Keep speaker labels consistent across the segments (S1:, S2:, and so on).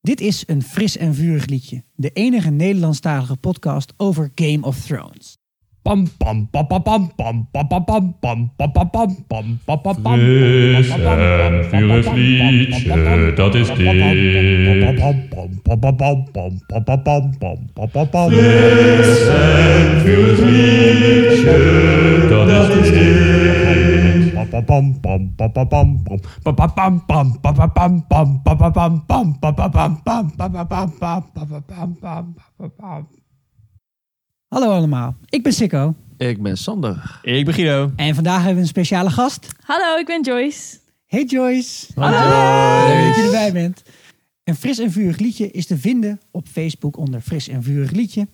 S1: Dit is een fris en vurig liedje. De enige Nederlandstalige podcast over Game of Thrones.
S2: Pam pam pam pam pam pam pam pam pam pam pam pam pam pam pam pam
S3: Fris en
S2: pam
S3: vurig liedje, dat is dit. Fris en vurig liedje, dat is dit.
S1: Hallo allemaal, ik ben Sikko.
S4: Ik ben Sander.
S2: Ik ben Guido.
S1: En vandaag hebben we een speciale gast.
S5: Hallo, ik ben Joyce.
S1: Hey Joyce.
S4: Hallo.
S1: Leuk dat je erbij bent. Een fris en vurig liedje is te vinden op Facebook onder Fris en Vurig Liedje.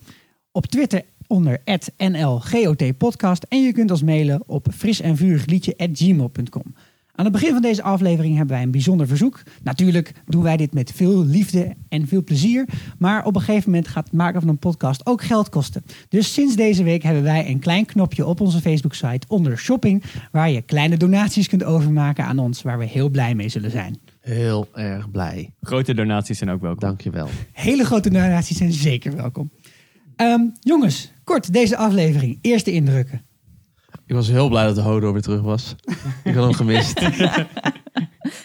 S1: Op Twitter onder @nlgotpodcast en je kunt ons mailen op frisenvurigliedje@gmail.com. Aan het begin van deze aflevering hebben wij een bijzonder verzoek. Natuurlijk doen wij dit met veel liefde en veel plezier, maar op een gegeven moment gaat het maken van een podcast ook geld kosten. Dus sinds deze week hebben wij een klein knopje op onze Facebook-site onder shopping waar je kleine donaties kunt overmaken aan ons, waar we heel blij mee zullen zijn.
S4: Heel erg blij.
S2: Grote donaties zijn ook welkom.
S4: Dankjewel.
S1: Hele grote donaties zijn zeker welkom. Ehm, jongens, kort deze aflevering. Eerste indrukken.
S4: Ik was heel blij dat de Hodor weer terug was. Ik had hem gemist.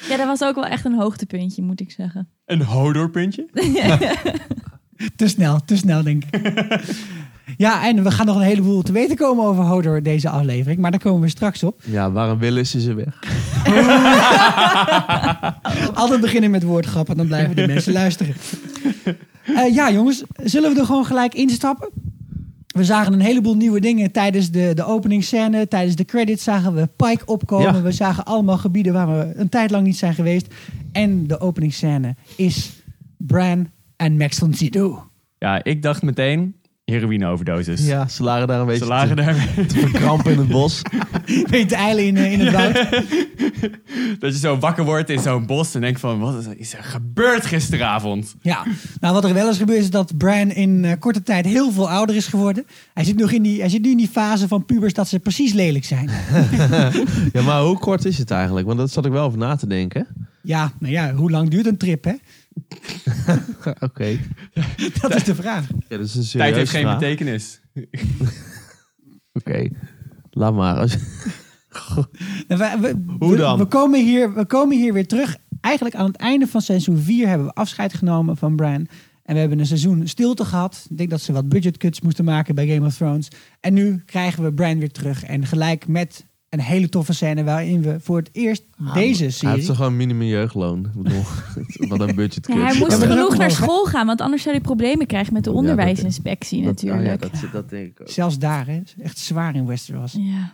S5: Ja, dat was ook wel echt een hoogtepuntje, moet ik zeggen.
S2: Een hodorpuntje?
S1: Te snel, te snel denk ik. ja, en we gaan nog een heleboel te weten komen over Hodor deze aflevering. Maar daar komen we straks op.
S4: Ja, waarom willen is ze weg?
S1: Altijd beginnen met woordgrappen, dan blijven de mensen luisteren. Eh, ja, jongens, zullen we er gewoon gelijk instappen? We zagen een heleboel nieuwe dingen tijdens de, de openingsscène. Tijdens de credits zagen we Pike opkomen.
S4: Ja.
S1: We zagen allemaal gebieden waar we een tijd lang niet zijn geweest. En de openingsscène is Bran en Max von Sydow.
S2: Ja, ik dacht meteen heroïne-overdosis.
S4: Ja, ze lagen daar een beetje
S2: Ze lagen
S4: te,
S2: daar.
S4: te verkrampen in het bos.
S1: Weet de eilen in, eh, in het woud.
S2: Dat je zo wakker wordt in zo'n bos en denkt van, wat is er- is er gebeurd gisteravond?
S1: Ja, nou wat er wel eens gebeurd is dat Bran in eh, korte tijd heel veel ouder is geworden. Hij zit, nog in die, hij zit nu in die fase van pubers dat ze precies lelijk zijn.
S4: Ja, maar hoe kort is het eigenlijk? Want dat zat ik wel over na te denken.
S1: Ja, nou ja, hoe lang duurt een trip, hè?
S4: Oké.
S1: Dat is de vraag.
S4: Ja, dat is een serieuze
S2: Tijd heeft geen
S4: vraag.
S2: betekenis.
S4: Oké. Laat maar. Als-
S1: En we- we-
S4: Hoe
S1: we-
S4: dan?
S1: We komen, hier, we komen hier weer terug. Eigenlijk aan het einde van seizoen 4 hebben we afscheid genomen van Bran. En we hebben een seizoen stilte gehad. Ik denk dat ze wat budgetcuts moesten maken bij Game of Thrones. En nu krijgen we Bran weer terug. En gelijk met een hele toffe scène waarin we voor het eerst deze
S4: Hij heeft
S1: serie...
S4: toch gewoon minimum jeugdloon? Ik bedoel, Wat een budget
S5: Ja, hij moest
S1: maar dat
S5: genoeg
S1: ook
S5: naar
S1: wel, hè?
S5: school gaan, want anders zou hij problemen krijgen met de
S4: Ja, dat-
S5: onderwijsinspectie natuurlijk.
S4: Oh Dat, dat, dat denk ik ook.
S1: Zelfs daar, hè. Is Echt zwaar in Westeros.
S5: ja.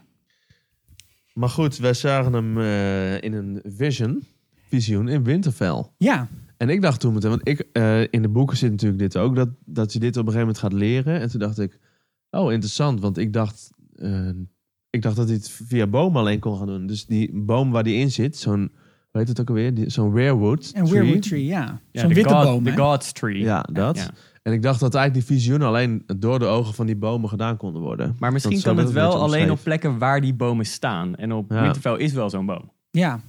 S4: Maar goed, wij zagen hem eh, in een vision, visioen in Winterfell.
S1: Ja,
S4: En ik dacht toen meteen, want ik, eh, in de boeken zit natuurlijk dit ook, dat, dat je dit op een gegeven moment gaat leren. En toen dacht ik, oh interessant, want ik dacht, eh, ik dacht dat hij het via boom alleen kon gaan doen. Dus die boom waar die in zit, zo'n, hoe heet het ook alweer? Die- Zo'n weirwood
S1: en
S4: tree.
S1: Weirwood Tree, ja.
S2: Ja,
S1: Zo'n
S2: de
S1: witte
S2: God-
S1: boom,
S2: De
S1: hè.
S2: God's Tree.
S4: Ja, dat.
S2: Ja.
S4: En ik dacht dat eigenlijk die visioenen alleen door de ogen van die bomen gedaan konden worden.
S2: Maar misschien
S4: Dat zo
S2: kan het
S4: werd
S2: wel
S4: beetje
S2: alleen op
S4: omschreven.
S2: plekken waar die bomen staan. En op
S4: Ja.
S2: Winterfell is wel zo'n boom.
S1: Ja.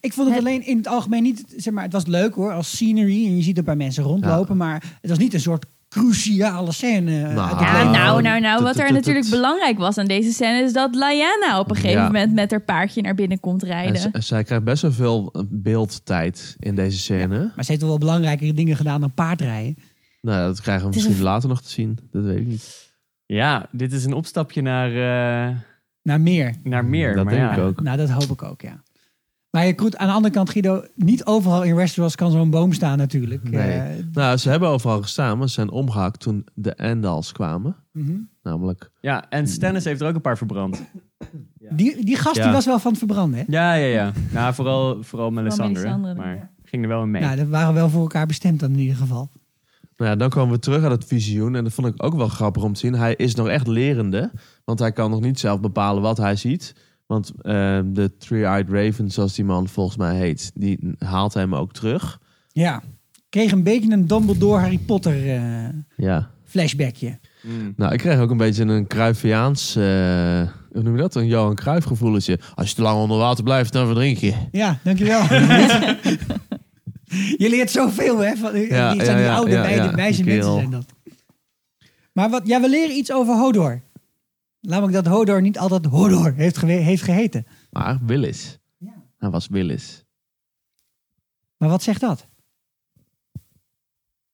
S1: Ik vond het alleen in het algemeen niet, zeg maar, het was leuk hoor, als scenery. En je ziet er bij mensen rondlopen, maar het was niet een soort cruciale scène. eh,
S4: Nou.
S1: uit de
S5: Ja,
S1: play.
S5: nou, nou, nou.
S4: Tut,
S5: Wat
S4: tut,
S5: er
S4: tut,
S5: natuurlijk
S4: tut.
S5: belangrijk was aan deze scène is dat Lyanna op een gegeven
S4: Ja.
S5: moment met haar paardje naar binnen komt
S4: En z-
S5: rijden.
S4: en zij krijgt best wel veel beeldtijd in deze scène.
S1: Maar ze heeft wel belangrijkere dingen gedaan dan paardrijden.
S4: Nou, dat krijgen we
S5: Het is
S4: misschien later nog te zien. Dat weet ik niet.
S2: Ja, dit is een opstapje naar, eh,
S1: Naar meer.
S2: naar meer.
S4: dat
S2: maar
S4: denk
S2: ja.
S4: ik ook.
S1: Nou, dat hoop ik ook, ja. Maar je goed, aan de andere kant, Guido, niet overal in Westeros kan zo'n boom staan natuurlijk.
S4: Nee.
S1: Eh,
S4: Nou, ze hebben overal gestaan, maar ze zijn omgehakt toen de Endals kwamen.
S1: mhm.
S4: Namelijk,
S2: Ja,
S4: Mm.
S2: en Stannis heeft er ook een paar verbrand.
S1: die, die gast die
S4: Ja.
S1: was wel van het verbranden, hè?
S2: Ja, ja, ja. Nou, vooral, vooral Melisandre. hè.
S5: Melisandre,
S2: maar
S5: ja.
S2: ging er wel een mee.
S1: Nou, dat waren wel voor elkaar bestemd dan in ieder geval.
S4: nou ja, dan komen we terug aan het visioen. En dat vond ik ook wel grappig om te zien. Hij is nog echt lerende, want hij kan nog niet zelf bepalen wat hij ziet. Want eh, de Three-Eyed Raven, zoals die man volgens mij heet, die haalt hem ook terug.
S1: Ja, kreeg een beetje een Dumbledore Harry Potter eh,
S4: Ja.
S1: flashbackje.
S2: Mm.
S4: Nou, ik kreeg ook een beetje een Cruyffiaans, eh, hoe noem je dat? Een Johan Cruijff gevoeletje. Als je te lang onder water blijft, dan verdrink je.
S1: Ja, dankjewel. Je leert zoveel, hè? Van,
S4: Ja,
S1: die zijn
S4: ja,
S1: die
S4: ja,
S1: oude,
S4: ja,
S1: wijde-
S4: ja,
S1: wijze mensen
S4: die kerel.
S1: zijn dat. Maar wat, ja, we leren iets over Hodor. Namelijk dat Hodor niet altijd Hodor heeft, gewe- heeft geheten.
S4: Maar Willis.
S1: Ja.
S4: Hij was Willis.
S1: Maar wat zegt dat?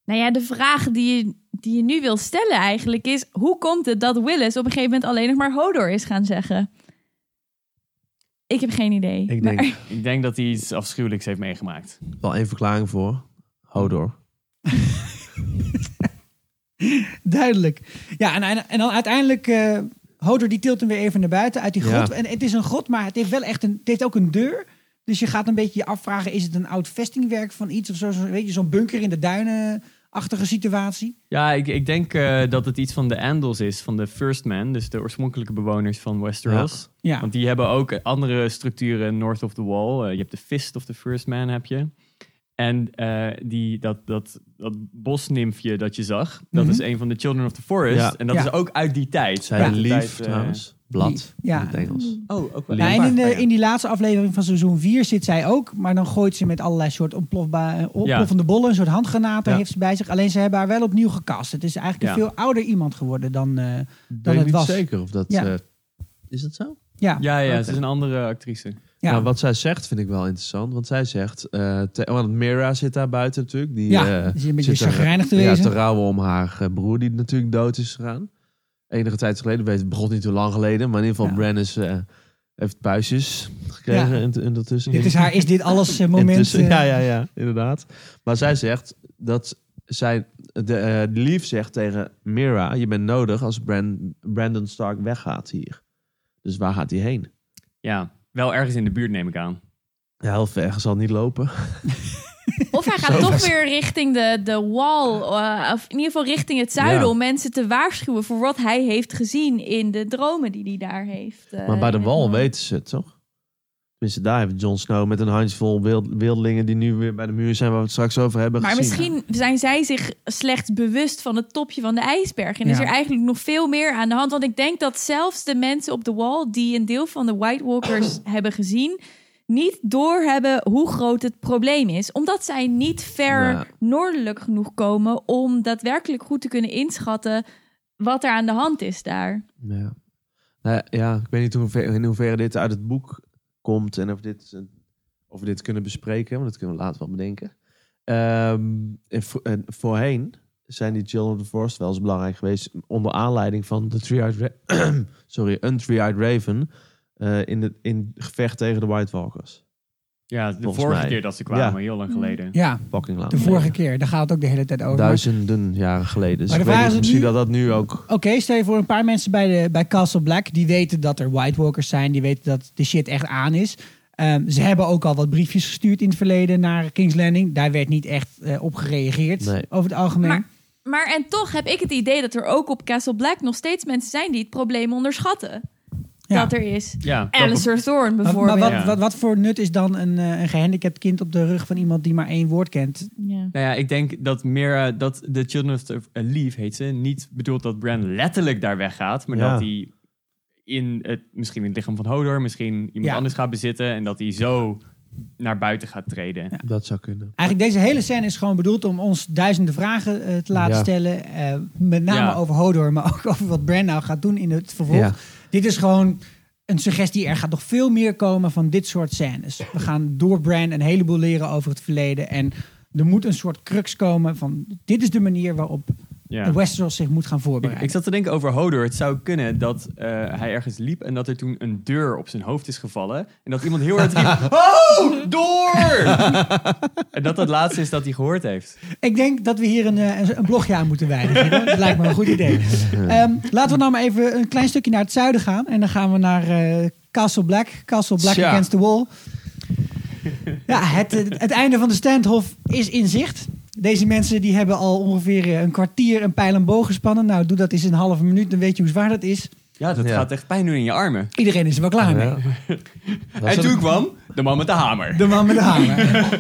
S5: Nou ja, de vraag die je, die je nu wil stellen eigenlijk is... hoe komt het dat Willis op een gegeven moment alleen nog maar Hodor is gaan zeggen? Ik heb geen idee.
S4: Ik
S5: Maar-
S4: denk,
S2: Ik denk dat hij iets afschuwelijks heeft meegemaakt.
S4: wel één verklaring voor. Hodor.
S1: Duidelijk. Ja, en, en, en dan uiteindelijk... eh, Hodor die tilt hem weer even naar buiten uit die
S4: Ja.
S1: grot. En het is een grot, maar het heeft wel echt een, het heeft ook een deur. Dus je gaat een beetje je afvragen... is het een oud vestingwerk van iets of zo? zo weet je, zo'n bunker in de duinen-achtige situatie.
S2: Ja, ik, ik denk eh, dat het iets van de Andals is, van de First Men, dus de oorspronkelijke bewoners van Westeros.
S1: Ja.
S2: Want die hebben ook andere structuren north of the wall. Eh, je hebt de Fist of the First Man, heb je. En eh, die, dat, dat, dat bosnimfje dat je zag, dat
S1: Mhm.
S2: is een van de Children of the Forest.
S4: Ja.
S2: En dat
S1: Ja.
S2: is ook uit die tijd.
S4: Zijn
S2: Uit die
S4: lief
S2: tijd, eh,
S4: trouwens. Blad.
S1: Ja.
S4: In het Engels.
S2: Oh, ook wel.
S1: Ja, en in,
S2: Oh,
S4: Ah,
S1: de,
S2: ja.
S1: in die laatste aflevering van seizoen 4 zit zij ook. Maar dan gooit ze met allerlei soort ontplofba- eh, ontploffende bollen. Een soort handgranaten
S4: Ja.
S1: heeft ze bij zich. Alleen ze hebben haar wel opnieuw gecast. Het is eigenlijk een
S2: Ja.
S1: veel ouder iemand geworden dan... eh,
S4: Ik
S1: Dat
S4: weet
S1: het
S4: niet
S1: was.
S4: zeker of dat...
S1: Ja.
S4: eh, is dat zo?
S1: ja,
S2: Ja, ja,
S4: Oké.
S2: ze is een andere actrice.
S1: ja.
S4: Nou, wat zij zegt vind ik wel interessant. Want zij zegt... eh, te- want Mira zit daar buiten natuurlijk. Die,
S1: Ja,
S4: eh,
S1: die is een beetje
S4: zit er-
S1: chagrijnig te
S4: Ja,
S1: wezen.
S4: te rouwen om haar eh, broer die natuurlijk dood is gegaan. Enige tijd geleden. weet- Het begon niet zo lang geleden. Maar in ieder
S1: Ja.
S4: geval Bran is, eh, heeft puistjes gekregen
S1: Ja.
S4: in, in dat tussen.
S1: Dit is haar is dit alles eh, moment.
S4: Intussen-
S1: eh,
S4: ja, ja, ja, inderdaad. Maar zij zegt dat zij, de, eh, Lief zegt tegen Mira: Je bent nodig als Bran- Brandon Stark weggaat hier. Dus waar gaat hij heen?
S2: Ja, wel ergens in de buurt neem ik aan.
S4: Ja, heel ver zal niet lopen.
S5: Of hij gaat
S4: Zo
S5: toch
S4: vast.
S5: weer richting de, de wall, eh, of in ieder geval richting het zuiden,
S4: Ja.
S5: om mensen te waarschuwen voor wat hij heeft gezien in de dromen die hij daar heeft. eh,
S4: Maar bij de
S5: in het
S4: wal
S5: land.
S4: weten ze het toch? Tenminste, daar heeft Jon Snow met een handjevol wild, wildlingen die nu weer bij de muur zijn waar we het straks over hebben
S5: Maar
S4: gezien.
S5: misschien zijn zij zich slechts bewust van het topje van de ijsberg. En is
S1: Ja.
S5: er eigenlijk nog veel meer aan de hand. Want ik denk dat zelfs de mensen op de wall die een deel van de White Walkers hebben gezien, niet doorhebben hoe groot het probleem is. Omdat zij niet ver
S4: Ja.
S5: noordelijk genoeg komen om daadwerkelijk goed te kunnen inschatten wat er aan de hand is daar.
S4: Ja. Nou ja, ja, ik weet niet hoe ver- in hoeverre dit uit het boek komt en of, dit, eh, of we dit kunnen bespreken, want dat kunnen we later wel bedenken. Ehm, en, vo- en voorheen zijn die Children of the Forest wel eens belangrijk geweest onder aanleiding van de Three-Eyed Ra- Sorry, een Three-Eyed Raven eh, in, de, in het gevecht tegen de White Walkers.
S2: Ja, de
S4: Volgens
S2: vorige
S4: mij.
S2: keer dat ze kwamen,
S4: Ja.
S2: heel lang
S5: Mm.
S2: geleden.
S1: ja,
S4: Fucking lang.
S1: de vorige keer. Daar gaat het ook de hele tijd over. Maar-
S4: Duizenden jaren geleden. Dus
S1: Maar de
S4: ik weet
S1: vraag
S4: niet,
S1: is
S4: misschien
S1: nu-
S4: dat dat nu ook...
S1: Oké, stel je voor een paar mensen bij, de, bij Castle Black. Die weten dat er White Walkers zijn. Die weten dat de shit echt aan is. Ehm, ze hebben ook al wat briefjes gestuurd in het verleden naar King's Landing. Daar werd niet echt eh, op gereageerd
S4: Nee.
S1: over het algemeen.
S5: Maar, maar en toch heb ik het idee dat er ook op Castle Black nog steeds mensen zijn die het probleem onderschatten.
S1: Ja.
S5: Dat er is.
S2: Ja, dat-
S5: Alistair Thorne
S1: Maar,
S5: bijvoorbeeld.
S1: maar wat,
S2: Ja.
S1: wat, wat voor nut is dan een, eh, een gehandicapt kind op de rug van iemand die maar één woord kent?
S5: Ja.
S2: Nou ja, ik denk dat Mira, dat de Children of the eh, Leaf heet ze, niet bedoelt dat Bran letterlijk daar weggaat, maar
S4: Ja.
S2: dat hij in het, misschien in het lichaam van Hodor, misschien iemand
S1: Ja.
S2: anders gaat bezitten en dat hij zo naar buiten gaat treden.
S4: Dat zou kunnen.
S1: Eigenlijk deze hele scène is gewoon bedoeld om ons duizenden vragen eh, te laten
S4: Ja.
S1: stellen. eh, met name
S2: Ja.
S1: over Hodor, maar ook over wat Bran nou gaat doen in het vervolg.
S4: Ja.
S1: Dit is gewoon een suggestie. Er gaat nog veel meer komen van dit soort scènes. We gaan door Bran een heleboel leren over het verleden. En er moet een soort crux komen van dit is de manier waarop
S2: Ja.
S1: Westeros zich moet gaan
S2: Ik,
S1: voorbereiden.
S2: ik zat te denken over Hodor. Het zou kunnen dat eh, hij ergens liep en dat er toen een deur op zijn hoofd is gevallen. En dat iemand heel hard riep, oh, door! en dat het laatste is dat hij gehoord heeft.
S1: Ik denk dat we hier een, eh, een- een blogje aan moeten wijden. dat lijkt me een goed idee. Ehm, laten we nou maar even een klein stukje naar het zuiden gaan. En dan gaan we naar eh, Castle Black. Castle Black
S4: Tja.
S1: against the wall. Ja, het, eh, het einde van de standhof is in zicht. Deze mensen die hebben al ongeveer eh, een kwartier een pijl en boog gespannen. Nou, doe dat eens in een halve minuut, dan weet je hoe zwaar dat is.
S2: Ja, dat
S4: Ja.
S2: gaat echt pijn doen in je armen.
S1: Iedereen is er wel klaar mee.
S4: Ja.
S2: En toen kwam de man met de hamer.
S1: De man met de hamer.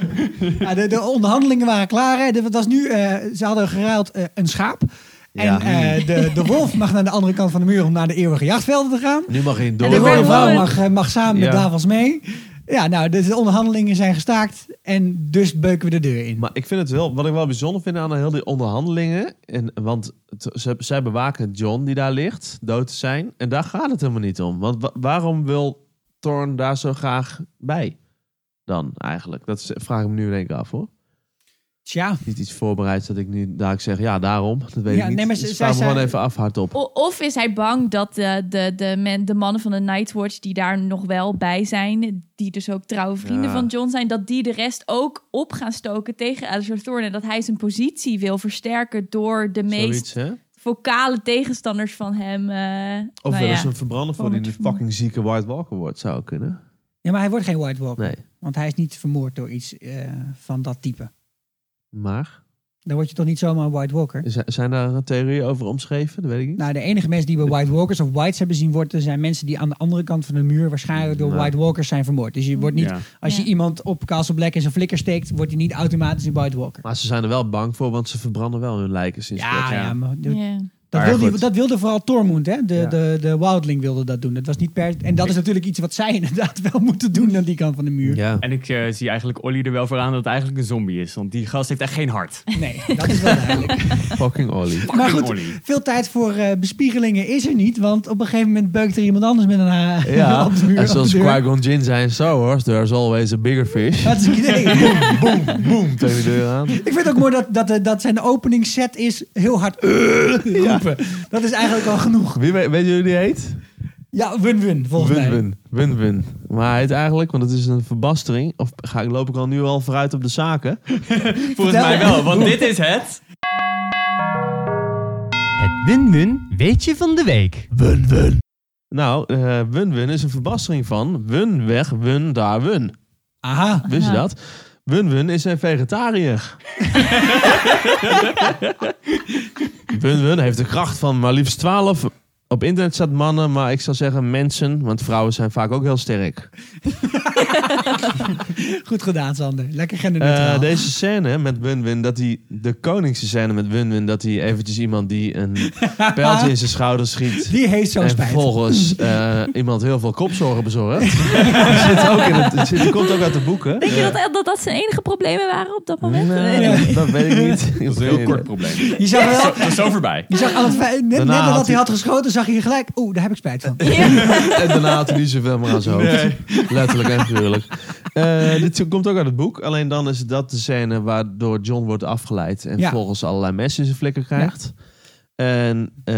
S1: ja, de, de onderhandelingen waren klaar. Hè. De- Het was nu, eh, ze hadden geruild eh, een schaap. En
S4: Ja.
S1: eh, de, de wolf mag naar de andere kant van de muur om naar de eeuwige jachtvelden te gaan.
S4: Nu mag je
S1: De
S4: door.
S5: En de
S1: mooie
S5: Red
S1: vrouw
S5: Woman-
S1: mag, eh, mag samen met
S4: Ja.
S1: Davos mee. Eh, Ja, nou, de de onderhandelingen zijn gestaakt en dus beuken we de deur in.
S4: Maar ik vind het wel, wat ik wel bijzonder vind aan heel die onderhandelingen. En, want het- ze, zij bewaken John die daar ligt, dood te zijn. En daar gaat het helemaal niet om. Want wa- waarom wil Thorn daar zo graag bij? Dan eigenlijk. Dat is- vraag ik me nu in één keer af hoor.
S1: Tja,
S4: Niet iets voorbereids dat ik nu daar ik zeg, ja daarom. Dat weet
S1: Ja,
S4: ik niet.
S1: nee, maar ze-
S4: dus
S1: zij
S4: vraag me
S1: zei-
S4: gewoon even af hardop.
S5: O- Of is hij bang dat de, de, de, men, de mannen van de Nightwatch, die daar nog wel bij zijn, die dus ook trouwe vrienden
S4: Ja.
S5: van John zijn, dat die de rest ook op gaan stoken tegen Alistair Thorne. En dat hij zijn positie wil versterken door de meest
S4: Zoiets hè?
S5: vocale tegenstanders van hem. eh,
S4: Of
S5: nou
S4: wel eens
S5: ja.
S4: een verbrander voor die een fucking zieke White Walker wordt. Zou kunnen.
S1: ja, maar hij wordt geen White Walker.
S4: Nee.
S1: Want hij is niet vermoord door iets eh, van dat type.
S4: Maar
S1: Dan word je toch niet zomaar een White Walker?
S4: z- zijn daar theorieën over omschreven? Dat weet ik niet.
S1: Nou, de enige mensen die we White Walkers of Whites hebben zien worden, zijn mensen die aan de andere kant van de muur waarschijnlijk door
S4: Nou.
S1: White Walkers zijn vermoord. Dus je wordt niet,
S2: Ja.
S1: als je
S5: Ja.
S1: iemand op Castle Black in zijn flikker steekt, wordt hij niet automatisch een White Walker.
S4: Maar ze zijn er wel bang voor, want ze verbranden wel hun lijken sinds
S1: Ja,
S4: kort.
S1: ja,
S2: ja.
S1: maar dat-
S5: Ja.
S1: dat,
S4: Maar
S1: wilde,
S4: goed.
S1: dat wilde vooral Tormund, hè? De,
S4: Ja.
S1: de, de Wildling wilde dat doen. Dat was niet per, en dat is natuurlijk iets wat zij inderdaad wel moeten doen aan die kant van de muur.
S4: Ja.
S2: En ik eh, zie eigenlijk Olly er wel voor aan dat het eigenlijk een zombie is. Want die gast heeft echt geen hart.
S1: Nee, dat is wel duidelijk.
S4: Fucking Ollie.
S1: Maar
S2: Fucking
S1: goed,
S2: Olly.
S1: veel tijd voor eh, bespiegelingen is er niet, want op een gegeven moment beukt er iemand anders met een ha-
S4: Ja,
S1: op de muur.
S4: en
S1: op de
S4: zoals
S1: deur.
S4: Qui-Gon Jinn zei in Star Wars, there's always a bigger fish.
S1: Dat is het idee.
S4: Boom, tegen de deur aan.
S1: Ik vind het ook mooi dat, dat, eh, dat zijn openingsset is heel hard eh, roepen. Dat is eigenlijk al genoeg.
S4: Wie weet, weet je hoe die heet?
S1: Ja, win-win volgens mij.
S4: Win-win. Win-win. Maar hij heet eigenlijk, want het is een verbastering, of ga ik, loop ik al nu al vooruit op de zaken?
S2: Volgens mij
S1: Vertel.
S2: wel, want dit is het.
S6: Het win-win weetje van de week.
S4: Nou, eh, Win-Win is een verbastering van Wun weg, Wun daar, Wun.
S1: Aha.
S4: Wist je
S5: Ja.
S4: dat? Wun-Wun is een vegetariër. Wun-Wun heeft de kracht van maar liefst 12. Op internet staat mannen, maar ik zou zeggen mensen, want vrouwen zijn vaak ook heel sterk.
S1: Goed gedaan, Sander. Lekker
S4: Eh,
S1: genderneutraal.
S4: deze scène met Wun-Wun, dat hij de koningse scène met Wun-Wun, dat hij eventjes iemand die een pijltje in zijn schouder schiet.
S1: Die heeft zo'n
S4: en
S1: spijt.
S4: vervolgens eh, iemand heel veel kopzorgen bezorgt. die, zit ook in het, die komt ook uit de boeken.
S5: Denk je dat, dat dat zijn enige problemen waren op dat moment?
S4: Nee, dat weet ik niet.
S2: Dat is een heel kort probleem.
S1: Je zag
S2: Zo,
S1: wel...
S2: dat is zo voorbij.
S1: Je zag aan het feit- net, net
S4: Daarna
S1: nadat
S4: had
S1: hij
S4: hij-
S1: had geschoten, zag je gelijk... Oeh, daar heb ik spijt van.
S4: En daarna had hij niet zoveel meer aan zijn hoofd. Letterlijk en figuurlijk. Eh, dit komt ook uit het boek. Alleen dan is dat de scène waardoor John wordt afgeleid. En
S1: Ja.
S4: volgens allerlei messen in zijn flikker krijgt. En eh,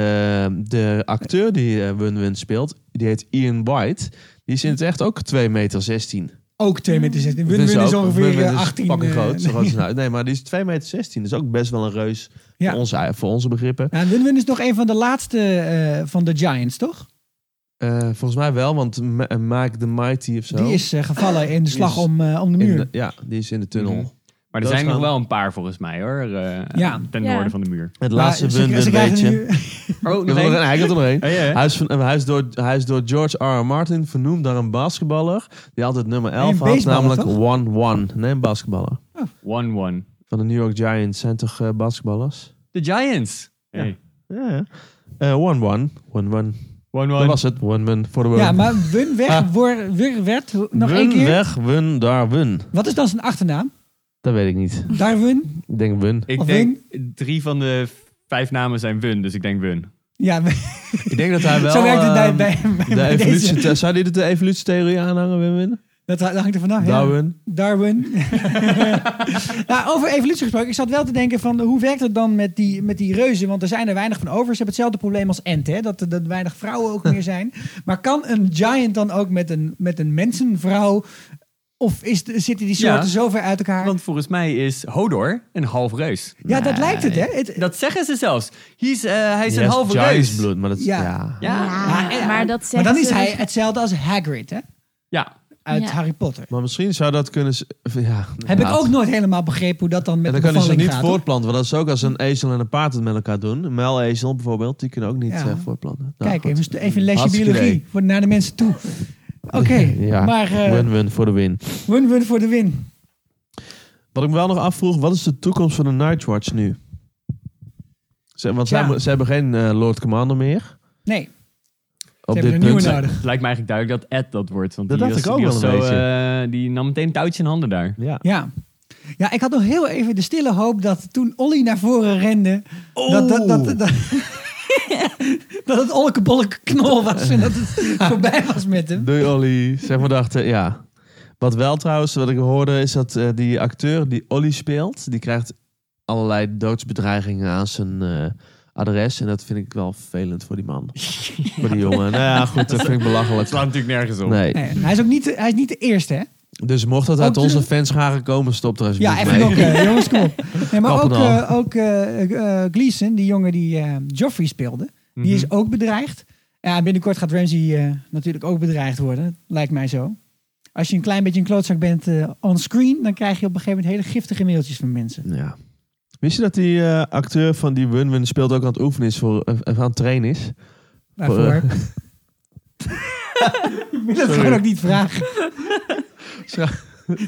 S4: de acteur die eh, Wun-Wun speelt, die heet Ian White. Die is in het echt ook 2,16 meter. 16.
S1: Ook 2 meter 16.
S4: Dus
S1: Win-win is
S4: ook-
S1: ongeveer
S4: Wun-Wun
S1: eh,
S4: is
S1: 18.
S4: fucking
S1: eh,
S4: groot. Zo groot is hij nou. Nee, maar die is 2,16 meter. 16. Dat is ook best wel een reus
S1: Ja.
S4: voor, onze, voor onze begrippen.
S1: Nou, Win-win is nog een van de laatste eh, van de Giants, toch?
S4: Eh, volgens mij wel, want Ma- eh, Mike the Mighty of zo.
S1: Die is eh, gevallen in de
S4: Die
S1: slag
S4: is
S1: om, eh, om de
S4: in
S1: muur.
S4: de- ja, die is in de tunnel.
S2: Mhm. Maar er
S4: Dat
S2: zijn
S4: is
S2: nog
S4: wel-
S2: wel een paar volgens mij hoor. eh,
S1: Ja.
S2: Ten
S5: Ja.
S2: noorden van de muur.
S4: Het
S1: Maar
S4: laatste
S1: ze-
S4: win
S1: ze
S4: win
S1: krijgen
S4: weetje.
S1: nu-
S2: Oh,
S4: Ik heb er nog een, hij had er nog één. Huis, van, eh, huis, door, huis door George R. R. Martin vernoemd naar een basketballer. Die altijd nummer 11
S1: een
S4: had,
S1: baseballer,
S4: namelijk 1-1. Nee, een basketballer.
S2: One one.
S4: Van de New York Giants zijn toch eh, basketballers? Eh,
S2: De Giants.
S4: Ja.
S2: Hey.
S4: Ja, ja. 1-1. 1-1.
S2: One
S4: Dat
S2: one.
S4: was het. 1-1 voor de win.
S1: Ja, maar Wun weg
S4: Ah.
S1: wor- wor- werd... Nog
S4: win
S1: één keer.
S4: weg, win daar, win.
S1: Wat is dan zijn achternaam?
S4: Dat weet ik niet.
S1: Darwin?
S4: Ik denk win.
S2: Ik
S1: Of
S2: denk drie van de vijf namen zijn Wun, dus ik denk Wun.
S1: Ja,
S4: Ik denk dat hij wel...
S1: zo werkt het bij,
S4: ehm,
S1: bij, bij,
S4: de
S1: bij
S4: evolutie,
S1: deze.
S4: Zou hij de evolutietheorie aanhangen, win, win?
S1: Dat hangt er vanaf, ja.
S4: Darwin.
S1: Darwin. nou, over evolutie gesproken. Ik zat wel te denken van hoe werkt het dan met die, met die reuzen? Want er zijn er weinig van over. Ze hebben hetzelfde probleem als ent, hè? Dat er dat weinig vrouwen ook meer zijn. Maar kan een giant dan ook met een, met een mensenvrouw... Of is, de- zitten die soorten
S2: Ja.
S1: zo ver uit elkaar?
S2: Want volgens mij is Hodor een half reus.
S1: ja, dat lijkt het, hè? Het-
S2: Dat zeggen ze zelfs. He's, eh, hij is een half
S4: Giants
S2: reus.
S4: bloed, maar dat is...
S1: Ja.
S4: ja.
S2: Ja. ja.
S1: Ja.
S5: Maar dat
S1: maar
S5: zegt
S1: dan is
S5: ze- dus-
S1: hij hetzelfde als Hagrid, hè? Uit
S5: Ja.
S1: Harry Potter.
S4: Maar misschien zou dat kunnen... s- Ja,
S1: Heb ik
S4: inderdaad.
S1: ook nooit helemaal begrepen hoe dat dan met
S4: En dan
S1: de
S4: kunnen ze
S1: bevalling
S4: niet
S1: gaat. hoor.
S4: voortplanten. Want dat is ook als een ezel en een paard het met elkaar doen. Een muilezel bijvoorbeeld, die kunnen ook niet
S1: Ja.
S4: eh, voortplanten. Nou,
S1: Kijk,
S4: goed.
S1: even, st- even een lesje
S4: Hartstikke
S1: biologie
S4: idee.
S1: voor, naar de mensen toe. Oké,
S4: Ja,
S1: maar eh,
S4: win-win voor de win.
S1: win-win voor de win.
S4: Wat ik me wel nog afvroeg, wat is de toekomst van de Nightwatch nu? Ze, want
S1: Ja.
S4: zij, mo- ze hebben geen eh, Lord Commander meer.
S1: Nee,
S4: op
S1: hebben
S4: dit
S1: er nieuwe
S4: punt.
S1: nodig.
S2: Het lijkt me eigenlijk duidelijk dat Ed dat wordt. Want
S4: Dat
S2: die
S4: dacht ik
S2: was-
S4: ook
S2: die
S4: wel
S2: was
S4: een
S2: zo,
S4: beetje.
S2: eh, die nam meteen touwtje in handen daar.
S4: Ja.
S1: Ja. Ja, ik had nog heel even de stille hoop dat toen Olly naar voren rende... Dat, dat, dat, dat,
S4: Oh.
S1: dat het ollekebolleke knol was en dat het voorbij was met hem.
S4: Doei Olly. Zeg maar dachten, ja. Wat wel trouwens, wat ik hoorde, is dat eh, die acteur die Olly speelt, die krijgt allerlei doodsbedreigingen aan zijn eh, adres. En dat vind ik wel vervelend voor die man. voor die jongen. Nou ja, goed, dat vind ik belachelijk.
S2: natuurlijk nergens op.
S4: Nee.
S1: Nee, hij is ook niet, hij is niet de eerste, hè?
S4: Dus mocht dat uit
S1: Ook
S4: onze
S1: de-
S4: fanscharen komen, stop er alsjeblieft
S1: Ja, even
S4: mee.
S1: nog, eh, jongens, kom op. Nee, maar ook,
S4: Kappen
S1: eh ook eh, eh, Gleason, die jongen die eh, Joffrey speelde, die is ook bedreigd. Ja, binnenkort gaat Ramsey eh, natuurlijk ook bedreigd worden, lijkt mij zo. Als je een klein beetje een klootzak bent eh on screen, dan krijg je op een gegeven moment hele giftige mailtjes van mensen.
S4: Ja. Wist je dat die eh, acteur van die Win-Win speelt ook aan het oefenen is voor, eh, aan het trainen is?
S1: Waarvoor? ik wil het gewoon ook niet vragen.
S4: Nou,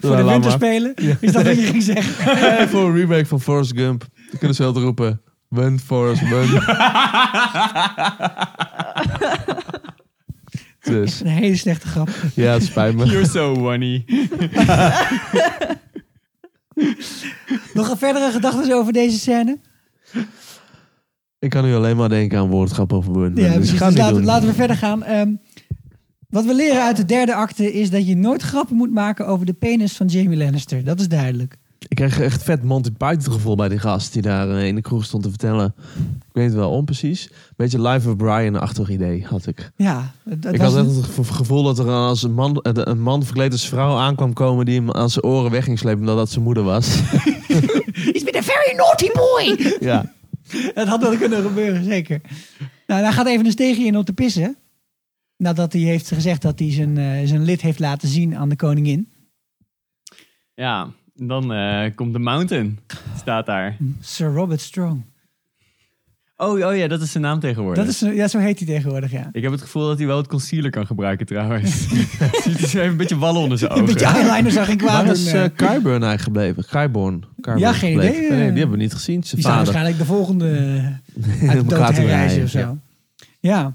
S1: Voor de winterspelen is dat wat je ging zeggen.
S4: Eh, voor een remake van Forrest Gump. Dan kunnen ze altijd roepen. Win, Forrest, win. dus,
S1: Een hele slechte grap.
S4: ja, het spijt me.
S2: You're so funny.
S1: Nog een verdere gedachten over deze scène?
S4: Ik kan nu alleen maar denken aan woordgrap over win.
S1: Ja,
S4: dus
S1: precies.
S4: ik ga
S1: Dus
S4: het niet
S1: laten,
S4: doen.
S1: laten we verder gaan. Ehm, wat we leren uit de derde acte is dat je nooit grappen moet maken over de penis van Jamie Lannister. Dat is duidelijk.
S4: Ik kreeg echt vet Monty Python gevoel bij die gast die daar eh, in de kroeg stond te vertellen. Ik weet het wel onprecies. Beetje Life of Brian-achtig idee had ik.
S1: Ja, dat, dat
S4: ik
S1: was
S4: had echt
S1: een-
S4: het gevo- gevoel dat er als een man, eh, een man verkleed als vrouw aankwam komen die hem aan zijn oren weg ging slepen omdat dat zijn moeder was.
S1: He's been a very naughty boy!
S4: ja.
S1: dat had wel kunnen gebeuren, zeker. Nou, daar gaat even een steegje in om te pissen. Nadat hij heeft gezegd dat hij zijn, eh, zijn lid heeft laten zien aan de koningin.
S2: Ja, dan eh, komt de mountain. Staat daar.
S1: Sir Robert Strong.
S2: Oh, oh ja, dat is zijn naam tegenwoordig.
S1: Dat is, ja, zo heet hij tegenwoordig, ja.
S2: Ik heb het gevoel dat hij wel het concealer kan gebruiken trouwens. Ziet hij zo even een beetje wallen onder zijn ogen.
S1: Een beetje eyeliner zag ik kwaad
S4: Oh, Waar
S1: doen,
S4: is
S1: eh.
S4: eh Qyburn eigenlijk gebleven? Qyburn. Qyburn
S1: Ja, geen
S4: gebleven.
S1: idee, eh.
S4: Nee, die hebben we niet gezien. Zijn
S1: Die zijn
S4: vader.
S1: waarschijnlijk de volgende eh, uit de
S4: Om
S1: dood
S4: elkaar te
S1: herreizen
S4: rijden,
S1: of zo. Ja.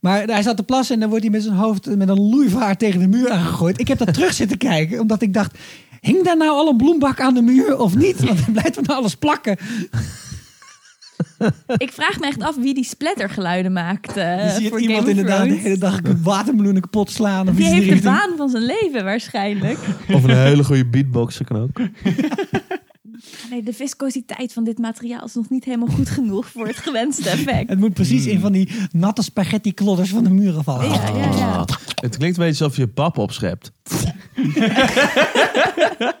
S1: Maar hij zat te plassen en dan wordt hij met zijn hoofd met een loeivaart tegen de muur aangegooid. Ik heb dat terug zitten kijken, omdat ik dacht... Hing daar nou al een bloembak aan de muur of niet? Want dan blijft van alles plakken.
S5: Ik vraag me echt af wie die splattergeluiden maakt. eh,
S1: Je ziet
S5: voor
S1: iemand
S5: Game of
S1: inderdaad de
S5: Thrones.
S1: hele dag watermeloenen kapot slaan. Of
S5: Die
S1: iets in
S5: heeft
S1: die
S5: de
S1: richting.
S5: baan van zijn leven waarschijnlijk.
S4: Of een hele goede beatboxer kan ook.
S5: Nee, de viscositeit van dit materiaal is nog niet helemaal goed genoeg voor het gewenste effect.
S1: Het moet precies in van die natte spaghetti klodders van de muren vallen.
S5: Ja, ja, ja.
S4: Ah, het klinkt een beetje alsof je pap opschept. Oké,
S1: Ik
S4: laat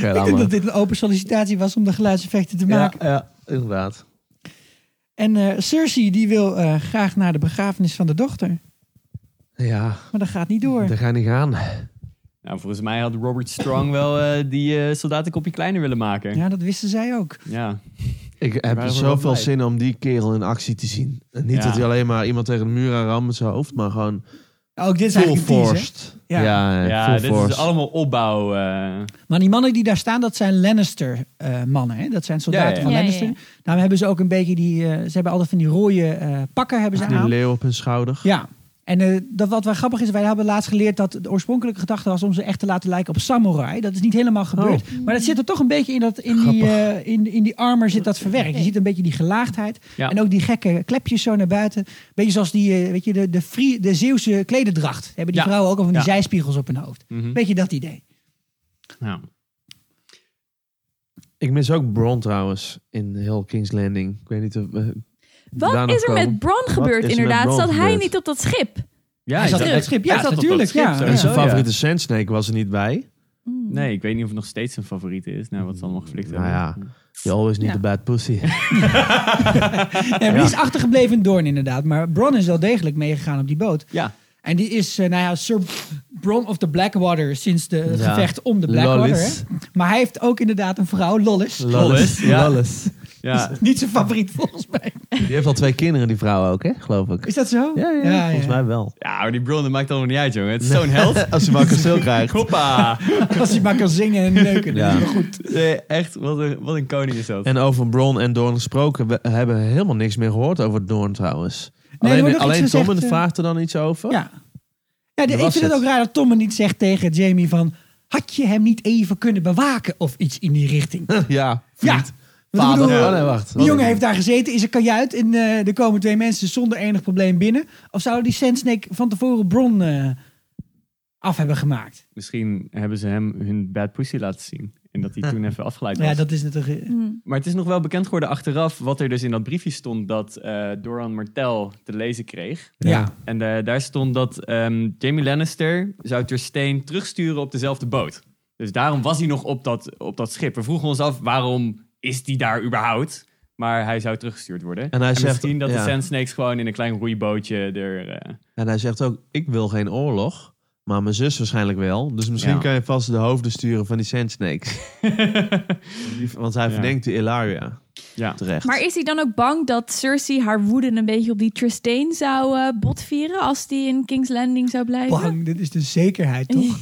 S1: denk dat
S4: maar.
S1: dit een open sollicitatie was om de geluidseffecten te maken.
S4: Ja, ja, inderdaad.
S1: En eh, Cersei die wil eh, graag naar de begrafenis van de dochter.
S4: Ja,
S1: Maar dat gaat niet door.
S4: daar ga je niet gaan.
S2: Nou, volgens mij had Robert Strong wel eh, die eh, soldaten kopje kleiner willen maken. Ja.
S1: Ja, dat wisten zij ook.
S4: Ik heb
S2: waren er wel
S4: zoveel
S2: bij.
S4: zin om die kerel in actie te zien. En niet
S2: Ja.
S4: dat hij alleen maar iemand tegen de muur aan ramt met zijn hoofd, maar gewoon
S1: Ook dit is
S4: full
S1: eigenlijk een tease, hè?
S4: forced.
S1: Ja.
S4: Ja, ja,
S2: Ja,
S4: full
S2: dit
S4: forced.
S2: is allemaal opbouw. eh.
S1: Maar die mannen die daar staan, dat zijn Lannister-mannen. hè? dat zijn soldaten
S2: Ja, ja.
S1: van
S5: Ja, ja,
S1: Lannister.
S5: ja.
S1: Daarom hebben ze ook een beetje die... eh, ze hebben altijd van die rode eh, pakken hebben ze
S4: Die
S1: aan.
S4: leeuw op hun schouder.
S1: Ja. En eh, dat wat wel grappig is, wij hebben laatst geleerd dat de oorspronkelijke gedachte was om ze echt te laten lijken op samurai. Dat is niet helemaal gebeurd.
S2: Oh.
S1: Maar dat zit er toch een beetje in, dat, in, die, eh, in, in die armor zit dat verwerkt. Je ziet een beetje die gelaagdheid.
S2: Ja.
S1: En ook die gekke klepjes zo naar buiten. Beetje zoals die, eh, weet je, de, de, Frie- de Zeeuwse klededracht. Hebben die
S2: Ja.
S1: vrouwen ook al van die
S2: Ja.
S1: zijspiegels op hun hoofd.
S2: Mhm.
S1: Beetje dat idee.
S2: Nou,
S4: Ik mis ook Bron trouwens in heel King's Landing. Ik weet niet of... eh,
S5: Wat
S4: daarna
S5: is er
S4: komen.
S5: met Bron gebeurd
S4: is er met
S5: inderdaad?
S4: Bron
S5: Zat hij
S4: gebeurd?
S5: niet op dat schip?
S2: ja,
S1: Hij zat op dat schip. Ja,
S2: hij zat op
S1: natuurlijk,
S2: dat schip,
S1: Oh, ja.
S2: sowieso,
S1: En
S4: En zijn
S2: ja.
S4: favoriete Sand Snake was er niet bij.
S2: Nee, ik weet niet of het nog steeds zijn favoriet is. Nou, wat ze allemaal geflikt
S4: Nou
S2: hebben.
S4: ja, you always need
S1: Ja.
S4: a bad pussy.
S1: Ja, maar Die is achtergebleven in Doorn inderdaad. Maar Bron is wel degelijk meegegaan op die boot.
S2: Ja,
S1: En die is, eh, nou ja, Sir Bron of the Blackwater sinds de het
S4: Ja.
S1: gevecht om de Blackwater. Hè?
S4: Lollis.
S1: Maar hij heeft ook inderdaad een vrouw, Lollis.
S2: Lollis,
S4: Lollis.
S2: ja.
S4: Lollis.
S2: ja.
S1: Niet zijn favoriet volgens mij.
S4: Die heeft al twee kinderen, die vrouw ook, hè? geloof ik.
S1: Is dat zo?
S4: Ja, ja, volgens mij wel.
S2: ja maar die bron, dat maakt allemaal niet uit, jongen. Het is zo'n held.
S4: Als hij maar een kasteel krijgt.
S2: Hoppa!
S1: Als hij maar kan zingen en neuken.
S4: Ja.
S1: Dat is wel goed.
S2: Nee, echt, wat een, wat een koning is dat.
S4: En over Bron en Doorn gesproken, we hebben helemaal niks meer gehoord over Doorn trouwens.
S1: er wordt
S4: alleen
S1: ook
S4: alleen
S1: iets
S4: Tom
S1: gezegd, eh,
S4: vraagt er dan iets over.
S1: Ja. ja de-
S4: Dat
S1: ik
S4: was
S1: vind het
S4: het.
S1: ook raar dat Tom me niet zegt tegen Jamie van... Had je hem niet even kunnen bewaken of iets in die richting?
S4: ja
S1: ja.
S4: vriend.
S1: Want ik
S4: Vader.
S1: bedoel,
S4: Oh, nee, wacht.
S1: Die jongen heeft daar gezeten in zijn kajuit en eh, er komen twee mensen zonder enig probleem binnen. Of zouden die Sand Snake van tevoren Bron eh, af hebben gemaakt?
S2: Misschien hebben ze hem hun bad pussy laten zien. En dat hij toen even afgeleid was.
S1: Ja, dat is natuurlijk... eh,
S5: Hm.
S2: Maar het is nog wel bekend geworden achteraf wat er dus in dat briefje stond dat eh, Doran Martel te lezen kreeg.
S1: Ja.
S2: En eh, daar stond dat ehm Jamie Lannister zou Ter Steen terugsturen op dezelfde boot. Dus daarom was hij nog op dat, op dat schip. We vroegen ons af waarom is hij daar überhaupt? Maar hij zou teruggestuurd worden.
S4: En hij zegt-
S2: misschien dat
S4: ja.
S2: de Sand Snakes gewoon in een klein roeibootje er... eh,
S4: En hij zegt ook, ik wil geen oorlog. Maar mijn zus waarschijnlijk wel. Dus misschien
S2: Ja.
S4: kan je vast de hoofden sturen van die Sand Snakes. Want hij
S2: Ja.
S4: verdenkt de Ilaria.
S2: ja.
S4: Terecht.
S5: Maar is hij dan ook bang dat Cersei haar woede een beetje op die Tristain zou eh, botvieren als die in King's Landing zou blijven?
S1: Bang, dit is de zekerheid, toch?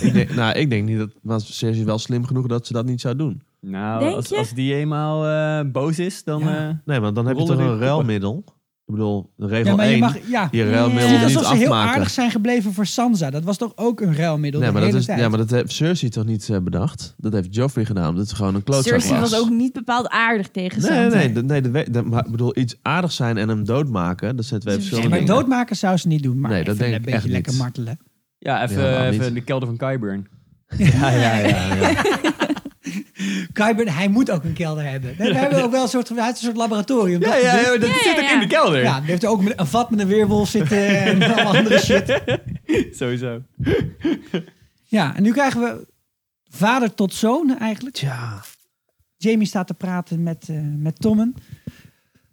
S4: ik denk, nou, ik denk niet dat... Was Cersei wel slim genoeg dat ze dat niet zou doen?
S2: Nou,
S5: Denk
S2: als,
S5: je?
S2: als die eenmaal eh, boos is, dan...
S1: Ja.
S2: eh,
S4: Nee, want dan heb je
S2: Rollen
S4: toch een
S2: die koppen.
S4: ruilmiddel. Ik bedoel, de regel
S1: Ja, maar
S4: 1.
S1: je mag... Ja.
S4: Je
S5: Ja.
S4: ruilmiddel
S1: Het
S5: Het is
S1: is
S4: niet
S1: alsof ze
S4: afmaken.
S1: heel aardig zijn gebleven voor Sansa. Dat was toch ook een ruilmiddel
S4: Nee,
S1: de
S4: maar dat
S1: hele
S4: is,
S1: tijd?
S4: ja, maar dat heeft Cersei toch niet eh, bedacht? Dat heeft Joffrey gedaan. Dat is gewoon een klootzak
S5: Cersei was ook niet bepaald aardig tegen
S4: Nee, nee,
S5: Sansa.
S4: nee. dat- nee dat weet- dat- maar ik bedoel, iets aardig zijn en hem doodmaken, dat zijn twee
S5: Ze
S4: verschillende
S1: maar
S5: zijn
S4: dingen.
S1: doodmaken zou ze niet doen. Maar
S4: Nee,
S1: dat
S4: dat
S1: denk
S4: denk
S1: een
S4: ik
S1: beetje
S4: echt
S1: lekker
S4: niet.
S1: martelen.
S2: ja, even,
S4: helemaal niet.
S2: even de kelder van Kyburn.
S4: Ja, ja, ja. ja.
S1: Kuiper, hij moet ook een kelder hebben. Nee, we hebben ook wel een soort, hij heeft een soort laboratorium.
S2: Ja,
S1: toch?
S2: ja, ja, dat
S5: Ja,
S2: zit
S5: ja,
S2: ook
S5: ja.
S2: in de kelder.
S1: Ja, die heeft er ook met- een vat met een weerwolf zitten en alle andere shit.
S2: Sowieso.
S1: Ja, en nu krijgen we vader tot zoon eigenlijk.
S4: Tja.
S1: Jamie staat te praten met, eh, met Tommen.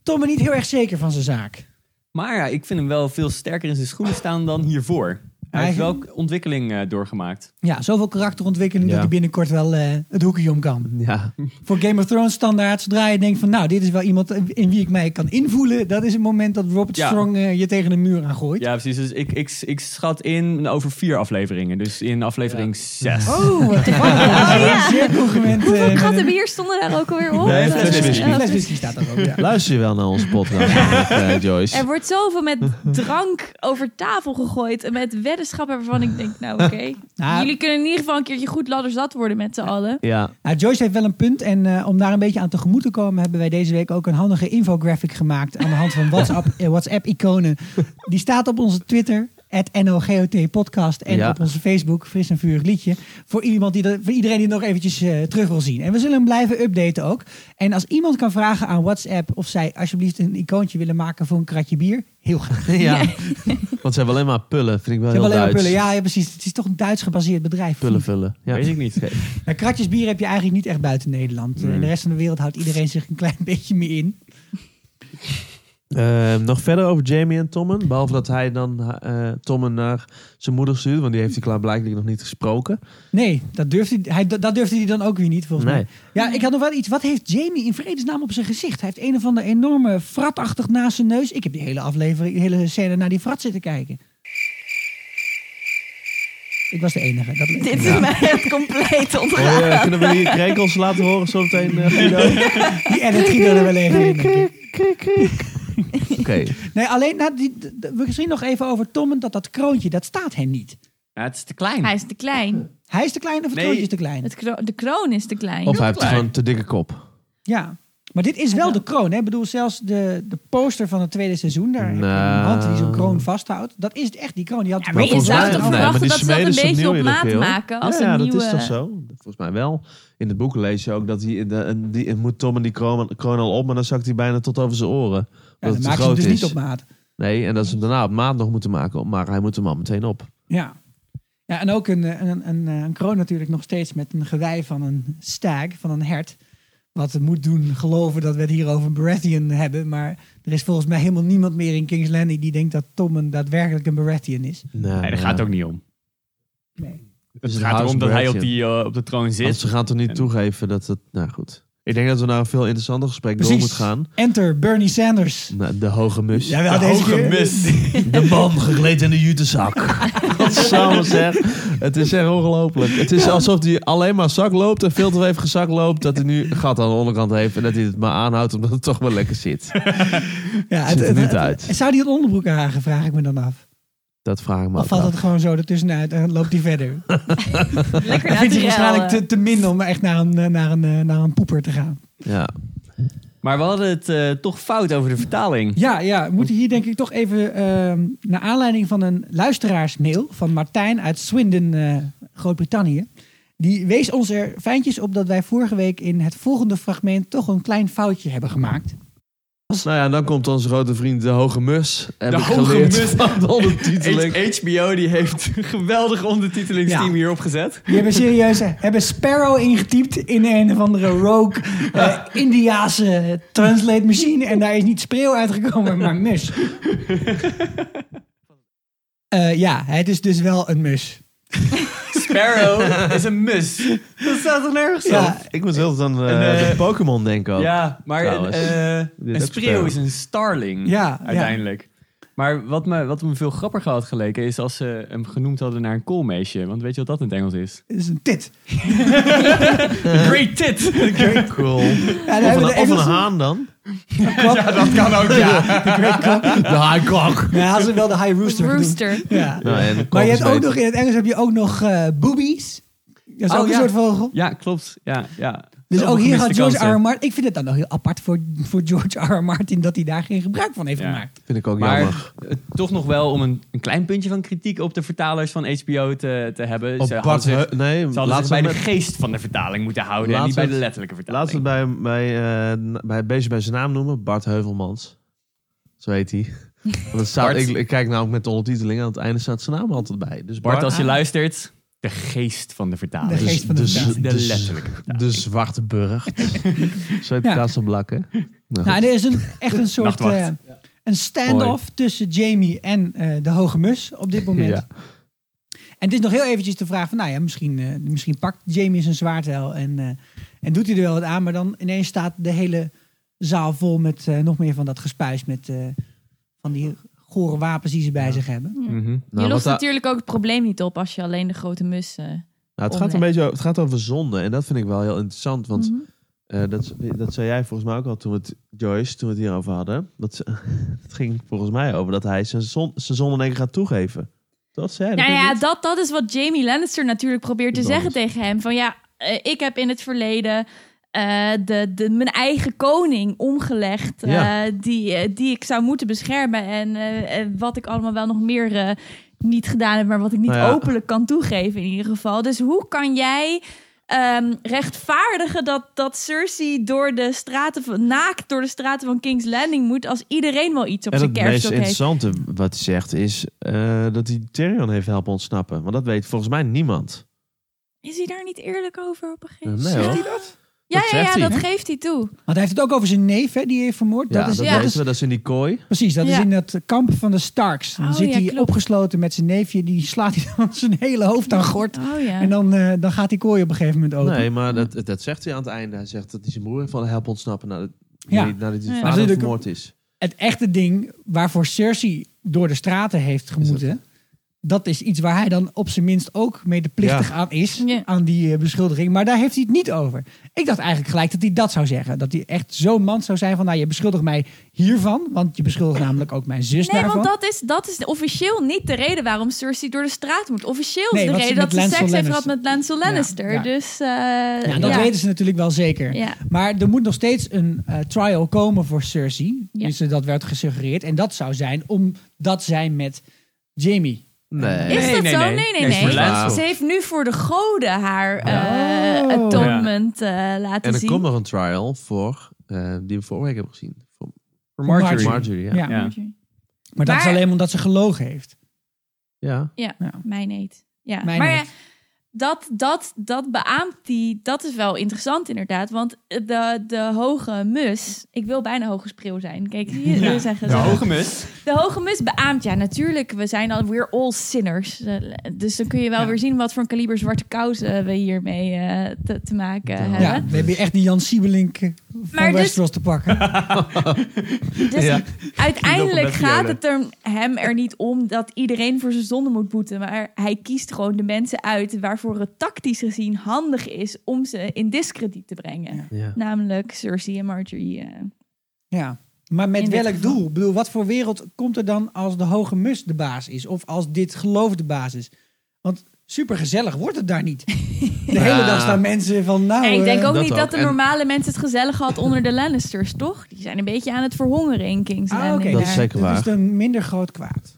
S1: Tommen niet heel erg zeker van zijn zaak.
S2: Maar ja, ik vind hem wel veel sterker in zijn schoenen staan dan hiervoor. Hij heeft
S1: Eigen-
S2: wel ontwikkeling eh, doorgemaakt.
S1: Ja, zoveel karakterontwikkeling dat
S4: Ja.
S1: hij binnenkort wel eh, het hoekje om kan.
S4: ja.
S1: voor Game of Thrones standaard. Zodra je denkt van nou, dit is wel iemand in wie ik mij kan invoelen. Dat is het moment dat Robert
S2: Ja.
S1: Strong eh, je tegen de muur aangooit.
S2: Ja, precies. Dus ik, ik, ik schat in over vier afleveringen. Dus in aflevering zes.
S1: Oh, wat toevallig. Dat is een Zeer congruent. eh,
S5: Hoeveel
S1: met
S5: kratten
S1: een-
S5: bier stonden daar ook alweer op?
S4: Nee,
S5: Eh,
S4: fles whisky.
S5: eh,
S1: Fles whisky staat daar ook, ja.
S4: Luister je wel naar onze podcast, eh, Joyce?
S5: Er wordt zoveel met drank over tafel gegooid. En met weddenschappen waarvan ik denk, nou oké.
S1: Nou,
S5: Jullie kunnen in ieder geval een keertje goed ladderzat worden met z'n allen.
S4: Ja.
S1: Nou, Joyce heeft wel een punt. En eh, om daar een beetje aan tegemoet te komen, hebben wij deze week ook een handige infographic gemaakt. Aan de hand van WhatsApp, eh, WhatsApp-iconen. Die staat op onze Twitter. Het NOGOT podcast en
S4: Ja.
S1: op onze Facebook, Fris en Vurig Liedje. Voor, iemand die dat, voor iedereen die het nog eventjes eh, terug wil zien. En we zullen hem blijven updaten ook. En als iemand kan vragen aan WhatsApp of zij alsjeblieft een icoontje willen maken voor een kratje bier, heel graag.
S4: ja. Want ze hebben alleen maar pullen, vind ik wel
S1: Ze hebben
S4: heel
S1: alleen maar
S4: Duits.
S1: pullen. Ja, ja, precies. Het is toch een Duits gebaseerd bedrijf.
S4: Pullen vullen. Ja.
S2: Weet ik niet.
S1: Nou, kratjes bier heb je eigenlijk niet echt buiten Nederland. Eh, In de rest van de wereld houdt iedereen zich een klein beetje meer in.
S4: Eh, nog verder over Jamie en Tommen. Behalve dat hij dan eh Tommen naar zijn moeder stuurt. Want die heeft hij klaarblijkelijk nog niet gesproken.
S1: Nee, dat durfde hij, hij- dat durfde hij dan ook weer niet, volgens
S4: Nee.
S1: mij. Ja, ik had nog wel iets. Wat heeft Jamie in vredesnaam op zijn gezicht? Hij heeft een of ander enorme fratachtig naast zijn neus. Ik heb die hele aflevering, die hele scène naar die frat zitten kijken. Ik was de enige. Dat
S5: Dit is mij echt compleet ontgaan.
S4: Oh, eh, kunnen we hier krekels laten horen zo meteen, eh, Guido?
S1: die edit ging er wel even in. denk ik.
S4: Oké.
S1: Nee, alleen, nou, die, d- d- misschien nog even over Tommen. Dat dat kroontje, dat staat hem niet.
S2: Ja, het is te klein.
S5: Hij is te klein.
S1: Hij is te klein of het
S2: Nee.
S1: kroontje is te klein?
S5: Het kro- de kroon is te klein.
S4: Of hij heeft
S2: klein.
S4: gewoon te dikke kop.
S1: Ja. Maar dit is wel de kroon. Hè? Ik bedoel, zelfs de, de poster van het tweede seizoen, daar heb je een
S4: Nou.
S1: hand die zo'n kroon vasthoudt. Dat is echt die kroon. Die had
S5: Ja, maar je
S4: volgens
S5: zou
S4: mij-
S5: toch
S4: nee, maar
S5: verwachten
S4: die
S5: dat ze dat een
S4: smeden ze
S5: beetje
S4: opnieuw
S5: op
S4: in de
S5: maat
S4: keel.
S5: maken als
S4: ja,
S5: een nieuwe...
S4: dat is toch zo? Volgens mij wel. In het boek lees je ook dat hij, de, die, moet Tom en die kroon, kroon al op, maar dan zakt hij bijna tot over zijn oren.
S1: Ja,
S4: Omdat
S1: dan
S4: het te
S1: maakt ze hem
S4: groot
S1: dus
S4: is.
S1: niet op maat.
S4: Nee, en dat ze hem daarna op maat nog moeten maken, maar hij moet hem al meteen op.
S1: Ja. ja en ook een, eh, een, een, eh, een kroon natuurlijk nog steeds met een gewei van een stag, van een hert. Wat het moet doen geloven dat we het hier over Baratheon hebben. Maar er is volgens mij helemaal niemand meer in King's Landing die denkt dat Tom een daadwerkelijk een Baratheon is.
S4: Nee, Dus
S2: Nee, daar gaat het ook niet om.
S1: Nee.
S2: Het gaat erom dat hij op, die, eh, op Dus de troon
S4: Want
S2: zit.
S4: ze gaan toch niet
S2: En-
S4: toegeven dat het... Nou goed. Ik denk dat we naar een veel interessanter gesprek door
S1: Precies.
S4: moeten gaan.
S1: Enter Bernie Sanders.
S4: Nou, de hoge mus.
S1: Jawel,
S2: de
S1: deze
S2: hoge
S1: keer.
S2: mist.
S4: De man gekleed in de jutezak. Wat samen zeg. Het is echt ongelooflijk. Het is alsof hij alleen maar zak loopt en veel te even gezak loopt. Dat hij nu een gat aan de onderkant heeft en dat hij het maar aanhoudt omdat het toch wel lekker zit.
S1: Ja,
S4: Ziet er niet uit.
S1: Zou die het onderbroek aanhagen, vraag ik me dan af.
S4: Dat vraag ik me
S1: Of
S4: ook
S1: valt
S4: af.
S1: het gewoon zo ertussenuit en loopt die verder?
S5: Lekker
S1: Dan
S5: naar
S1: vindt
S5: te
S1: hij waarschijnlijk
S5: ruilen.
S1: te, te min om echt naar een, eh, naar, een, eh, naar een poeper te gaan.
S4: Ja.
S2: Maar we hadden het eh, toch fout over de vertaling.
S1: Ja, ja, we moeten hier denk ik toch even ehm, naar aanleiding van een luisteraarsmail van Martijn uit Swindon, eh, Groot-Brittannië. Die wees ons er fijntjes op dat wij vorige week in het volgende fragment toch een klein foutje hebben gemaakt.
S4: Nou ja, dan komt onze grote vriend de hoge mus. Heb
S2: De
S4: ik
S2: hoge
S4: geleerd
S2: mus.
S4: van de ondertiteling.
S2: H- HBO die heeft een geweldig ondertitelingsteam
S1: Ja.
S2: hierop gezet.
S1: Die hebben serieus eh, hebben Sparrow ingetypt in een of andere rogue eh Indiaanse translate machine. En daar is niet spreeuw uitgekomen, maar mus. Eh, ja, het is dus wel een mus.
S2: Sparrow is een mus. Dat staat toch nergens op?
S1: Ja,
S4: Ik moet heel aan eh,
S2: En, eh,
S4: de Pokémon denken ook.
S2: Ja, maar een,
S4: trouwens.
S2: eh,
S4: Dit
S2: een
S4: ook
S2: spreeuw
S4: sperm.
S2: is een starling.
S1: Ja, ja.
S2: uiteindelijk. Maar wat me, wat me veel grappiger had geleken is als ze hem genoemd hadden naar een koolmeisje. Want weet je wat dat in het Engels is?
S1: het is een tit.
S2: Great tit!
S4: Cool. Of
S1: Ja, daar
S4: een,
S1: hebben de
S4: of een
S1: Engelsen-
S4: haan dan.
S2: ja, dat kan ook, ja.
S4: De haaikok.
S1: Ja, hadden ze wel de high rooster. genoemd.
S5: Rooster.
S1: Ja.
S4: Nou, en Nou de kok
S1: maar je
S4: is
S1: hebt ook
S4: beter.
S1: nog, in het Engels heb je ook nog eh, boobies. Dat is
S2: Oh,
S1: ook een
S2: ja.
S1: soort vogel.
S2: Ja, klopt. Ja, ja.
S1: Dus
S2: Zoveel
S1: ook hier gaat
S2: gemiste
S1: George R.
S2: kansen.
S1: R. Martin... Ik vind het dan nog heel apart voor, voor George R. R. Martin... dat hij daar geen gebruik van heeft
S2: Ja.
S1: gemaakt.
S4: Vind ik ook
S2: Maar
S4: jammer.
S2: eh, toch nog wel om een, een klein puntje van kritiek op de vertalers van HBO te, te hebben.
S4: Op
S2: ze hadden
S4: Bart
S2: zich-
S4: Heu- Nee,
S2: ze hadden
S4: laatst
S2: zich dus bij de
S4: met-
S2: geest van de vertaling moeten houden en
S4: Laatst
S2: niet bij de
S4: met-
S2: letterlijke vertaling.
S4: Laatst bij, bij, eh, na- bij Beestje bij zijn naam noemen, Bart Heuvelmans. Zo heet hij. Want het staat,
S2: Bart.
S4: ik, ik kijk nou ook met de ondertiteling, aan het einde staat zijn naam altijd bij. Dus
S2: Bart,
S4: Bart,
S2: als je luistert, de geest van de vertaling.
S1: De geest van de
S4: dus-
S1: vertaling.
S2: de
S4: dus-
S2: letterlijke vertaling.
S4: de Zwarte Burg. Zo heet
S1: Ja.
S4: ja. plaats van Blakken. Nou,
S1: Nou, en er is een, echt een soort...
S2: Nachtwacht.
S1: eh, een stand-off tussen Jamie en eh, de hoge mus op dit moment.
S4: Ja.
S1: En het is nog heel eventjes de vraag van... nou ja, misschien, eh, misschien pakt Jamie zijn zwaard wel... En, eh, en doet hij er wel wat aan... maar dan ineens staat de hele zaal vol met eh, nog meer van dat gespuis... met eh, van die gore wapens die ze bij zich hebben.
S2: Mhm.
S4: Nou,
S5: je
S4: wat
S5: lost
S4: daar-
S5: natuurlijk ook het probleem niet op als je alleen de grote mus... eh,
S4: Nou, het gaat een
S5: Omweg.
S4: beetje over, het gaat over zonde. En dat vind ik wel heel interessant. Want eh, dat, dat zei jij volgens mij ook al toen we het, Joyce, toen we het hierover hadden. Dat, ze- het ging volgens mij over dat hij zijn, zon, zijn zonde in één keer gaat toegeven. Dat zei hij.
S5: Nou ja,
S4: natuurlijk
S5: dat, dat is wat Jamie Lannister natuurlijk probeert te
S4: Dat
S5: zeggen
S4: is-
S5: tegen hem. Van ja, eh, ik heb in het verleden eh, de, de, mijn eigen koning omgelegd. eh,
S4: Ja.
S5: die, eh, die ik zou moeten beschermen. En eh, eh, wat ik allemaal wel nog meer eh, niet gedaan heb. Maar wat ik niet
S4: Nou ja.
S5: openlijk kan toegeven in ieder geval. Dus hoe kan jij... ehm, rechtvaardigen dat, dat Cersei door de straten van, naakt door de straten van King's Landing moet als iedereen wel iets op
S4: en
S5: zijn
S4: het meest
S5: kerststok heeft.
S4: interessante wat hij zegt is eh, dat hij Tyrion heeft helpen ontsnappen. Want dat weet volgens mij niemand.
S5: Is hij daar niet eerlijk over op een gegeven
S4: Eh, nee
S5: moment?
S4: hoor.
S5: Ja,
S4: Dat
S5: ja, ja,
S4: zegt hij.
S5: dat geeft hij toe.
S1: Want hij heeft het ook over zijn neef, hè, die hij heeft vermoord.
S4: Ja,
S1: dat is,
S4: dat
S5: ja.
S4: weten we. Dat is in die kooi.
S1: Precies, dat is
S5: Ja.
S1: in dat kamp van de Starks. Dan
S5: Oh,
S1: zit
S5: ja,
S1: hij
S5: klopt.
S1: opgesloten met zijn neefje. Die slaat hij dan zijn hele hoofd aan gort.
S5: Oh ja.
S1: En dan, eh, dan gaat die kooi op een gegeven moment open.
S4: Nee, maar dat, dat zegt hij aan het einde. Hij zegt dat hij zijn broer heeft wel helpen ontsnappen nadat,
S1: Ja.
S4: nadat hij zijn
S5: Ja.
S4: vader
S1: Natuurlijk.
S4: vermoord is.
S1: Het echte ding waarvoor Cersei door de straten heeft gemoeten... dat is iets waar hij dan op zijn minst ook medeplichtig
S4: Ja.
S1: aan is.
S5: Ja.
S1: Aan die eh, beschuldiging. Maar daar heeft hij het niet over. Ik dacht eigenlijk gelijk dat hij dat zou zeggen. Dat hij echt zo'n man zou zijn van... nou, je beschuldigt mij hiervan. Want je beschuldigt namelijk ook mijn zus
S5: Nee,
S1: daarvan.
S5: want dat is, dat is officieel niet de reden waarom Cersei door de straat moet. Officieel is
S1: Nee,
S5: de
S1: want ze
S5: reden dat
S1: met
S5: ze
S1: Lancel
S5: seks heeft gehad
S1: Lannister.
S5: met Lancel
S1: Ja,
S5: Lannister.
S1: ja.
S5: Dus eh,
S1: Ja, dat weten ze natuurlijk wel zeker.
S5: Ja.
S1: Maar er moet nog steeds een eh, trial komen voor Cersei.
S5: Ja.
S1: Dus eh, dat werd gesuggereerd. En dat zou zijn omdat zij met Jamie.
S4: Nee.
S5: Is
S2: Nee,
S5: dat
S2: nee,
S5: zo?
S2: nee.
S5: Nee, nee,
S2: Nee,
S5: nee.
S2: voor
S4: Lancel.
S5: Ze heeft nu voor de goden haar eh
S1: Oh.
S5: atonement eh, laten
S4: En er
S5: zien.
S4: komt nog een trial voor, eh, die we vorige week hebben gezien. Voor
S2: Voor
S1: Marjorie.
S2: Marjorie.
S4: Marjorie, ja.
S1: Ja.
S2: Ja.
S1: Maar dat is
S5: Maar-
S1: alleen omdat ze gelogen heeft.
S4: Ja.
S5: Ja,
S1: Ja.
S5: mijn eet. Ja.
S1: Mijn
S5: maar
S1: eet.
S5: ja, dat, dat, dat beaamt die, dat is wel interessant inderdaad. Want de, de hoge mus, ik wil bijna hoge spreeuw zijn. Kijk, zie je?
S2: Ja.
S5: Zo zeggen
S2: De
S5: ze.
S2: hoge mus.
S5: De hoge mus beaamt, ja, natuurlijk. We zijn al, we're all sinners. Eh, Dus dan kun je wel
S1: Ja.
S5: weer zien wat voor een kaliber zwarte kousen we hiermee eh, te, te maken hebben.
S1: Ja, we hebben hier echt die Jan Siebelink eh, van
S5: Maar dus-
S1: Westeros te pakken.
S5: Dus
S4: Ja.
S5: uiteindelijk
S2: Kinderen op
S5: gaat
S2: met
S5: het er, hem er niet om dat iedereen voor zijn zonde moet boeten. Maar hij kiest gewoon de mensen uit waarvoor het tactisch gezien handig is om ze in discrediet te brengen.
S1: Ja.
S4: Ja. Oh,
S5: Namelijk Cersei en Marjorie. eh.
S1: Ja. Maar met
S5: In dit
S1: welk
S5: geval.
S1: doel? Ik bedoel, wat voor wereld komt er dan als de hoge mus de baas is? Of als dit geloof de baas is? Want supergezellig wordt het daar niet. De hele
S4: Ja.
S1: dag staan mensen van nou...
S5: en ik denk
S1: eh,
S5: ook
S4: dat
S5: niet dat
S4: ook.
S5: de
S4: En-
S5: normale mensen het gezellig had onder de Lannisters, toch? Die zijn een beetje aan het verhongeren in King's
S1: Ah,
S5: Landing.
S1: oké.
S4: Dat is zeker
S1: Dat
S4: waar.
S1: is een minder groot kwaad.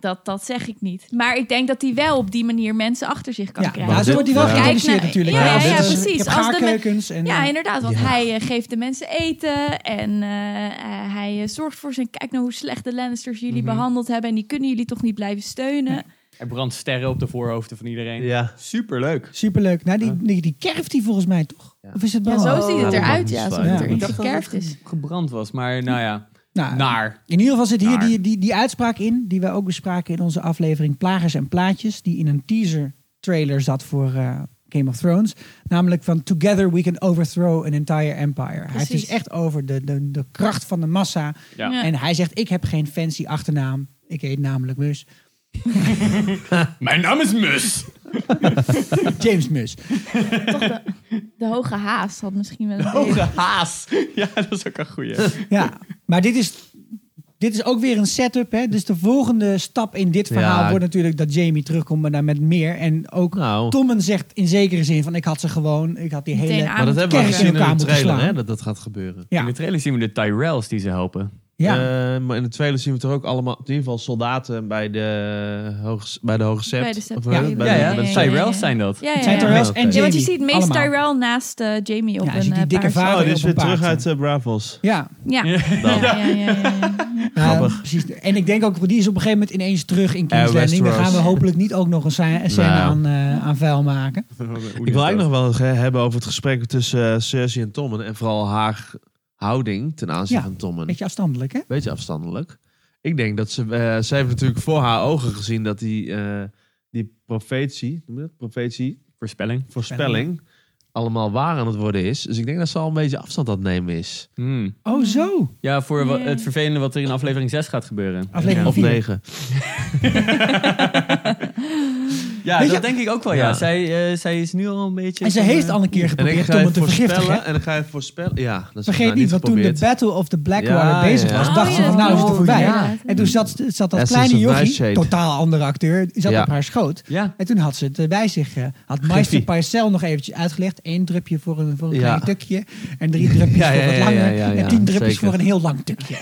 S5: dat, dat zeg ik niet. Maar ik denk dat hij wel op die manier mensen achter zich kan
S1: ja,
S5: krijgen.
S1: nou,
S4: Want
S1: zo
S4: dit-
S1: wordt hij wel
S4: ja.
S1: geïnteresseerd
S5: Kijk, nou,
S1: natuurlijk.
S5: ja,
S1: hè, want
S5: ja,
S1: dit is-
S5: precies.
S1: Ik heb
S5: Als de men-
S1: gaarkeukens. en,
S5: Ja,
S1: eh,
S5: inderdaad. Want
S4: Ja.
S5: hij eh, geeft de mensen eten en eh, eh, hij eh, zorgt voor zijn... Kijk nou hoe slecht de Lannisters jullie
S4: Mhm.
S5: behandeld hebben... en die kunnen jullie toch niet blijven steunen.
S2: Er brandt sterren op de voorhoofden van iedereen.
S4: Ja.
S2: Superleuk.
S1: Superleuk. Nou, die, die, die kerft hij volgens mij toch?
S4: Ja.
S1: Of is het
S5: Ja,
S1: Bran?
S5: zo ziet het
S4: Oh.
S5: eruit, ja.
S4: Ja,
S5: Alsof het
S1: ik
S5: er
S1: dacht
S5: iets
S2: dat het
S5: gekerfd is.
S2: Gebrand was, maar nou ja.
S1: Nou,
S2: Naar.
S1: In ieder geval zit hier
S2: Naar.
S1: die, die, die uitspraak in, die wij ook bespraken in onze aflevering Plagers en Plaatjes, die in een teaser trailer zat voor eh, Game of Thrones. Namelijk van Together we can overthrow an entire empire. Hij heeft
S5: Precies.
S1: dus echt over de, de, de kracht van de massa.
S2: Ja.
S5: Ja.
S1: En hij zegt, ik heb geen fancy achternaam. Ik heet namelijk Mus.
S2: Mijn naam is Mus.
S1: James Mus.
S5: De hoge haas had misschien wel... een
S2: Hoge
S5: idee.
S2: haas. Ja, dat is ook een goeie.
S1: Ja, maar dit is, dit is ook weer een setup. Hè? Dus de volgende stap in dit verhaal
S4: Ja.
S1: wordt natuurlijk dat Jamie terugkomt, maar dan met meer. En ook
S4: Nou,
S1: Tommen zegt in zekere zin van ik had ze gewoon, ik had die
S5: Meteen
S1: hele...
S5: aan
S4: maar dat
S5: moeten
S4: hebben we
S1: kerk
S4: gezien in
S1: in elkaar
S4: de
S1: moeten
S4: trailer,
S1: slaan.
S4: hè, dat dat gaat gebeuren.
S1: Ja.
S2: In de trailer zien we de Tyrells die ze helpen.
S1: Ja.
S4: Eh, maar in de trailer zien we toch ook allemaal, in ieder geval soldaten bij de hoge, bij de hoge sept.
S5: Bij de sept,
S4: Of,
S5: ja.
S4: eh,
S5: Ja,
S4: bij
S5: ja,
S4: de-
S5: ja.
S4: bij de-
S5: Sept.
S2: Tyrells zijn dat.
S5: Ja,
S1: Het
S5: ja,
S1: zijn
S5: ja.
S1: Tyrells en
S4: Ja, want
S1: Jamie.
S5: Ja, want je ziet meest
S1: allemaal.
S5: Tyrell naast eh, Jamie op
S1: Ja, je
S5: een
S1: ziet die
S5: eh,
S1: dikke
S5: paardje.
S1: vader.
S4: Oh, dit is weer
S1: Op een
S4: terug
S1: paard,
S4: uit eh, Bravos.
S1: Ja,
S5: Ja. Ja,
S4: Dan.
S5: ja, ja, ja, ja.
S1: ja,
S4: Grappig.
S1: precies. En ik denk ook, die is op een gegeven moment ineens terug in King's
S4: Eh,
S1: Landing. Daar gaan
S4: Westeros.
S1: we hopelijk niet ook nog een scè- een scène
S4: Nou.
S1: aan, eh, aan vuil maken.
S4: Ik wil eigenlijk nog wel eens, hè, hebben over het gesprek tussen eh, Cersei en Tommen. En vooral haar houding ten aanzien
S1: Ja,
S4: van Tommen.
S1: Beetje afstandelijk, hè?
S4: Beetje afstandelijk. Ik denk dat ze... eh, zij heeft natuurlijk voor haar ogen gezien dat die, eh, die profetie... Noem je dat? Profetie?
S2: Voorspelling.
S4: Voorspelling. Allemaal waar aan het worden is. Dus ik denk dat ze al een beetje afstand aan het nemen is.
S2: Hmm.
S1: Oh, zo.
S2: Ja, voor wa-
S5: Ja.
S2: het vervelende wat er in aflevering 6 gaat gebeuren.
S1: Aflevering
S4: Of
S1: vier.
S4: negen.
S2: Ja,
S1: Weet
S2: dat
S1: je-
S2: denk ik ook wel, ja.
S4: Ja.
S2: Zij, eh, zij is nu al een beetje... eh,
S1: En ze heeft al een keer
S4: En ik
S1: geprobeerd
S4: ga
S1: Tommen
S4: het
S1: te vergiftigen.
S4: voorspellen.
S1: hè?
S4: En dan ga je voorspellen. Ja, dat is
S1: Vergeet
S4: nou
S1: niet, want toen de
S4: geprobeerd.
S1: Battle of the Blackwater
S4: Ja,
S1: bezig
S4: ja.
S1: was,
S4: Oh,
S1: dacht
S5: ja,
S1: ze van
S5: dat
S1: nou is het
S5: klopt.
S1: er voorbij.
S5: Ja.
S1: En toen zat, zat dat
S4: Essence
S1: kleine
S4: of
S1: jochie,
S4: Nightshade.
S1: totaal andere acteur, die zat
S4: Ja.
S1: op haar schoot.
S2: Ja,
S1: En toen had ze het eh, bij zich. eh, had Meister Parcel nog eventjes uitgelegd. Eén drupje voor een, voor een
S4: Ja.
S1: klein tukje. En drie drupjes
S4: Ja, ja,
S1: voor wat
S4: ja,
S1: langer.
S4: ja, ja,
S1: en
S4: ja,
S1: tien drupjes
S4: zeker.
S1: voor een heel lang tukje.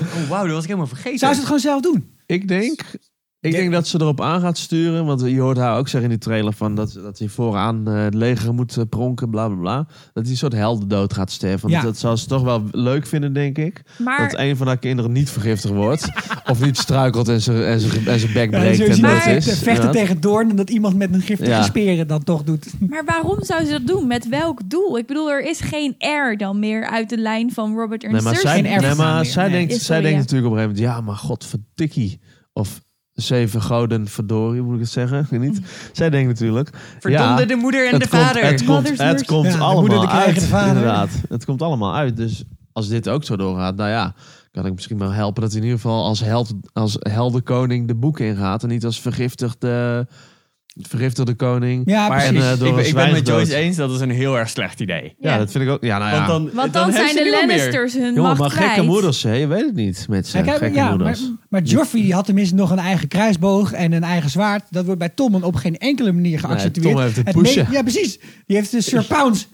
S2: oh wauw, dat was ik helemaal vergeten.
S1: Zou ze het gewoon zelf doen?
S4: Ik denk, ik denk dat ze erop aan gaat sturen. Want je hoort haar ook zeggen in die trailer van dat, dat hij vooraan eh, het leger moet eh, pronken, bla bla bla. Dat hij een soort heldendood gaat sterven. Want
S1: Ja.
S4: dat zou ze toch wel leuk vinden, denk ik.
S5: Maar
S4: Dat een van haar kinderen niet vergiftigd wordt. of niet struikelt en zijn, en zijn, en zijn bek breekt. en
S5: maar-
S4: dat
S5: het
S4: is.
S1: vechten
S4: Ja.
S1: tegen Doorn. En dat iemand met een giftige
S4: Ja.
S1: speren dan toch doet.
S5: Maar waarom zou ze dat doen? Met welk doel? Ik bedoel, er is geen air dan meer uit de lijn van Robert en
S4: Nee, maar
S5: Cersei.
S4: zij,
S1: Geen erfgenaam
S4: nee, maar
S1: meer.
S4: zij
S1: Nee.
S4: denkt,
S5: Ja,
S4: zij
S5: sorry,
S4: denkt
S5: ja.
S4: natuurlijk op een gegeven moment... Ja, maar godverdikkie. Of zeven goden verdorie, moet ik het zeggen? Ik weet Niet? Zij denkt natuurlijk...
S2: Verdomde
S4: ja,
S2: de moeder en
S4: het
S2: de
S4: komt-
S2: vader.
S4: het komt,
S5: Mothers
S4: het
S5: nurse.
S4: komt
S1: Ja, de
S4: allemaal
S1: moeder, de kleine,
S4: uit.
S1: de vader.
S4: Inderdaad, het komt allemaal uit. Dus als dit ook zo doorgaat, nou ja, kan ik misschien wel helpen dat hij in ieder geval als, held, als heldenkoning de boeken ingaat. En niet als vergiftigde, vergiftigde koning.
S1: Ja,
S2: Maar
S1: precies.
S4: en, eh,
S2: ik,
S4: door
S2: ben-
S4: een
S2: ik ben het met
S4: zwijnendood.
S2: Joyce eens, dat is een heel erg slecht idee.
S4: Ja, dat vind ik ook. Ja, nou ja.
S2: Want dan,
S5: Want dan,
S2: heeft
S5: zijn
S2: ze
S5: de
S2: niemand meer.
S5: Lannisters hun
S4: Jongen,
S5: macht
S4: maar gekke
S5: kwijt.
S4: moeders, hè? je weet het niet met
S1: Ja,
S4: zijn
S1: kijk,
S4: gekke
S1: ja, maar,
S4: moeders.
S1: maar Joffrey die had tenminste nog een eigen kruisboog en een eigen zwaard. Dat wordt bij Tommen op geen enkele manier geaccepteerd.
S4: Tommen heeft een
S1: Het me-
S4: poesje.
S1: Ja, precies. Die heeft de Sir Pounds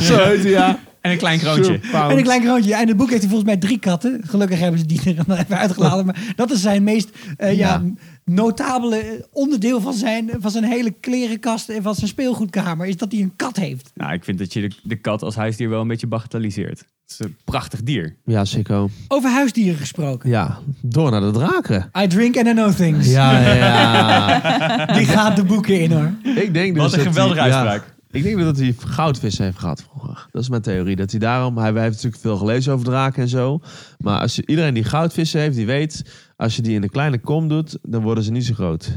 S4: zo heet hij, ja.
S2: En een klein kroontje.
S4: Sir Pound.
S1: En een klein kroontje. En in het boek heeft hij volgens mij drie katten. Gelukkig hebben ze die er dan even uitgeladen. Maar dat is zijn meest eh, ja.
S4: Ja.
S1: notabele eh, onderdeel van zijn, van zijn hele klerenkast en van zijn speelgoedkamer. Is dat hij een kat heeft.
S2: Nou, ik vind dat je de, de kat als huisdier wel een beetje bagatelliseert. Het is een prachtig dier.
S4: Ja, sicko.
S1: Over huisdieren gesproken.
S4: Ja, door naar de draken.
S1: I drink and I know things.
S4: Ja, ja.
S1: Die gaat de boeken in hoor.
S4: ik denk dus
S2: Wat een
S4: dat
S2: geweldige
S4: hij- ja,
S2: uitspraak.
S4: ik denk dat hij goudvis heeft gehad vroeger. Dat is mijn theorie. Dat hij daarom... Hij, hij heeft natuurlijk veel gelezen over draken en zo. Maar als je, iedereen die goudvissen heeft, die weet... Als je die in een kleine kom doet, dan worden ze niet zo groot.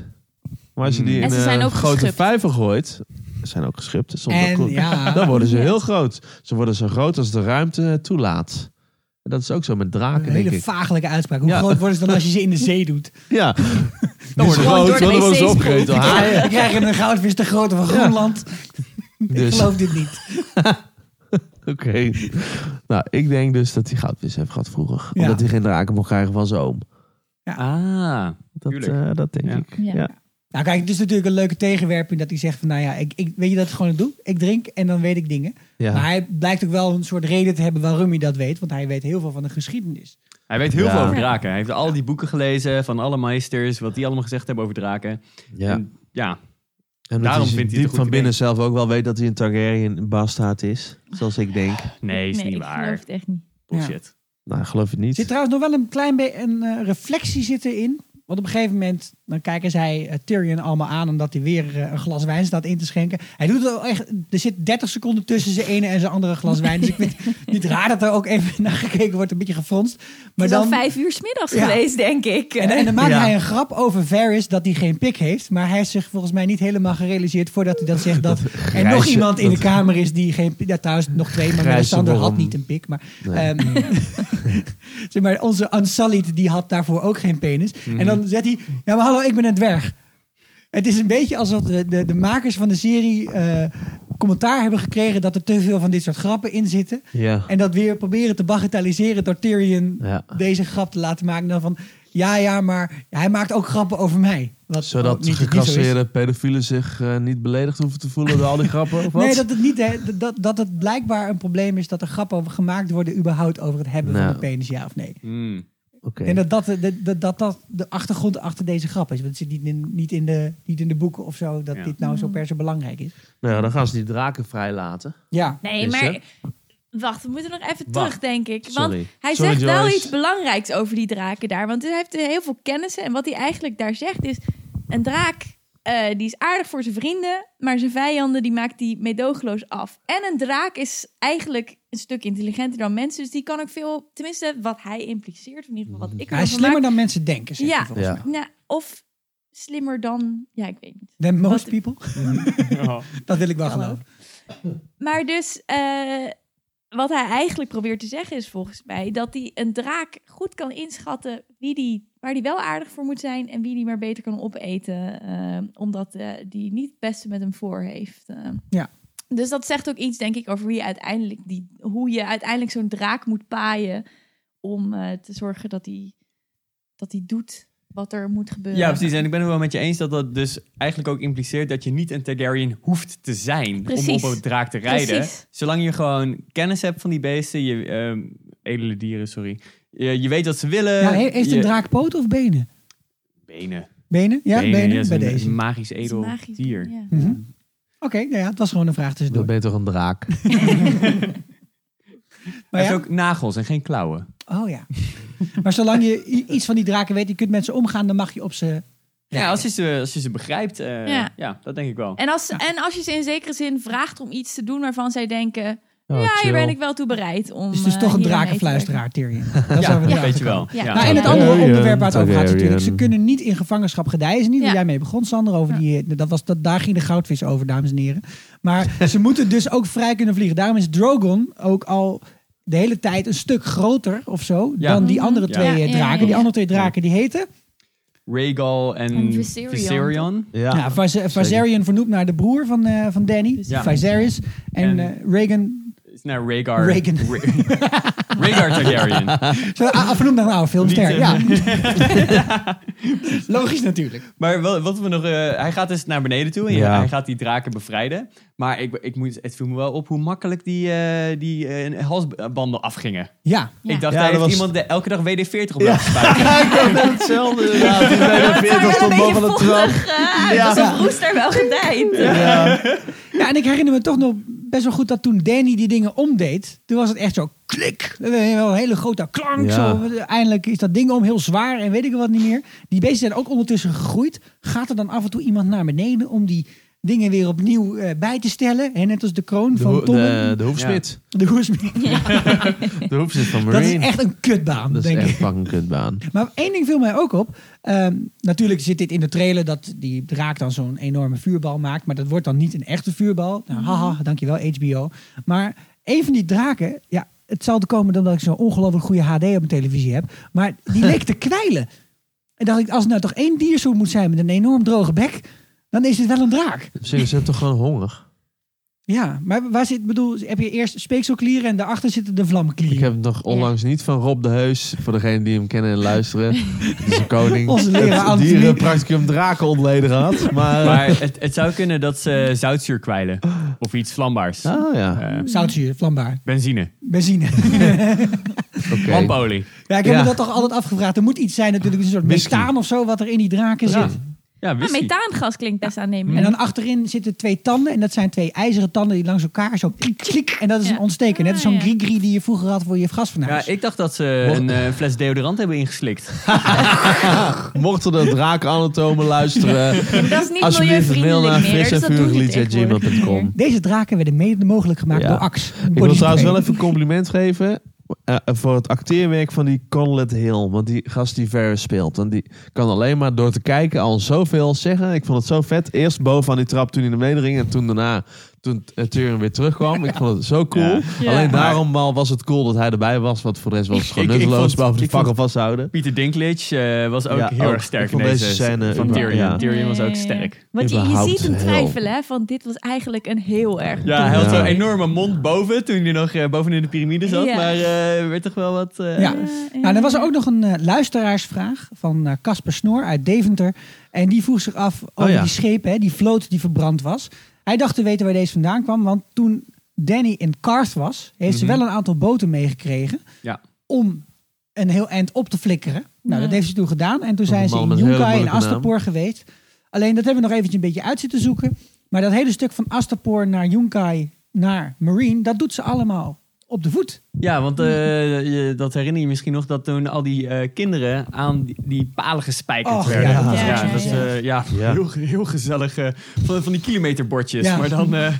S4: Maar als je die
S2: Mm.
S4: in
S5: En ze zijn
S4: een
S5: ook
S4: grote
S5: geschipt.
S4: vijver gooit... Ze zijn ook geschipt. Soms ook
S1: En
S4: goed.
S1: ja,
S4: Dan worden ze
S5: Ja.
S4: heel groot. Ze worden zo groot als de ruimte toelaat. En dat is ook zo met
S1: een
S4: draken, denk
S1: hele
S4: ik.
S1: vagelijke uitspraak. Hoe
S4: Ja.
S1: groot worden ze dan als je ze in de zee doet?
S4: Ja. Dan
S5: worden ze gewoon groot, door de dan worden ze wc's opgegeten door
S1: Dan
S4: Ah.
S1: krijg je een goudvis te groot van Groenland. Ik
S4: Dus, oké.
S1: geloof dit niet.
S4: Nou, ik denk dus dat hij goudvis heeft gehad vroeger.
S1: Ja.
S4: Omdat hij geen draken mocht krijgen van zijn oom.
S2: Ah,
S4: Dat,
S2: Tuurlijk.
S4: eh, dat denk
S2: Ja.
S4: ik.
S5: Ja.
S4: Ja.
S1: Nou kijk, het is natuurlijk een leuke tegenwerping dat hij zegt van... Nou ja, ik, ik, weet je dat ik gewoon doe? Ik drink en dan weet ik dingen.
S4: Ja.
S1: Maar hij blijkt ook wel een soort reden te hebben waarom hij dat weet. Want hij weet heel veel van de geschiedenis.
S2: Hij weet heel
S4: Ja.
S2: veel over draken. Hij heeft al die boeken gelezen van alle meesters, wat die allemaal gezegd hebben over draken.
S4: Ja. En
S2: En ja,
S4: omdat
S2: daarom
S4: hij dus
S2: vindt hij het een
S4: diep
S2: goed
S4: van binnen
S2: idee.
S4: zelf ook wel weet dat hij een Targaryen bastaard is. Zoals ik denk.
S2: nee, is
S5: nee,
S2: niet
S5: ik geloof
S2: waar.
S5: het echt niet.
S2: Bullshit.
S4: Nou, geloof het
S1: Er zit
S4: niet.
S1: trouwens nog wel een klein beetje een eh, reflectie zitten in. Want op een gegeven moment dan kijken zij eh, Tyrion allemaal aan omdat hij weer eh, een glas wijn staat in te schenken. Hij doet het wel echt. Er zit 30 seconden tussen zijn ene en zijn andere glas wijn. Dus ik vind het niet raar dat er ook even naar gekeken wordt, een beetje gefronst.
S5: Maar
S1: Maar
S5: dan
S1: dan.
S5: vijf uur 's middags
S1: Ja.
S5: geweest, denk ik.
S1: En, en dan maakt
S4: Ja.
S1: hij een grap over Varys dat hij geen pik heeft. Maar hij heeft zich volgens mij niet helemaal gerealiseerd voordat hij dat zegt. Dat er nog
S4: grijze-
S1: iemand in
S4: dat-
S1: de kamer is die geen pik... Ja, trouwens, nog twee, maar
S4: Grijze
S1: Melisandre had
S4: worm.
S1: niet een pik. Maar,
S4: Nee. Mm.
S1: ehm, zeg maar onze Unsullied die had daarvoor ook geen penis.
S4: Mm-hmm.
S1: En dan zegt hij, ja maar hallo, ik ben een dwerg. Het is een beetje alsof de, de, de makers van de serie eh, commentaar hebben gekregen... dat er te veel van dit soort grappen in zitten.
S4: Ja.
S1: En dat weer proberen te bagatelliseren door Tyrion
S4: Ja.
S1: deze grap te laten maken. Dan van, ja, ja, maar hij maakt ook grappen over mij. Wat ook
S4: Zodat
S1: Oh, niet- niet zo is.
S4: gecasseerde pedofielen zich eh, niet beledigd hoeven te voelen door al die grappen. Of wat?
S1: Nee, dat het, niet, hè, dat- dat, dat het blijkbaar een probleem is dat er grappen over gemaakt worden... überhaupt over het hebben van
S4: Nou.
S1: de penis, ja of nee.
S2: Hmm.
S4: Oké.
S1: En dat dat, de- dat, dat dat de achtergrond achter deze grap is. Want het zit niet in, niet in, de, niet in de boeken of zo dat
S2: Ja.
S1: dit nou zo per se belangrijk is.
S4: Nou, dan gaan ze die draken vrijlaten.
S1: Ja,
S5: Nee,
S4: Is
S5: maar
S4: het?
S5: wacht, we moeten nog even
S2: Wacht.
S5: terug, denk ik. Want
S4: Sorry.
S5: hij
S4: Sorry,
S5: zegt wel
S4: Joyce.
S5: iets belangrijks over die draken daar. Want hij heeft eh, heel veel kennissen. En wat hij eigenlijk daar zegt is... Een draak, eh, die is aardig voor zijn vrienden... maar zijn vijanden, die maakt hij meedogenloos af. En een draak is eigenlijk een stuk intelligenter dan mensen. Dus die kan ook veel... Tenminste, wat hij impliceert, of in ieder geval wat ik
S1: hij is
S5: ervan
S1: slimmer
S5: maak...
S1: dan mensen denken, zeg
S5: Ja.
S1: je volgens
S4: Ja.
S1: mij.
S5: Nou, of slimmer dan... Ja, ik weet niet.
S1: Than most
S5: Wat-
S1: people. dat wil ik wel
S5: Hallo.
S1: geloven.
S5: Maar dus, eh, wat hij eigenlijk probeert te zeggen is volgens mij dat hij een draak goed kan inschatten wie die, waar die wel aardig voor moet zijn en wie die maar beter kan opeten, eh, omdat eh, die niet het beste met hem voor heeft. eh.
S1: Ja.
S5: Dus dat zegt ook iets, denk ik, over wie uiteindelijk die, hoe je uiteindelijk zo'n draak moet paaien om eh, te zorgen dat hij dat die doet wat er moet gebeuren.
S2: Ja, precies. En ik ben het wel met je eens dat dat dus eigenlijk ook impliceert dat je niet een Targaryen hoeft te zijn
S5: Precies.
S2: om op een draak te rijden.
S5: Precies.
S2: Zolang je gewoon kennis hebt van die beesten, je, ehm, edele dieren, sorry. Je, je weet wat ze willen.
S1: Ja, he- heeft
S2: je-
S1: een draak poten of benen?
S2: Benen.
S1: Benen? Ja, benen,
S2: ja, het is
S1: bij
S2: een-
S1: deze.
S2: Een magisch
S5: Het is
S2: edel
S5: magisch,
S2: dier.
S5: ja.
S1: Mhm. Oké, nou ja, het was gewoon een vraag
S4: Dan
S1: tussendoor.
S4: ben je toch een draak?
S2: Hij
S1: Maar ja,
S2: heeft ook nagels en geen klauwen.
S1: Oh ja. maar zolang je i- iets van die draken weet, je kunt met ze omgaan, dan mag je op ze...
S2: Ja, als, je ze, als je ze begrijpt, eh,
S5: Ja.
S2: ja. dat denk ik wel.
S5: En als, en als je ze in zekere zin vraagt om iets te doen waarvan zij denken,
S4: Oh,
S5: ja,
S4: chill.
S5: hier ben ik wel toe bereid om.
S1: Dus het is
S5: eh,
S1: toch een
S5: hier aan mee te
S1: drakenfluisteraar, Tyrion. Dat is
S2: ja,
S1: waar we
S2: ja,
S1: erachter
S2: weet je
S1: komen.
S2: wel.
S5: Ja.
S2: Ja.
S1: Nou, en het andere
S4: Targaryen,
S1: onderwerp waar het over gaat natuurlijk. Ze
S4: Targaryen.
S1: kunnen niet in gevangenschap gedijen. Niet
S5: Ja.
S1: waar jij mee begon, Sander. Over die, eh, dat was, dat, daar ging de goudvis over, dames en heren. Maar ze moeten dus ook vrij kunnen vliegen. Daarom is Drogon ook al de hele tijd een stuk groter of zo...
S2: Ja.
S1: dan die andere
S2: Ja.
S1: twee
S5: Mhm. Ja,
S1: eh,
S5: ja, ja,
S1: draken. Die
S5: ja.
S1: andere twee draken, die heten...
S2: Rhaegal en,
S5: En Viserion.
S2: Viserion.
S4: Ja.
S1: Ja, Vaz- Vazerion vernoemd naar de broer van, eh, van Danny.
S2: Ja.
S1: Viserys. En,
S2: En-
S1: eh, Reagan.
S2: Is het nou Rhaegar?
S1: Rhaegan.
S2: Rha- Rhaegar Targaryen.
S1: Zo, ah, ah, vernoemd naar een oude filmster.
S2: Niet,
S1: Ja.
S4: eh,
S1: Logisch natuurlijk.
S2: Maar wel- wat we nog, eh, hij gaat dus naar beneden toe en
S4: Ja.
S2: hij gaat die draken bevrijden. Maar ik, ik moet, het viel me wel op hoe makkelijk die, eh, die eh, halsbanden afgingen.
S1: Ja.
S5: Ja.
S2: Ik dacht,
S4: Ja, dat
S2: daar heeft
S4: was-
S2: iemand de- elke dag WD-40 op laten spuiten.
S4: Ja, ik dacht hetzelfde inderdaad. Die
S5: krijgen. Ja,
S4: 42
S5: wel
S4: stond
S5: een
S4: boven
S5: beetje
S4: de trap.
S5: vochtig eh, uit,
S4: Ja.
S5: als een roester wel gedijd.
S1: ja, en ik herinner me toch nog best wel goed dat toen Danny die dingen omdeed, toen was het echt zo... klik. Dan heb je wel een hele grote klank.
S4: Ja.
S1: Zo. Eindelijk is dat ding om heel zwaar en weet ik wat niet meer. Die beesten zijn ook ondertussen gegroeid. Gaat er dan af en toe iemand naar beneden om die dingen weer opnieuw eh, bij te stellen? En net als de kroon
S4: De,
S1: van
S4: ho-
S1: Tom.
S4: de,
S1: De,
S4: de hoefsmid.
S1: hoersmier.
S4: De hoefsmid van
S1: Dat is
S4: Marine.
S1: echt een kutbaan,
S4: Dat is
S1: denk ik.
S4: echt fucking kutbaan.
S1: Maar één ding viel mij ook op. Ehm, natuurlijk zit dit in de trailer dat die draak dan zo'n enorme vuurbal maakt. Maar dat wordt dan niet een echte vuurbal. Nou, haha, dankjewel HBO. Maar een van die draken, ja, het zal te komen omdat ik zo'n ongelooflijk goede HD op mijn televisie heb. Maar die leek te kwijlen. En dacht ik, als het nou toch één diersoort moet zijn met een enorm droge bek, dan is het wel een draak.
S4: Ze zijn toch gewoon honger?
S1: Ja, maar waar zit, bedoel, heb je eerst speekselklieren en daarachter zitten de vlammenklieren.
S4: Ik heb nog onlangs niet van Rob de Heus, voor degenen die hem kennen en luisteren. Het is een koning.
S1: Onze leraar
S4: Het
S1: anatomie.
S4: dierenpracticum draken ontleden gehad. Maar,
S2: Maar het, het zou kunnen dat ze zoutzuur kwijlen. Of iets vlambaars.
S4: Ah ja,
S2: Eh,
S1: Zoutzuur, vlambaar,
S2: benzine.
S1: benzine.
S4: oké.
S2: Lampolie.
S1: Ja, ik heb
S4: Ja.
S1: me dat toch altijd afgevraagd. Er moet iets zijn natuurlijk, een soort
S4: Whisky.
S1: methaan of zo, wat er in die draken
S2: Ja.
S1: zit.
S4: Ah,
S2: Ja,
S5: Maar
S2: wist je.
S5: methaangas klinkt best aannemelijk.
S1: En dan achterin zitten twee tanden. En dat zijn twee ijzeren tanden die langs elkaar zo klik, klik. En dat is een
S5: Ja.
S1: ontsteker. Net als
S5: Ah,
S1: zo'n
S5: ja.
S1: grigri die je vroeger had voor je
S2: Ja,
S1: gasfornuis.
S2: ik dacht dat ze een eh, fles deodorant hebben ingeslikt.
S4: Mochten de drakenanatomen luisteren,
S5: Ja, dat is niet
S4: alsjeblieft mail naar
S5: milieuvriendelijk meer.
S4: fris
S5: Dus
S4: en
S5: dat doen we niet echt meer.
S4: gmail.com.
S1: Deze draken werden mede mogelijk gemaakt
S4: Ja.
S1: door Ax.
S4: Ik wil trouwens wel even een compliment geven eh, voor het acteerwerk van die Conlet Hill. Want die gast die Varys speelt. Want die kan alleen maar door te kijken al zoveel zeggen. Ik vond het zo vet. Eerst boven aan die trap, toen in de medering. En toen daarna, toen eh, Tyrion weer terugkwam. Ik vond het zo cool.
S2: Ja.
S5: Ja.
S4: Alleen
S2: Maar-
S4: daarom al was het cool dat hij erbij was. Want voor de rest was het gewoon
S2: Ik- ik
S4: nutteloos.
S2: vond-
S4: Behalve die
S2: ik vond- Dus
S4: fakkel vasthouden.
S2: Pieter Dinklage eh, was ook
S4: Ja,
S2: heel
S4: ook.
S2: erg sterk
S4: Ik vond
S2: in deze,
S4: deze scène
S2: Van
S4: überhaupt-
S2: Tyrion.
S4: ja.
S2: Tyrion was ook sterk.
S5: Want je, je
S4: Überhaupt
S5: ziet hem
S4: heel.
S5: twijfelen, hè, van dit was eigenlijk een heel erg...
S2: Ja, hij
S4: Ja.
S2: had zo'n enorme mond boven toen hij nog eh, boven in de piramide zat.
S5: Ja.
S2: Maar eh werd toch wel wat... eh,
S1: Ja. Nou, er was er ook nog een eh, luisteraarsvraag van eh, Casper Snoor uit Deventer. En die vroeg zich af over
S4: Oh, ja.
S1: die schepen, hè, die vloot die verbrand was. Hij dacht te weten waar deze vandaan kwam, want toen Danny in Karth was, heeft
S4: Mhm.
S1: ze wel een aantal boten meegekregen
S2: Ja.
S1: om een heel eind op te flikkeren. Nou,
S5: Ja.
S1: dat heeft ze toen gedaan. En toen zijn ze
S4: man
S1: in
S4: met een hele
S1: Yunkai en
S4: moeilijke naam.
S1: Astapor geweest. Alleen dat hebben we nog eventjes een beetje uit zitten zoeken. Maar dat hele stuk van Astapor naar Yunkai naar Marine, dat doet ze allemaal op de voet.
S2: Ja, want eh, je, dat herinner je misschien nog dat toen al die eh, kinderen aan die, die palen gespijkerd
S1: Och,
S2: werden.
S1: ja.
S2: dat, is-
S5: Ja, ja,
S2: dat is,
S5: ja.
S2: eh, ja,
S4: Ja.
S2: Heel, heel gezellig. eh, van, van die kilometerbordjes.
S1: Ja.
S2: Maar dan... eh,
S1: Een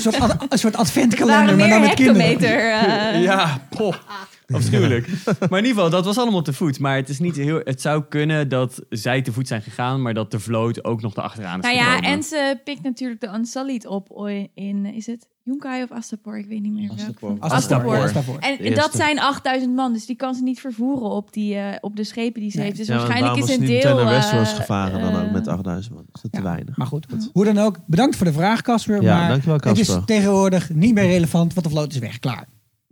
S1: soort, ad- een soort
S5: Er waren
S1: adventkalender, maar
S5: meer
S1: dan met kinderen.
S5: hectometer. eh,
S2: Ja, poh. Afschuwelijk. Maar in ieder geval, dat was allemaal te voet. Maar het, is niet heel, het zou kunnen dat zij te voet zijn gegaan, maar dat de vloot ook nog erachteraan is
S5: Nou ja,
S2: gekomen.
S5: en ze pikt natuurlijk de Unsullied op oi- in, is het Yunkai of Astapor? Ik weet niet meer welke.
S4: Astapor.
S5: van-
S1: Astapor.
S2: Astapor.
S1: Astapor.
S5: En
S4: eerste.
S5: dat zijn 8000 man, dus die kan ze niet vervoeren op, die, eh, op de schepen die ze
S1: Nee.
S5: heeft. Dus
S4: Ja, want
S5: waarschijnlijk
S4: waarom
S5: is
S4: was
S5: een
S4: niet
S5: deel...
S4: meteen naar
S5: eh,
S4: Westeros gevaren dan ook
S5: eh,
S4: met 8000 man. Is dat te
S1: Ja,
S4: weinig?
S1: Maar goed, hoe dan ook, bedankt voor de vraag, Casper.
S4: Ja,
S1: maar
S4: dankjewel,
S1: Het
S4: Casper.
S1: is tegenwoordig niet meer relevant, want de vloot is weg, klaar.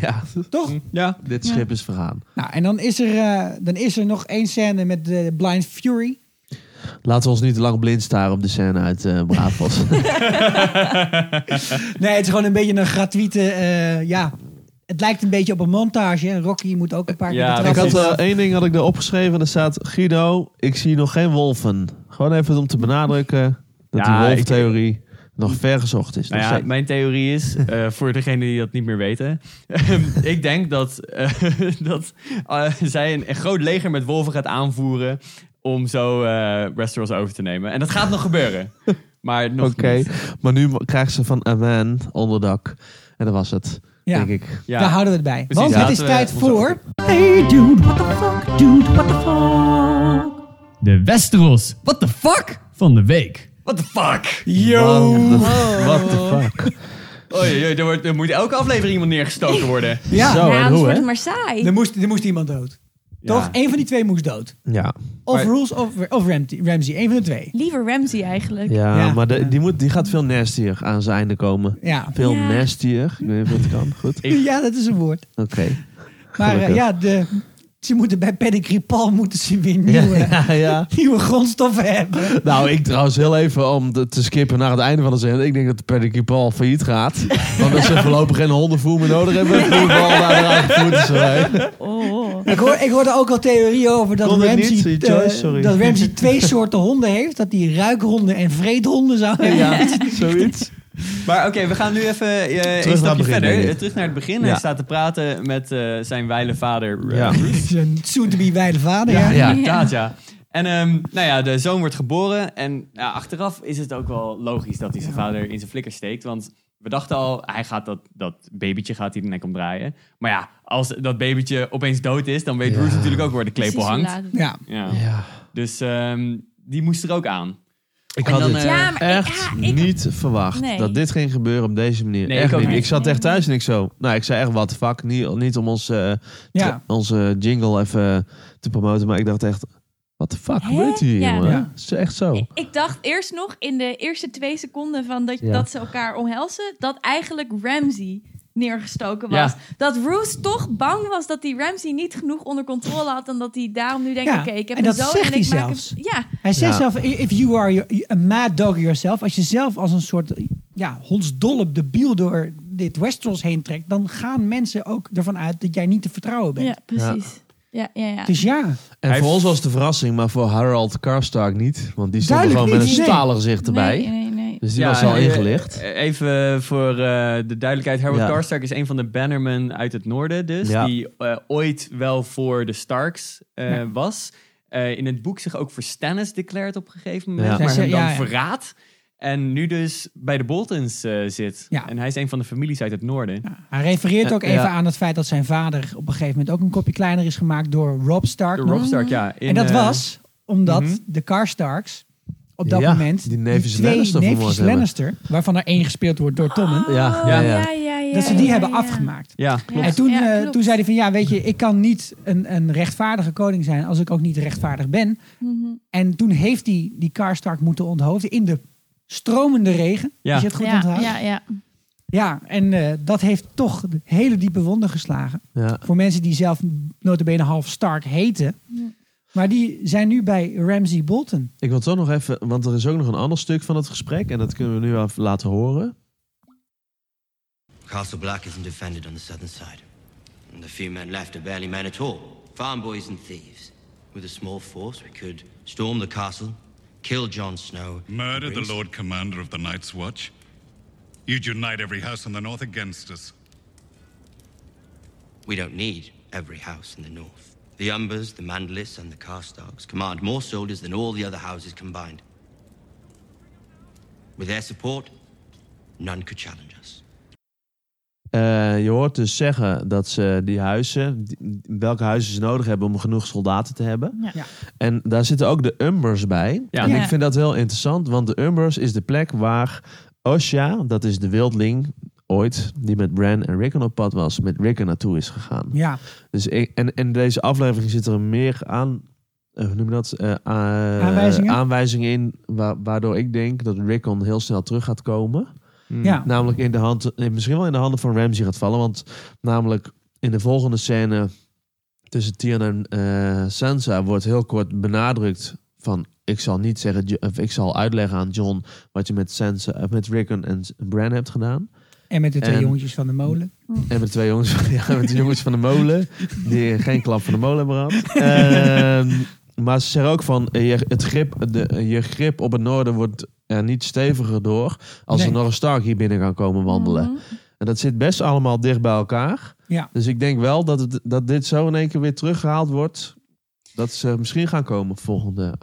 S4: Ja,
S1: Toch?
S2: Ja,
S4: dit schip is vergaan.
S1: Nou, en dan is, er, eh, dan is er nog één scène met de Blind Fury.
S4: Laten we ons niet te lang blind staren op de scène uit eh Braafos.
S1: Nee, het is gewoon een beetje een gratuite, eh, ja... Het lijkt een beetje op een montage. hè. Rocky moet ook een paar
S2: Ja,
S1: keer de
S4: Ik
S1: trap
S4: had
S1: op.
S4: eh, één ding had ik er opgeschreven. Daar staat Guido, ik zie nog geen wolven. Gewoon even om te benadrukken dat
S2: Ja,
S4: die wolftheorie nog ver gezocht is.
S2: nou
S4: Dus Nog
S2: ja,
S4: steeds.
S2: mijn theorie is, eh, voor degenen die dat niet meer weten, ehm, ik denk dat, eh, dat eh, zij een, een groot leger met wolven gaat aanvoeren om zo eh Westeros over te nemen. En dat gaat nog gebeuren. Maar nog
S4: Oké,
S2: niet.
S4: maar nu krijgt ze van Aman onderdak. En dat was het,
S1: Ja.
S4: denk ik.
S2: Ja.
S1: Daar houden we het bij.
S2: Precies,
S1: Want het
S2: laten
S1: is
S2: we
S1: tijd
S2: ons
S1: voor... Hey dude, what the fuck? Dude, what the fuck?
S6: De Westeros What the fuck van de week.
S2: What the fuck?
S1: Yo!
S4: What the fuck?
S2: Oei, oei, er, wordt, er moet elke aflevering iemand neergestoken worden.
S1: Ja,
S4: Zo,
S5: ja,
S4: Oh, en
S5: anders
S4: hoe,
S5: wordt
S4: hè?
S5: het maar saai.
S1: er moest, er moest iemand dood. Toch? Eén van die twee moest dood.
S4: Ja,
S1: Of
S2: Maar-
S1: Rules of, of Ramsey. Ramsey, één van de twee.
S5: Liever Ramsey eigenlijk.
S4: ja,
S1: Ja.
S4: maar de- die, moet, die gaat veel nastier aan zijn einde komen.
S1: Ja.
S4: Veel
S5: Ja.
S4: nastier. Ik weet niet of het kan. Goed,
S2: Ik-
S1: ja, dat is een woord.
S4: oké.
S1: Maar eh,
S4: Gelukkig.
S1: ja, de, ze moeten bij Pedigree Palm moeten ze weer nieuwe,
S4: ja, ja.
S1: nieuwe grondstoffen hebben.
S4: Nou, ik trouwens heel even om de- te skippen naar het einde van de zin. Ik denk dat de pedicure failliet gaat. Want dat ze voorlopig geen hondenvoer meer nodig hebben. Voerbal daar eruit gevoerd is. hè.
S5: Oh.
S1: Ik, hoor, ik hoorde ook al theorieën over dat
S4: Kon het niet,
S1: Ramsey,
S4: die
S1: eh,
S4: Joyce? Sorry.
S1: dat Ramsey twee soorten honden heeft. Dat hij ruikhonden en vreedhonden zou hebben.
S4: Ja, zoiets.
S2: Maar oké, we gaan nu even eh, een
S4: naar
S2: stapje
S4: het begin,
S2: verder.
S4: denk ik.
S2: Eh, Terug naar het begin.
S4: Ja.
S2: Hij staat te praten met eh, zijn wijle vader. eh,
S4: Ja.
S2: Bruce.
S1: Zijn soon-to-be wijde vader. Ja.
S2: Ja,
S5: Ja.
S2: inderdaad, ja. Ah, En ehm, nou ja, de zoon wordt geboren. En ja, achteraf is het ook wel logisch dat hij zijn vader in zijn flikker steekt. Want we dachten al, hij gaat dat, dat babytje gaat hij de nek omdraaien. Maar ja, als dat babytje opeens dood is, dan weet
S4: Ja.
S2: Bruce natuurlijk ook waar de
S5: Precies
S2: klepel
S5: hoe
S2: hangt.
S5: laat het-
S1: Ja.
S2: Ja.
S4: Ja.
S2: Dus ehm, die moest er ook aan.
S4: Ik
S2: En
S4: had
S2: dan,
S4: dit
S2: eh,
S5: Ja, maar ik-
S4: echt
S5: ja, ik-
S4: niet verwacht
S5: Nee.
S4: dat dit ging gebeuren op deze manier.
S2: Nee,
S4: echt
S2: ik ook
S4: niet.
S2: niet.
S4: Ik zat echt thuis en ik zo... Nou, ik zei echt, what the fuck. Niet, niet om onze, eh,
S1: Ja.
S4: tr- onze jingle even te promoten, maar ik dacht echt... What the fuck
S5: Hè?
S4: gebeurt hier,
S5: Ja.
S4: jongen?
S1: Ja.
S4: Het is echt zo.
S5: Ik dacht eerst nog in de eerste twee seconden van dat,
S4: Ja.
S5: dat ze elkaar omhelzen, dat eigenlijk Ramsey neergestoken was.
S2: Ja.
S5: Dat Roos toch bang was dat die Ramsey niet genoeg onder controle had en dat hij daarom nu denkt,
S1: Ja,
S5: oké, ik heb
S1: en
S5: hem
S1: dat
S5: zo
S1: zegt
S5: en ik
S1: hij
S5: maak hem-
S1: zelfs.
S5: Ja,
S1: Hij zegt
S4: Ja.
S1: zelf, if you are your- a mad dog yourself, als je zelf als een soort ja, hondsdolp de biel door dit Westeros heen trekt, dan gaan mensen ook ervan uit dat jij niet te vertrouwen bent.
S5: ja, precies. Ja, ja, ja.
S1: Dus ja,
S4: En
S2: Hij
S4: voor
S2: heeft-
S4: ons was het een verrassing, maar voor Harold Karstark niet. Want die stond er
S1: Duidelijk
S4: gewoon met een
S1: niet, nee.
S4: stalen gezicht erbij.
S5: Nee, nee, nee.
S4: Dus die
S2: Ja,
S4: was al
S2: eh,
S4: ingelicht.
S2: eh, Even voor eh, de duidelijkheid. Harold
S4: Ja.
S2: Karstark is een van de bannermen uit het noorden dus.
S4: Ja.
S2: Die eh, ooit wel voor de Starks eh, was. Eh, in het boek zich ook voor Stannis declared op een gegeven moment.
S4: Ja.
S2: Maar
S1: Ja,
S2: hem
S1: ja,
S2: dan
S1: ja.
S2: verraadt. En nu dus bij de Boltons eh, zit.
S1: Ja.
S2: En hij is een van de families uit het noorden.
S1: hij refereert ook
S4: Ja,
S1: even
S4: ja.
S1: aan het feit dat zijn vader op een gegeven moment ook een kopje kleiner is gemaakt door Rob Stark.
S2: De
S1: nog.
S2: Rob Stark, ja. in,
S1: en dat
S2: eh,
S1: was omdat
S2: mhm.
S1: de Karstarks op dat
S4: Ja,
S1: moment
S4: die neefjes
S1: twee
S4: Lannister
S1: neefjes
S4: vermoord hebben.
S1: Lannister, waarvan er één gespeeld wordt door Tommen,
S5: Oh,
S4: Ja,
S2: ja,
S5: ja,
S4: ja.
S5: ja, ja,
S1: dat ze die
S5: ja,
S1: hebben
S5: ja.
S1: afgemaakt.
S2: Ja, klopt.
S1: En toen,
S5: Ja,
S1: eh,
S5: klopt.
S1: toen zei hij van ja, weet je, ik kan niet een, een rechtvaardige koning zijn als ik ook niet rechtvaardig ben.
S5: Mhm.
S1: En toen heeft hij die Karstark moeten onthoofden in de stromende regen.
S2: Ja.
S1: Als je het goed
S5: ja,
S1: onthoudt.
S5: ja,
S1: Ja,
S5: ja.
S1: en eh, dat heeft toch hele diepe wonden geslagen.
S4: Ja.
S1: Voor mensen die zelf notabene half Stark heten.
S5: Ja.
S1: Maar die zijn nu bij Ramsey Bolton.
S4: Ik wil toch nog even, want er is ook nog een ander stuk van het gesprek. En dat kunnen we nu even laten horen.
S7: Castle Black isn't defended on the southern side. And the few men left are barely men at all. Farm boys and thieves. With a small force, we could storm the castle, kill Jon Snow.
S8: Murder
S7: and
S8: the
S7: bring-
S8: Lord Commander of the Night's Watch. You'd unite every house in the north against us.
S7: We don't need every house in the north. The Umbers, the Mandalys, and the Karstarks command more soldiers than all the other houses combined. With their support, none could challenge us.
S4: Eh, je hoort dus zeggen dat ze die huizen, die- welke huizen ze nodig hebben om genoeg soldaten te hebben.
S5: Ja.
S1: Ja.
S4: En daar zitten ook de Umbers bij.
S2: Ja.
S4: En
S5: Ja.
S4: ik vind dat heel interessant, want de Umbers is de plek waar Osha, dat is de wildling ooit, die met Bran en Rickon op pad was, met Rickon naartoe is gegaan.
S1: Ja,
S4: Dus ik, en en deze aflevering zit er meer aan. eh, Hoe noem je dat? eh, a- eh,
S1: Aanwijzingen?
S4: aanwijzingen in. wa- waardoor ik denk dat Rickon heel snel terug gaat komen. Hmm.
S1: ja.
S4: Namelijk in de hand, eh, misschien wel in de handen van Ramsey gaat vallen. Want namelijk in de volgende scène tussen Tyrion en eh, Sansa wordt heel kort benadrukt van ik zal niet zeggen Jo- of ik zal uitleggen aan John wat je met Sansa, eh, met Rickon en S- Bran hebt gedaan.
S1: en met de twee
S4: En-
S1: jongetjes van de molen.
S4: En met de twee jongens, ja, met de jongens van de molen. Die geen klap van de molen hebben gehad. Ehm, maar ze zeggen ook van, eh, je, het grip, de, eh, je grip op het noorden wordt er niet steviger door... als
S1: Nee.
S4: er nog een Stark hier binnen kan komen wandelen.
S5: Mhm.
S4: En dat zit best allemaal dicht bij elkaar.
S1: Ja.
S4: Dus ik denk wel dat, het, dat dit zo in één keer weer teruggehaald wordt... dat ze misschien gaan komen volgende...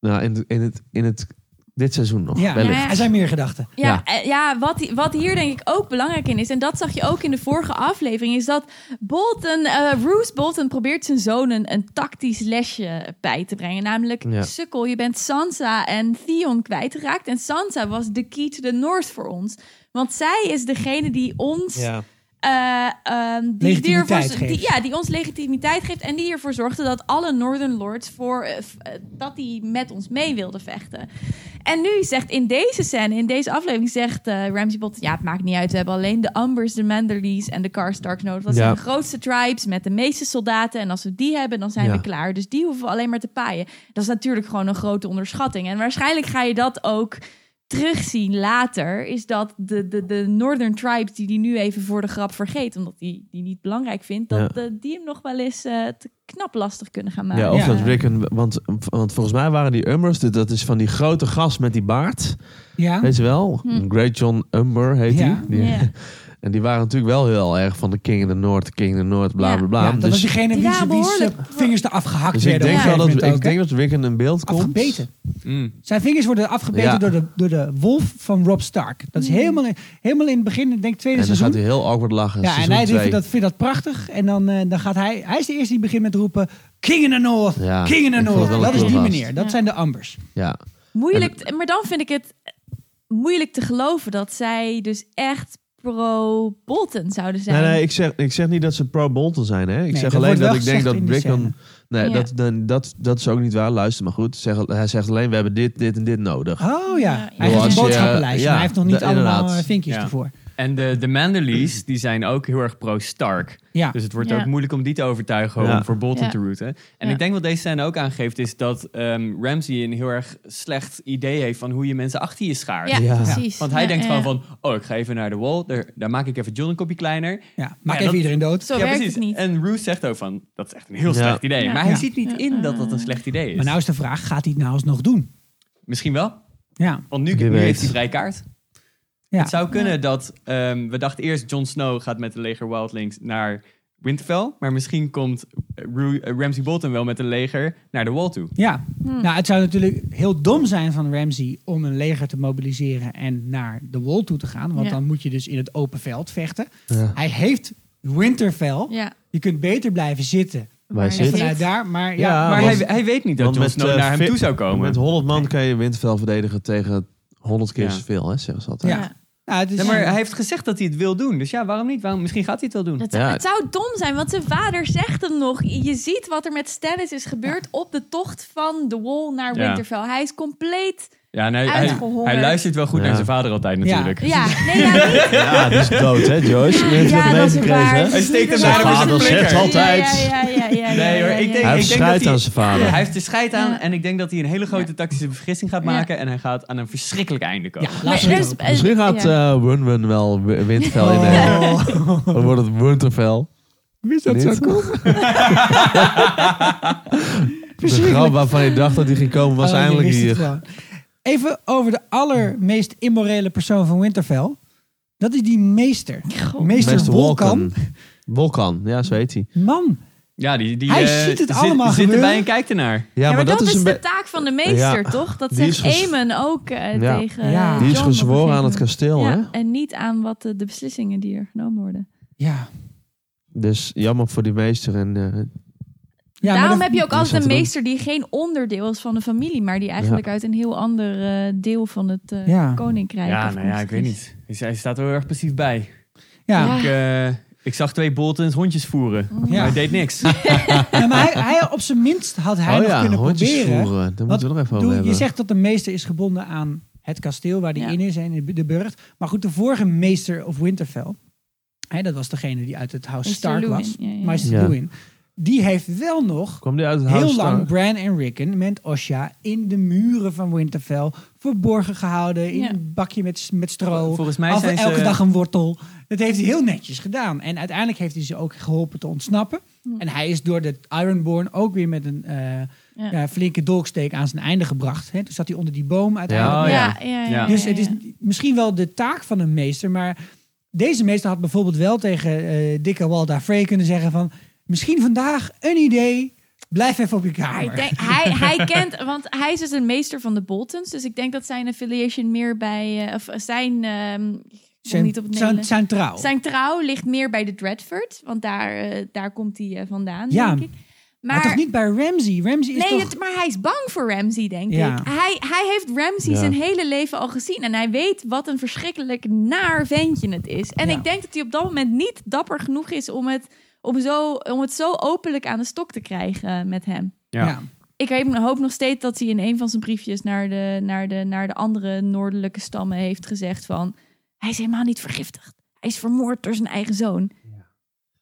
S4: Nou, in, het- in, het, in het, dit seizoen nog,
S1: Ja,
S4: wellicht.
S1: er zijn meer gedachten.
S5: Ja, eh, ja wat, hi- wat hier denk ik ook belangrijk in is, en dat zag je ook in de vorige aflevering, is dat Bolton, eh Roose Bolton probeert zijn zonen een tactisch lesje bij te brengen. Namelijk,
S4: Ja.
S5: sukkel, je bent Sansa en Theon kwijtgeraakt. En Sansa was de key to the north voor ons. Want zij is degene die ons
S4: Ja.
S5: eh, ehm, die, die,
S1: Legitimiteit
S5: ervoor,
S1: geeft.
S5: die, ja, die ons legitimiteit geeft en die ervoor zorgde dat alle Northern Lords voor, eh, f- eh, dat die met ons mee wilden vechten. En nu zegt in deze scène, in deze aflevering, zegt eh Ramsey Bolton... ja, het maakt niet uit, we hebben alleen de Umbers, de Manderleys en de Karstarks nodig. Dat
S4: Ja.
S5: zijn de grootste tribes met de meeste soldaten. En als we die hebben, dan zijn
S4: Ja.
S5: we klaar. Dus die hoeven we alleen maar te paaien. Dat is natuurlijk gewoon een grote onderschatting. En waarschijnlijk ga je dat ook terugzien later, is dat de, de, de Northern Tribes, die die nu even voor de grap vergeet, omdat die die niet belangrijk vindt, dat eh, die hem nog wel eens eh, te knap lastig kunnen gaan maken.
S4: Ja, of
S1: Ja.
S4: dat Rick en... Want, want volgens mij waren die Umbers... dit- Dat is van die grote gast met die baard.
S1: Ja.
S4: Weet je wel? Great John Umber heet
S1: Hm. Ja.
S4: die. die.
S5: Ja.
S4: En die waren natuurlijk wel heel erg van de King in the North, King in the North, bla
S5: Ja.
S4: bla bla.
S1: Ja, dat was
S4: dus
S1: diegene
S5: Die
S1: die
S5: waren behoorlijk-
S1: vingers eraf gehakt
S4: dus ik
S1: werden.
S4: denk
S1: op
S5: Ja.
S1: een
S4: wel dat,
S1: gegeven moment
S4: ik
S1: ook,
S4: denk dat Rick in beeld
S1: hè.
S4: komt.
S1: Afgebeten.
S2: Mm.
S1: Zijn vingers worden afgebeten
S4: Ja.
S1: door, de, door de wolf van Rob Stark. Dat
S5: Hmm.
S1: is helemaal in, helemaal in het begin, ik denk tweede
S4: En dan
S1: seizoen.
S4: gaat hij heel awkward lachen.
S1: ja, en
S4: seizoen
S1: hij
S4: twee.
S1: vindt dat, vindt dat prachtig. En dan, eh, dan gaat hij... Hij is de eerste die begint met roepen... King in the North,
S4: Ja,
S1: King in the
S4: ik vond
S1: North.
S4: het wel
S1: Dat
S4: een
S1: is die
S4: cool gast.
S1: meneer. Dat
S5: Ja.
S1: zijn de Ambers.
S4: Ja.
S5: Moeilijk, maar dan vind ik het moeilijk te geloven dat zij dus echt pro-Bolton zouden zijn.
S4: Nee, nee, ik zeg, ik zeg niet dat ze pro-Bolton zijn. Hè. Ik
S1: Nee,
S4: zeg
S1: dat
S4: alleen
S1: wordt wel
S4: dat ik denk dat
S1: gezegd in die
S4: Rick dan... Nee,
S5: Ja.
S4: dat, dan, dat, dat is ook niet waar. Luister maar goed. Zeg, hij zegt alleen, we hebben dit, dit en dit nodig.
S1: Oh
S5: Ja.
S1: ja, hij
S5: Bedoel,
S1: heeft
S5: als
S1: een
S5: je,
S1: boodschappenlijstje.
S4: eh,
S1: maar hij heeft nog
S4: ja,
S1: niet
S4: de-
S1: allemaal
S4: inderdaad.
S1: eh, vinkjes
S2: Ja.
S1: ervoor.
S2: En de, de Manderlees, die zijn ook heel erg pro-Stark.
S1: Ja.
S2: Dus het wordt
S5: Ja.
S2: ook moeilijk om die te overtuigen
S4: Ja.
S2: om voor Bolton
S5: Ja.
S2: te rooten. En
S5: Ja.
S2: ik denk wat deze scène ook aangeeft, is dat ehm, Ramsey een heel erg slecht idee heeft van hoe je mensen achter je schaart.
S5: ja,
S4: Ja.
S5: precies.
S2: Want hij
S5: Ja,
S2: denkt
S5: ja,
S2: gewoon
S5: ja.
S2: van, oh, ik ga even naar de wall. Daar, daar maak ik even John een kopje kleiner. Nou
S1: Ja, maak
S2: Ja,
S1: even
S2: dat-
S1: iedereen dood.
S5: Zo werkt het niet.
S2: En Roos zegt ook van, dat is echt een heel
S4: Ja.
S2: slecht idee.
S5: Ja. Ah.
S2: Maar hij
S1: Ja.
S2: ziet niet in dat dat een slecht idee is.
S1: Maar nou is de vraag, gaat hij het nou alsnog doen?
S2: Misschien wel,
S1: Ja,
S2: want nu,
S4: Wie
S2: nu
S4: weet.
S2: heeft hij vrij kaart.
S1: ja.
S2: Het zou kunnen dat, ehm, we dachten eerst Jon Snow gaat met een leger Wildlings naar Winterfell. Maar misschien komt eh, Ru- eh, Ramsay Bolton wel met een leger naar de wall toe.
S1: ja.
S5: Hmm.
S1: Nou, het zou natuurlijk heel dom zijn van Ramsey om een leger te mobiliseren en naar de wall toe te gaan. Want
S5: Ja.
S1: dan moet je dus in het open veld vechten.
S4: Ja.
S1: Hij heeft Winterfell.
S5: Ja,
S1: Je kunt beter blijven zitten.
S4: Wij
S1: En
S4: zitten.
S5: Zit.
S1: vanuit daar, maar ja,
S4: Ja,
S1: maar
S2: Maar
S4: want-
S2: hij, hij weet niet dat
S4: want
S2: Jon
S4: met,
S2: Snow
S4: eh,
S2: naar hem
S4: vi-
S2: toe zou komen.
S4: Met 100 man kan je Winterfell verdedigen tegen 100 keer
S2: Ja.
S4: zoveel, hè, zeggen ze altijd.
S1: ja.
S5: Ja.
S1: Nou, het is,
S2: Nee, maar hij heeft gezegd dat hij het wil doen. Dus ja, waarom niet? Waarom, misschien gaat hij het wel doen.
S5: dat zou,
S4: Ja.
S5: Het zou dom zijn, want zijn vader zegt hem nog. Je ziet wat er met Stannis is gebeurd op de tocht van de Wall naar
S2: Ja.
S5: Winterfell. Hij is compleet...
S2: Ja, nee, hij,
S5: Uitgehongerd.
S2: hij luistert wel goed
S4: Ja.
S2: naar zijn vader altijd natuurlijk.
S5: Ja, nee, ja, niet.
S4: Ja, die is dood, hè, Joyce? Je hebt
S5: Ja,
S4: het
S5: dat is
S4: meegekregen,
S5: waar.
S4: hè?
S2: Hij steekt hem
S5: Zijn
S2: daarna met zijn
S4: vader zegt
S2: flikker.
S4: al- Altijd.
S5: Ja, ja, ja, ja, ja,
S2: Nee
S5: ja,
S2: hoor,
S5: ja,
S2: ik
S5: ja.
S2: denk,
S4: Hij
S2: ik
S4: heeft
S2: denk dat
S4: scheid
S2: hij,
S4: aan zijn vader.
S2: Ja, hij heeft de scheid aan
S5: Ja.
S2: en ik denk dat hij een hele grote
S5: Ja.
S2: tactische vergissing gaat maken. En hij gaat aan een verschrikkelijk einde komen.
S1: ja,
S5: Maar
S1: laten we
S5: er
S1: het
S5: is-
S1: hopen.
S5: eh,
S4: Misschien gaat
S5: ja.
S4: eh Wun-Wun wel Wi- Winterfell innemen.
S1: Oh.
S4: eh, Dan wordt het Winterfell.
S1: Wist dat
S4: Niet?
S1: zo cool?
S4: De grap waarvan je dacht dat hij ging komen was
S1: Oh, je
S4: eindelijk eh,
S1: wist het
S4: hier.
S1: wel. Even over de allermeest immorele persoon van Winterfell. Dat is die meester. Meester,
S4: Meester
S1: Wolkan.
S4: Wolkan. Wolkan, ja, zo heet hij.
S1: Man,
S2: Ja, die, die,
S1: Hij
S2: eh,
S1: ziet het
S2: zit-
S1: allemaal
S2: zit
S1: gebeuren.
S2: erbij en kijkt ernaar.
S4: Ja,
S5: Ja, maar, dat, is, de
S4: be-
S5: taak van de meester,
S4: Ja.
S5: toch? Dat
S4: Die is
S5: zegt
S4: ges-
S5: Eamon ook eh,
S4: Ja.
S5: tegen
S1: Ja.
S5: eh,
S4: Die is
S5: John op een
S4: gezworen aan het
S5: gegeven
S4: kasteel,
S5: moment.
S4: hè?
S5: Ja, en niet aan wat eh, de beslissingen die er genomen worden.
S1: ja.
S4: Dus jammer voor die meester. En, eh,
S1: ja maar
S5: Daarom
S1: dat-
S5: heb je
S4: dat is
S5: ook altijd
S4: wat
S5: een
S4: te doen.
S5: meester die geen onderdeel is van de familie, maar die eigenlijk uit een heel ander eh, deel van het eh,
S1: Ja.
S5: koninkrijk.
S2: Ja, nou
S5: afkomstig
S2: ja, ik weet
S5: is.
S2: niet. Hij- Hij staat er heel erg passief bij.
S1: Ja.
S5: Ja.
S2: Ik,
S1: Ah.
S2: eh, ik zag twee Boltons hondjes voeren.
S1: Oh,
S2: Maar hij deed niks.
S1: Ja, maar hij, hij, op zijn minst had hij
S4: oh
S1: nog
S4: ja,
S1: kunnen
S4: hondjes
S1: proberen.
S4: voeren. Daar
S1: Want
S4: moeten we nog even
S1: doe-
S4: over hebben.
S1: Je zegt dat de meester is gebonden aan het kasteel waar hij
S5: Ja.
S1: in is en de burcht. Maar goed, de vorige meester of Winterfell, hè, dat was degene die uit het House
S5: Meester
S1: Stark
S5: Lewin,
S1: was,
S5: ja, ja.
S1: meester
S4: Ja.
S1: Lewin, die heeft wel nog
S4: Kwam die uit het
S1: heel
S4: huis
S1: lang
S4: daar?
S1: Bran en Rickon met Osha in de muren van Winterfell verborgen gehouden in
S5: Ja.
S1: een bakje met, met stro.
S2: Volgens mij
S1: Af-
S2: zijn ze-
S1: elke dag een wortel. Dat heeft hij heel netjes gedaan. En uiteindelijk heeft hij ze ook geholpen te ontsnappen. En hij is door de Ironborn ook weer met een eh,
S5: Ja.
S1: ja, flinke dolksteek aan zijn einde gebracht. Hè? Toen zat hij onder die boom uiteindelijk.
S2: Ja,
S5: Ja,
S2: Oh
S5: ja,
S2: ja.
S5: ja,
S2: Ja.
S1: Dus het is
S5: ja.
S1: misschien wel de taak van een meester, maar deze meester had bijvoorbeeld wel tegen eh, dikke Walda Frey kunnen zeggen van misschien vandaag een idee, blijf even op je kamer.
S5: Hij, denk- hij, hij kent, want hij is dus een meester van de Boltons. Dus ik denk dat zijn affiliation meer bij, eh, of zijn, ehm, ik kom
S1: zijn,
S5: niet op het
S1: zijn,
S5: Nederlands.
S1: zijn trouw.
S5: Zijn trouw ligt meer bij de Dreadford, want daar, eh, daar komt hij eh, vandaan,
S1: Ja.
S5: denk ik. Maar,
S1: maar, toch niet bij Ramsey. Ramsey is
S5: nee,
S1: toch...
S5: het- maar hij is bang voor Ramsey, denk
S1: Ja.
S5: ik. Hij, hij heeft Ramsey
S4: Ja.
S5: zijn hele leven al gezien en hij weet wat een verschrikkelijk naar ventje het is. En
S1: Ja.
S5: ik denk dat hij op dat moment niet dapper genoeg is om het, om, zo, om het zo openlijk aan de stok te krijgen eh, met hem.
S1: ja.
S5: Ik heb- hoop nog steeds dat hij in een van zijn briefjes naar de, naar de, naar de andere noordelijke stammen heeft gezegd van... Hij is helemaal niet vergiftigd. Hij is vermoord door zijn eigen zoon.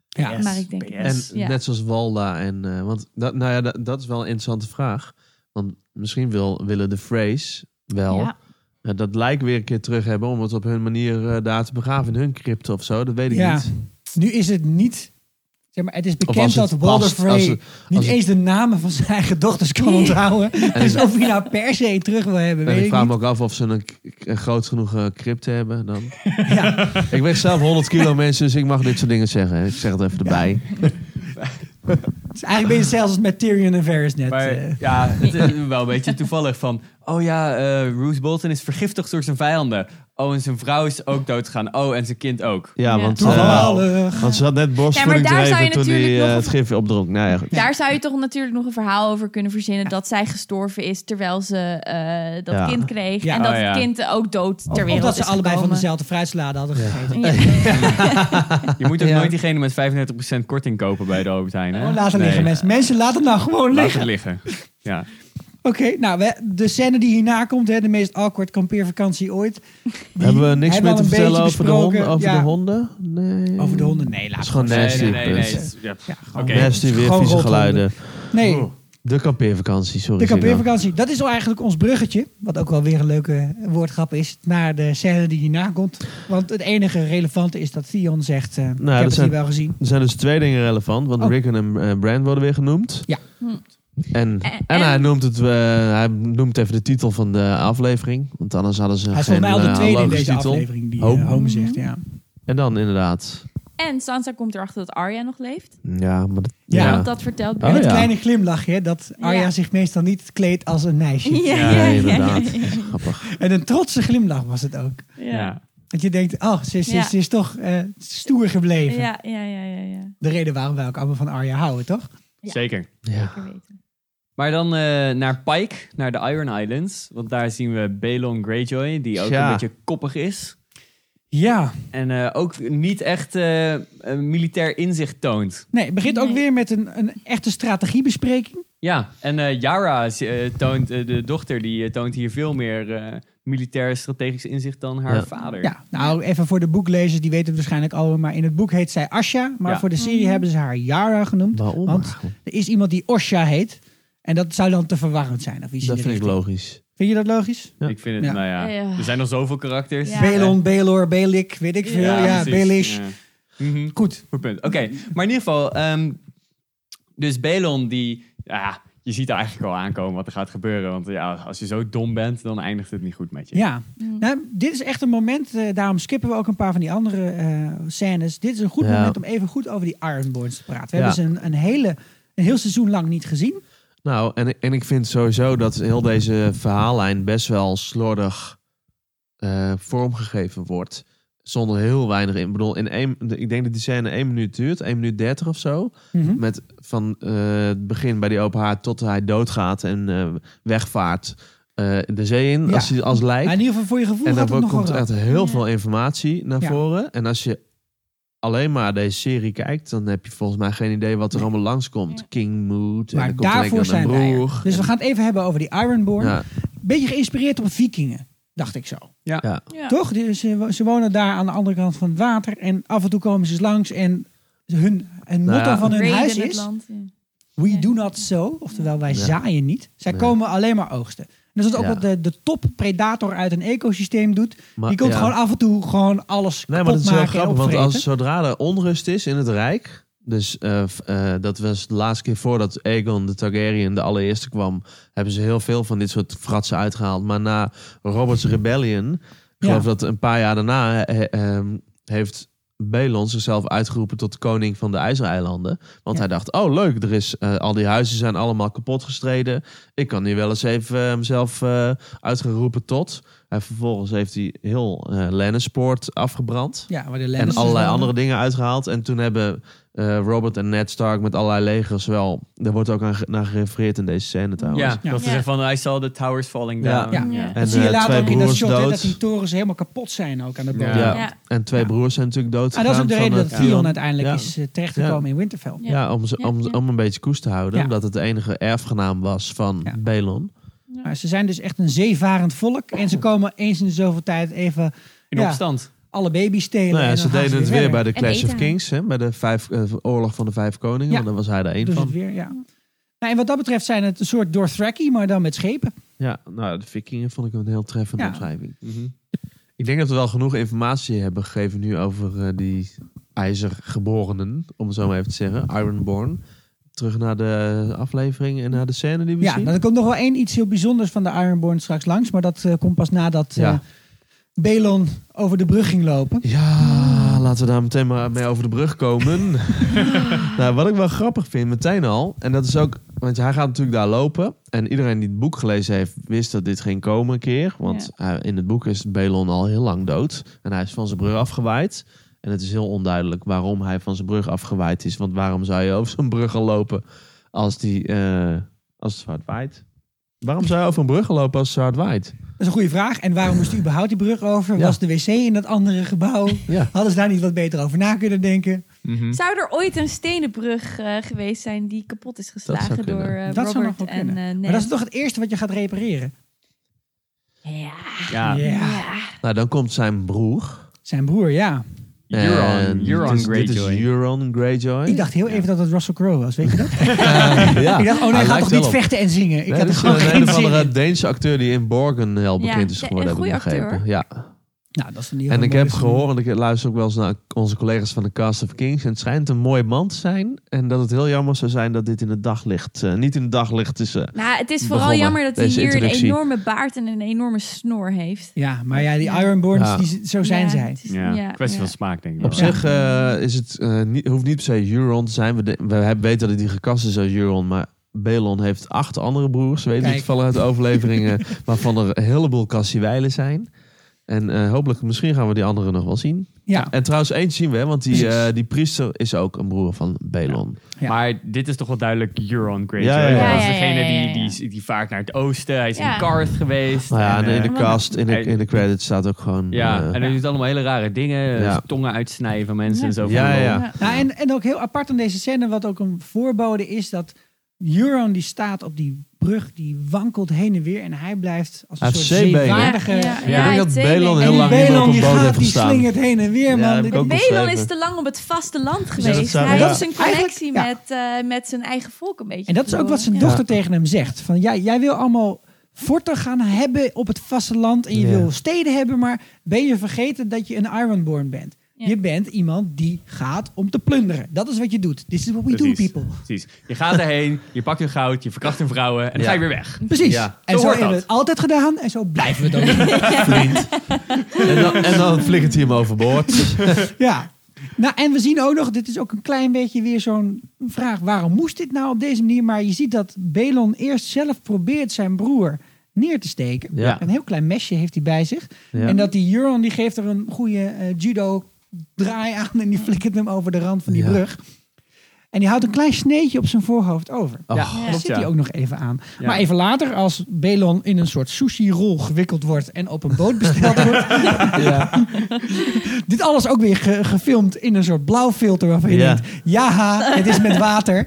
S1: Ja.
S2: Yes.
S5: Maar ik denk... het
S2: PS.
S5: niet.
S4: En
S5: Dus, ja.
S4: net zoals Walda en... eh, want dat, nou ja, dat, dat is wel een interessante vraag. Want misschien wil, willen de Freys wel
S5: Ja.
S4: eh, dat lijk weer een keer terug hebben om het op hun manier eh, daar te begraven in hun crypte of zo. Dat weet ik
S1: Ja.
S4: niet.
S1: Nu is het niet... Zeg maar, het is
S4: als
S1: bekend
S4: het
S1: dat Walder
S4: past,
S1: Frey
S4: als het-
S1: niet
S4: als het-
S1: eens de namen van zijn eigen dochters kan onthouden. dus of hij nou per se terug wil hebben,
S4: En
S1: weet
S4: ik
S1: ik
S4: vraag
S1: niet.
S4: me ook af of ze een, k- een groot genoeg eh, crypte hebben dan.
S1: Ja.
S4: Ik weeg zelf 100 kilo mensen, dus ik mag dit soort dingen zeggen. Ik zeg het even erbij.
S1: Dus eigenlijk ben je hetzelfde als met Tyrion en Varys net. eh.
S2: Maar ja, het is wel een beetje toevallig van... Oh ja, eh Roose Bolton is vergiftigd door zijn vijanden. Oh, en zijn vrouw is ook doodgaan. Oh, en zijn kind ook.
S4: Ja, want, eh,
S1: Toevallig.
S4: want ze had net
S5: Ja,
S4: borstvoeding
S5: maar daar
S4: te
S5: zou je
S4: geven toen hij
S5: natuurlijk
S4: eh,
S5: nog-
S4: het gif opdronk. Nou ja, goed.
S5: Daar zou je toch natuurlijk nog een verhaal over kunnen verzinnen. Dat zij gestorven is terwijl ze eh, dat
S4: Ja.
S5: kind kreeg.
S1: Ja.
S5: en dat
S2: Oh, ja.
S5: het kind ook dood ter wereld
S1: Omdat ze
S5: is
S1: allebei van
S5: gekomen.
S1: dezelfde fruitsalade hadden gegeten.
S5: Ja.
S2: Je moet ook
S4: Ja.
S2: nooit diegene met 35% korting kopen bij de Albert Heijn. Hè?
S1: Gewoon laten
S2: Nee.
S1: Oh, liggen, mensen. Mensen, laat het nou gewoon
S2: Laat
S1: liggen.
S2: het liggen. Ja.
S1: Oké, nou, we- de scène die hierna komt, hè, de meest awkward kampeervakantie ooit. Die
S4: Hebben we niks
S1: hebben
S4: meer
S1: we
S4: te
S1: al een
S4: vertellen
S1: beetje
S4: over, de honden,
S1: besproken.
S4: over
S1: Ja.
S4: de honden? Nee.
S1: Over de honden? Nee, laat
S4: is gewoon
S1: maar.
S4: nasty.
S2: Nee, nee, nee. nee.
S4: punt.
S2: Ja. Oké.
S1: gewoon-
S4: Nasty, weer
S1: Gewoon
S4: vieze
S1: rothonden.
S4: geluiden.
S1: Nee,
S4: Oh, De kampeervakantie, sorry. nou.
S1: de
S4: Ziggo.
S1: kampeervakantie. Dat is eigenlijk ons bruggetje, wat ook wel weer een leuke woordgrap is, naar de scène die hierna komt. Want het enige relevante is dat Theon zegt, eh, ik heb
S4: Nou, dat
S1: het
S4: zijn-
S1: hier wel gezien.
S4: Er zijn dus twee dingen relevant, want
S1: Oh.
S4: Rickon en eh, Brand worden weer genoemd.
S1: Ja.
S4: En, en,
S5: En-
S4: hij, noemt het, eh, hij noemt even de titel van de aflevering, want anders hadden ze
S1: Hij is
S4: geen
S1: volgens mij al de
S4: eh,
S1: tweede in
S4: logische
S1: deze
S4: titel. Oh.
S1: aflevering die
S4: Hope.
S1: eh, Home zegt, ja.
S4: En dan inderdaad,
S5: En Sansa komt erachter dat Arya nog leeft.
S4: ja, maar dat,
S1: Ja,
S4: ja.
S5: Want dat vertelt
S4: Oh,
S1: en
S5: Bran.
S1: het
S4: ja.
S1: kleine glimlachje, hè, dat Arya
S5: Ja.
S1: zich meestal niet kleedt als een meisje.
S5: Ja,
S4: Ja,
S5: ja,
S4: inderdaad.
S5: ja, ja.
S4: Grappig.
S1: En een trotse glimlach was het ook.
S5: Ja,
S1: Dat je denkt, oh, ze, ze-
S5: Ja.
S1: ze is toch eh, stoer gebleven.
S5: ja, ja, ja, ja, ja.
S1: De reden waarom wij ook allemaal van Arya houden, toch?
S5: Ja.
S2: Zeker.
S4: Ja.
S5: Zeker weten.
S2: Maar dan eh, naar Pike, naar de Iron Islands. Want daar zien we Balon Greyjoy, die ook
S4: Ja.
S2: een beetje koppig is.
S1: Ja.
S2: En eh, ook niet echt eh, een militair inzicht toont.
S1: Nee, het begint ook
S5: Nee.
S1: weer met een, een echte strategiebespreking.
S2: Ja, en eh Yara is, eh, toont, eh, de dochter, die eh, toont hier veel meer eh, militair strategisch inzicht dan haar
S4: Ja.
S2: vader.
S1: Ja, nou even voor de boeklezers, die weten het waarschijnlijk al, maar in het boek heet zij Asha. Maar
S2: Ja.
S1: voor de
S5: Mhm.
S1: serie hebben ze haar Yara genoemd.
S4: Waarom
S1: Want
S4: eigenlijk?
S1: er is iemand die Osha heet. En dat zou dan te verwarrend zijn. Of iets in
S4: Dat
S1: de
S4: vind ik
S1: richting.
S4: logisch.
S1: Vind je dat logisch?
S4: Ja.
S2: Ik vind het,
S1: Ja.
S2: nou ja,
S5: Ja.
S2: er zijn nog zoveel karakters.
S5: Ja.
S1: Belon, Belor, Belik, weet ik veel. Ja,
S2: precies.
S1: Belish.
S2: Ja. Mhm.
S1: Goed.
S2: Goed punt. Oké, maar in ieder geval, ehm, dus Belon die, ja, je ziet eigenlijk al aankomen wat er gaat gebeuren. Want ja, als je zo dom bent, dan eindigt het niet goed met je.
S1: Ja, nou, dit is echt een moment, eh, daarom skippen we ook een paar van die andere eh, scènes. Dit is een goed
S4: Ja.
S1: moment om even goed over die Ironborns te praten. We
S4: Ja.
S1: hebben ze een, een, hele, een heel seizoen lang niet gezien.
S4: Nou, en, en ik vind sowieso dat heel deze verhaallijn best wel slordig eh, vormgegeven wordt. Zonder heel weinig in. Ik bedoel, in één, ik denk dat die scène 1 minuut duurt, 1 minuut 30 of zo.
S1: Mhm.
S4: Met van eh, het begin bij die open haard tot hij doodgaat en eh, wegvaart eh, de zee in
S1: Ja.
S4: als, hij, als lijk.
S1: Maar in ieder geval voor je gevoel
S4: En
S1: gaat het
S4: daarvoor
S1: nog
S4: komt
S1: wel
S4: echt
S1: rap.
S4: heel
S5: Ja.
S4: veel informatie naar
S1: Ja.
S4: voren. En als je alleen maar deze serie kijkt, dan heb je volgens mij geen idee wat er allemaal langskomt.
S5: Ja.
S4: King Mood, en
S1: Maar
S4: dan komt er
S1: daarvoor
S4: een
S1: zijn wij
S4: broer.
S1: er. Dus we gaan het even hebben over die Ironborn.
S4: Ja,
S1: Beetje geïnspireerd op vikingen, dacht ik zo.
S4: ja.
S5: Ja.
S1: Toch? Dus ze, wo- ze wonen daar aan de andere kant van het water. En af en toe komen ze eens langs en... Hun, een
S4: Nou
S1: motto
S4: ja.
S1: van hun
S5: Raiden
S1: huis
S5: het
S1: is...
S5: land, ja.
S1: We
S5: Ja.
S1: do not sow, oftewel wij
S4: Ja.
S1: zaaien niet. Zij
S4: Nee.
S1: komen alleen maar oogsten. En dat is ook
S4: Ja.
S1: wat de, de toppredator uit een ecosysteem doet.
S4: Maar-
S1: die komt
S4: ja.
S1: gewoon af en toe gewoon alles
S4: Nee, maar
S1: kapot
S4: dat is heel
S1: maken en
S4: grappig, want
S1: opvreten.
S4: als, zodra er onrust is in het Rijk... Dus eh, f- eh, dat was de laatste keer voordat Aegon de Targaryen de allereerste kwam... hebben ze heel veel van dit soort fratsen uitgehaald. Maar na Robert's Rebellion, ik
S1: Ja.
S4: geloof dat een paar jaar daarna... eh, eh, ehm, heeft Belon zichzelf uitgeroepen tot koning van de IJzereilanden. Want
S1: Ja.
S4: hij dacht, oh leuk, er is, eh, al die huizen zijn allemaal kapot gestreden. Ik kan hier wel eens even eh, mezelf eh, uitgeroepen tot. En vervolgens heeft hij heel eh Lannisport afgebrand.
S1: ja, maar de
S4: en
S1: Lannisters
S4: allerlei
S1: wel.
S4: andere dingen uitgehaald. En toen hebben eh, Robert en Ned Stark met allerlei legers wel... Daar wordt ook aan, ge- naar gerefereerd in deze scène trouwens.
S2: Ja,
S1: Ja.
S2: dat ze
S5: Ja.
S2: zeggen van, I saw the towers falling
S4: Ja.
S2: down.
S1: Ja. Mhm.
S5: Ja.
S1: Dat
S4: En,
S1: zie je
S4: eh,
S1: later
S4: twee
S1: ook in dat
S4: broers
S1: shot, hè, dat
S4: dood.
S1: die torens helemaal kapot zijn ook aan de boven.
S2: Ja.
S4: Ja.
S5: Ja.
S4: En twee broers zijn natuurlijk dood
S1: Ah, dat is ook de
S4: gegaan
S1: reden
S4: van,
S1: dat
S4: eh,
S1: Theon uiteindelijk
S4: Ja.
S1: is eh, terechtgekomen in Winterfell.
S5: Ja.
S4: Ja, om, ze-
S5: Ja,
S4: om,
S5: ja.
S4: om een beetje koest te houden.
S1: Ja.
S4: Omdat het de enige erfgenaam was van
S1: Ja.
S4: Belon.
S1: Maar ze zijn dus echt een zeevarend volk. En
S4: Oh.
S1: ze komen eens in de zoveel tijd even
S2: In
S1: ja,
S2: opstand.
S1: alle baby's stelen.
S4: Nou ja,
S1: en
S4: ze
S1: dan gaan
S4: deden het weer
S1: verder.
S4: bij de
S5: En
S4: Clash of
S5: eten.
S4: Kings. Hè, bij de vijf, eh, oorlog van de vijf koningen.
S1: Ja.
S4: Want daar was hij er één
S1: Dus
S4: van.
S1: het weer, ja. Nou, en wat dat betreft zijn het een soort Dothraki, maar dan met schepen.
S4: Ja, nou, de vikingen vond ik een heel treffende
S1: Ja.
S4: omschrijving. Mhm. Ik denk dat we wel genoeg informatie hebben gegeven nu over eh, die ijzergeborenen, om het zo maar even te zeggen, Ironborn. Terug naar de aflevering en naar de scène die we
S1: Ja,
S4: zien.
S1: nou, er komt nog wel één iets heel bijzonders van de Ironborn straks langs. Maar dat eh, komt pas nadat eh
S4: Ja.
S1: Belon over de brug ging lopen.
S4: Ja, laten we daar meteen maar mee over de brug komen. nou, wat ik wel grappig vind, meteen al. En dat is ook, want hij gaat natuurlijk daar lopen. En iedereen die het boek gelezen heeft, wist dat dit ging komen een keer. Want eh, in het boek is Belon al heel lang dood. En hij is van zijn brug afgewaaid. En het is heel onduidelijk waarom hij van zijn brug afgewaaid is. Want waarom zou je over zo'n brug gaan lopen als, die, eh, als het zo hard waait? Waarom zou je over een brug gaan lopen als het zo hard waait?
S1: Dat is een goede vraag. En waarom moest hij überhaupt die brug over?
S4: Ja.
S1: Was de wc in dat andere gebouw?
S4: Ja.
S1: Hadden ze daar niet wat beter over na kunnen denken?
S2: Mhm.
S5: Zou er ooit een stenenbrug eh, geweest zijn die kapot is
S4: zou
S5: geslagen door
S4: kunnen.
S5: eh,
S1: dat zou nog
S5: Robert
S1: wel
S5: en
S1: kunnen.
S5: eh
S1: maar dat is
S5: Ned?
S1: toch het eerste wat je gaat repareren?
S5: Ja.
S2: Ja,
S1: Ja.
S4: Nou, dan komt zijn broer.
S1: Zijn broer, ja.
S2: Euron,
S4: En
S2: Euron
S4: dit is-
S2: Greyjoy.
S4: Dit is Euron Greyjoy.
S1: Ik dacht heel even dat het Russell Crowe was, weet je dat?
S4: ja.
S1: Ik dacht, oh nee, hij
S4: Hij
S1: gaat
S4: lijkt
S1: toch
S4: wel
S1: niet
S4: op.
S1: vechten en zingen? Ik
S4: Nee,
S1: had
S4: dat
S1: er
S4: is
S1: gewoon
S4: een, een
S1: geen
S4: of
S1: zin in.
S4: andere Deense acteur die in Borgen heel
S5: Ja,
S4: bekend is
S5: een
S4: geworden, heb ik
S5: goede
S4: begrepen.
S5: acteur.
S4: Ja.
S1: Nou, dat is in ieder
S4: En
S1: geval
S4: ik heb
S1: mooi.
S4: gehoord, want ik luister ook wel eens naar onze collega's van de Cast of Kings. En het schijnt een mooi man te zijn. En dat het heel jammer zou zijn dat dit in het daglicht. eh, niet in het daglicht is. eh,
S5: Nou, het is vooral
S4: Begonnen,
S5: jammer dat hij
S4: deze
S5: hier
S4: introductie.
S5: een enorme baard en een enorme snor heeft.
S1: Ja, maar ja, die Ironborns,
S4: Ja.
S1: die, z- zo zijn
S5: Ja,
S1: zij.
S5: het is-
S2: Ja, kwestie
S5: ja.
S2: van smaak denk ik
S4: Op
S2: wel.
S4: zich eh, is het, eh, niet, hoeft niet per se Euron te zijn. We, de- we hebben- weten dat hij gekast is als Euron, maar Belon heeft acht andere broers. We weten
S1: Kijk.
S4: het vanuit de overleveringen, waarvan er een heleboel Cassiewijlen zijn. En eh, hopelijk, misschien gaan we die anderen nog wel zien.
S1: Ja,
S4: En trouwens, eentje zien we, hè, want die,
S1: Precies.
S4: eh, die priester is ook een broer van Belon.
S1: Ja.
S2: Maar dit is toch wel duidelijk Euron Greyjoy.
S4: Ja, ja, ja.
S2: Dat is
S5: Ja, ja,
S2: degene
S5: ja, ja, ja.
S2: Die, die, die vaart naar het oosten. Hij is
S5: Ja.
S2: in Karth geweest.
S4: Nou ja, en,
S2: en, eh,
S4: in de cast, in de, in de credits staat ook gewoon...
S2: ja,
S4: eh,
S2: en hij doet allemaal hele rare dingen. Dus
S4: Ja.
S2: Tongen uitsnijden van mensen en zo.
S4: ja, ja, ja.
S1: Nou, en, en ook heel apart aan deze scène, wat ook een voorbode is, dat Euron die staat op die brug, die wankelt heen en weer en hij blijft als een
S4: Hij
S1: soort
S4: heeft zeebenen.
S1: zeevaardige...
S4: Ik denk dat Belon
S5: het zeeling.
S4: heel
S1: En
S4: lang
S1: die
S4: niet meer op
S1: Belon
S4: een
S1: die
S4: boot heeft
S1: gaat, die
S4: gestaan.
S1: slingert heen en weer,
S4: Ja,
S1: man.
S4: heb ik
S1: Dit-
S4: ook
S5: Belon
S4: beschreven.
S5: is te lang op het
S1: Dus
S5: vasteland
S4: dat
S5: geweest.
S4: zou-
S5: Hij
S4: ja.
S5: heeft zijn
S1: Eigenlijk-
S5: connectie
S1: ja.
S5: met, eh, met zijn eigen volk een beetje.
S1: En dat is ook wat zijn
S5: verloren.
S1: dochter tegen hem zegt. Van, jij, jij wil allemaal forten gaan hebben op het vasteland en je
S4: Ja.
S1: wil steden hebben, maar ben je vergeten dat je een Ironborn bent?
S5: Ja.
S1: Je bent iemand die gaat om te plunderen. Dat is wat je doet. This is what we
S2: Precies.
S1: do, people.
S2: Precies. Je gaat erheen, je pakt hun goud, je verkracht hun vrouwen en dan
S4: Ja.
S2: ga je weer weg.
S1: Precies.
S4: Ja. Zo
S1: En zo,
S2: hoort
S1: hebben we
S2: dat.
S1: het altijd gedaan en zo blijven we het ook doen.
S4: En dan, en dan flikkert hij hem overboord.
S1: Ja. Nou, en we zien ook nog, dit is ook een klein beetje weer zo'n vraag. Waarom moest dit nou op deze manier? Maar je ziet dat Belon eerst zelf probeert zijn broer neer te steken.
S4: Ja.
S1: Een heel klein mesje heeft hij bij zich.
S4: Ja.
S1: En dat die Euron, die geeft er een goede eh, judo draai aan. En die flikkert hem over de rand van die
S4: Ja.
S1: brug. En die houdt een klein sneetje op zijn voorhoofd over.
S4: Oh.
S2: Ja,
S1: Dat zit
S2: ja.
S1: hij ook nog even aan.
S2: Ja.
S1: Maar even later, als Belon in een soort sushi-rol gewikkeld wordt en op een boot besteld wordt. Dit alles ook weer ge- gefilmd in een soort blauw filter waarvan je
S4: Ja.
S1: denkt, ja, het is met water.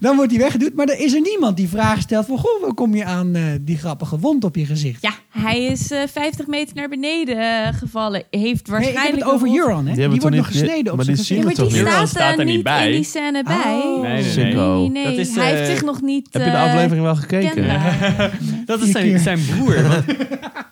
S1: Dan wordt hij weggeduwd. Maar er is er niemand die vragen stelt van, goh, hoe kom je aan eh, die grappige wond op je gezicht?
S5: Ja, hij is eh, 50 meter naar beneden eh, gevallen. Heeft
S1: Nee, ik
S5: waarschijnlijk
S1: heb het
S5: een
S1: over
S5: wond-
S1: Euron, hè?
S4: Die hebben
S1: Die wordt
S4: toch
S1: nog
S4: niet-
S1: gesneden op
S4: maar
S1: zijn
S4: die zien
S5: Ja,
S1: gezicht.
S5: maar die
S4: Euron
S5: staat,
S2: staat
S5: er
S2: er niet
S5: niet
S2: bij.
S5: in die scène bij.
S1: Oh.
S2: Nee, nee,
S5: Nee,
S2: nee.
S4: Sicko.
S5: nee.
S2: Dat is,
S5: hij
S2: eh,
S5: heeft zich nog niet...
S4: Heb je de
S5: eh,
S4: aflevering wel gekeken?
S5: kenbaar.
S2: Dat is zijn,
S1: keer.
S2: zijn broer. Want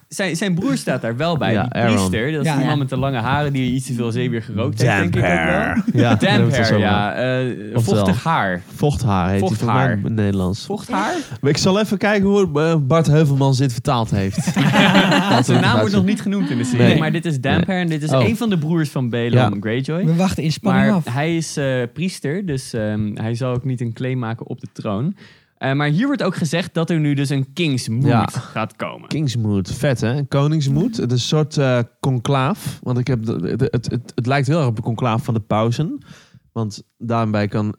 S2: zijn, zijn broer staat daar wel bij.
S4: Ja,
S2: die
S4: Aaron.
S2: priester. Dat is
S1: Ja,
S2: die
S1: ja.
S2: man met de lange haren die iets te veel zeewier gerookt heeft, denk ik ook wel.
S4: Ja, dat hebben
S2: Damp
S4: we het al
S2: hair,
S4: zo
S2: ja. Eh,
S4: Oftewel.
S2: vochtig haar.
S4: Vochthaar heet die
S2: Vochthaar.
S4: van in het Nederlands.
S2: Vocht haar?
S4: Maar ik zal even kijken hoe eh, Bart Heuvelmans dit vertaald heeft.
S2: Zijn naam wordt nog niet genoemd in de serie.
S4: Nee.
S2: Maar dit is Damp hair en dit is
S4: Oh.
S2: een van de broers van Balon
S4: Ja.
S2: Greyjoy.
S1: We wachten in spanning
S2: Maar
S1: af.
S2: hij is eh, priester, dus ehm, hij zal ook niet een claim maken op de troon. Eh, maar hier wordt ook gezegd dat er nu dus een kingsmoed
S4: Ja.
S2: gaat komen.
S4: Kingsmoed, vet hè? Een Koningsmoed. Het is een soort eh, conclaaf. Want ik heb de- de- het, het, het, lijkt heel erg op een conclaaf van de pauzen. Want daarbij kan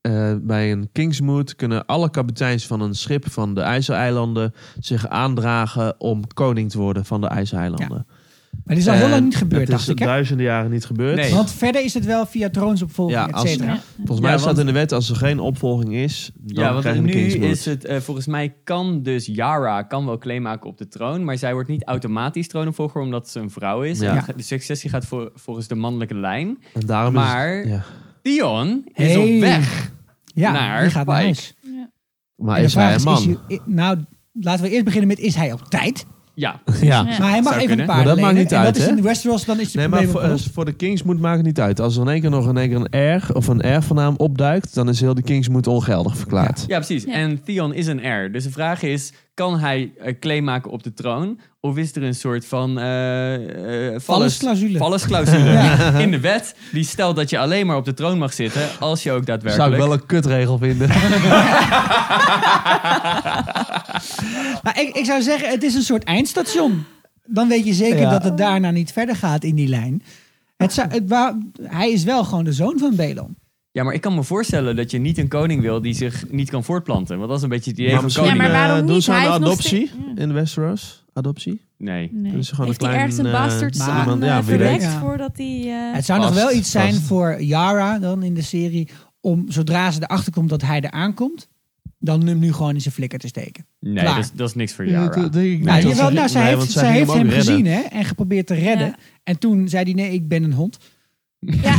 S4: eh, bij een Kingsmoed kunnen alle kapiteins van een schip van de IJzereilanden zich aandragen om koning te worden van de IJzereilanden.
S1: Maar dit is al heel
S4: En
S1: lang niet gebeurd,
S4: eh, Het
S1: dacht
S4: is
S1: ik. hè?
S4: duizenden jaren niet gebeurd.
S2: Nee.
S1: Want verder is het wel via troonsopvolging,
S4: Ja,
S1: et
S4: als-
S1: cetera.
S4: Volgens mij
S2: Ja,
S4: staat
S2: want-
S4: in de wet als er geen opvolging is, dan
S2: Ja,
S4: krijg je
S2: want
S4: een
S2: nu
S4: Kingsmoed.
S2: is het, eh, volgens mij kan dus Yara kan wel claim maken op de troon, maar zij wordt niet automatisch troonopvolger omdat ze een vrouw is.
S4: Ja.
S2: En de successie gaat voor, volgens de mannelijke lijn.
S4: En daarom is
S2: maar-
S4: het, ja.
S2: Dion is
S1: Hey.
S2: op weg.
S1: Ja,
S2: naar
S1: die gaat naar
S2: Pike.
S1: huis.
S4: Maar
S1: En de
S4: is hij
S1: vraag
S4: een
S1: is,
S4: man?
S1: is hij- i- nou, Laten we eerst beginnen met, is hij op tijd?
S2: Ja,
S4: Ja.
S1: Maar hij mag
S2: Zou
S1: even een
S2: kunnen.
S1: paar
S4: Maar dat maakt
S1: lenen.
S4: niet
S1: En
S4: uit,
S1: dat is
S4: hè?
S1: in Westeros, dan is het
S4: Nee, maar
S1: probleem
S4: voor, eh,
S1: opgelost.
S4: voor de Kingsmoed maakt het niet uit. Als er in één keer nog in één keer een R of een R van naam opduikt, dan is heel de Kingsmoed ongeldig verklaard.
S2: ja precies.
S5: Ja.
S2: En Theon is een heir. Dus de vraag is, kan hij eh, claim maken op de troon? Of is er een soort van... eh eh
S1: Vallusclausule.
S2: vallusclausule in de wet. Die stelt dat je alleen maar op de troon mag zitten als je ook daadwerkelijk...
S4: Zou ik wel een kutregel vinden.
S1: Maar ik, ik zou zeggen, het is een soort eindstation. Dan weet je zeker
S4: Ja.
S1: dat het daarna niet verder gaat in die lijn. Het zou, het wou- hij is wel gewoon de zoon van Belon.
S2: Ja, maar ik kan me voorstellen dat je niet een koning wil die zich niet kan voortplanten. Want dat is een beetje het idee van
S5: misschien-
S2: koning.
S5: Ja, maar waarom
S4: eh, Doen
S5: niet?
S4: ze aan
S5: Hij
S4: de
S5: is nog
S4: adoptie
S5: steeds- ja.
S4: in Westeros? Adoptie?
S2: Nee.
S5: Nee.
S4: Dus gewoon
S5: Heeft
S4: een
S5: hij ergens een
S4: klein, eh,
S5: bastard
S1: maar-
S5: son
S4: iemand- ja,
S5: eh,
S4: wie weet.
S5: verwekt
S1: Ja.
S5: voordat hij... eh,
S1: Het zou nog
S4: Past,
S1: wel iets zijn
S4: past.
S1: voor Yara dan in de serie. Om zodra ze erachter komt dat hij er aankomt. Dan hem nu gewoon in zijn flikker te steken.
S2: Nee,
S1: Klaar.
S2: dat is, dat is niks voor
S4: Ja,
S2: Yara.
S4: dat denk ik
S1: Nou,
S4: niet.
S1: jawel, nou, ze
S4: Nee,
S1: heeft,
S4: want
S1: ze
S4: zij ging
S1: heeft hem,
S4: ook redden.
S1: gezien hè, en geprobeerd te redden.
S5: Ja.
S1: En toen zei hij nee, ik ben een hond.
S5: ja.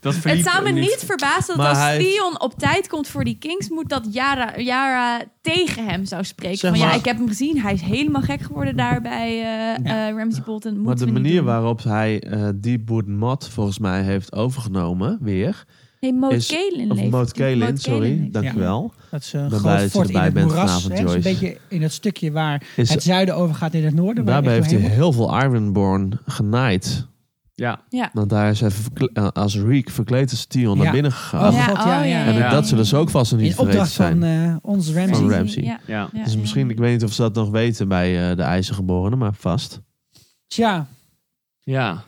S2: Dat
S5: Het
S2: verliep
S5: zou me
S2: niet-
S5: niet verbazen dat
S4: Maar
S5: als
S4: hij-
S5: Theon op tijd komt voor die Kingsmoed, dat Yara, Yara tegen hem zou spreken.
S4: Zeg
S5: van ja,
S4: maar-
S5: ik heb hem gezien. Hij is helemaal gek geworden daarbij. eh eh, Ramsey Bolton.
S4: Maar
S5: Moeten
S4: de
S5: we niet
S4: manier
S5: doen.
S4: waarop hij eh Deepwood Mott volgens mij heeft overgenomen, weer.
S5: Nee, Moot
S4: is-
S5: Kalen
S4: Of
S5: leeft.
S4: Moot Kalin,
S5: Moot
S4: sorry,
S5: leeft.
S4: dankjewel.
S1: Dat is een
S4: ben blij dat
S1: groot
S4: je
S1: fort in
S4: erbij
S1: het
S4: bent
S1: moeras.
S4: vanavond,
S1: Hè, dus een
S4: Joyce.
S1: beetje in dat stukje waar
S4: Is-
S1: het zuiden overgaat in het noorden. waar
S4: Daarbij
S1: ik
S4: heeft hij
S1: doorheen moet.
S4: heel veel Ironborn genaaid.
S2: Ja,
S5: Ja.
S4: Want daar is hij verkle- eh, als Reek verkleed als Tion
S1: Ja.
S4: naar binnen gegaan.
S1: Oh, God, ja, ja.
S4: En
S2: Ja.
S4: dat zullen ze ook vast nog niet
S1: In
S4: vergeten
S1: opdracht
S4: zijn.
S1: van eh ons Ramsey.
S4: van Ramsey.
S5: Ja.
S2: ja.
S5: Ja,
S4: dus
S5: ja.
S4: misschien, ik weet niet of ze dat nog weten bij eh, de IJzergeborenen, maar vast.
S1: Tja,
S2: Ja.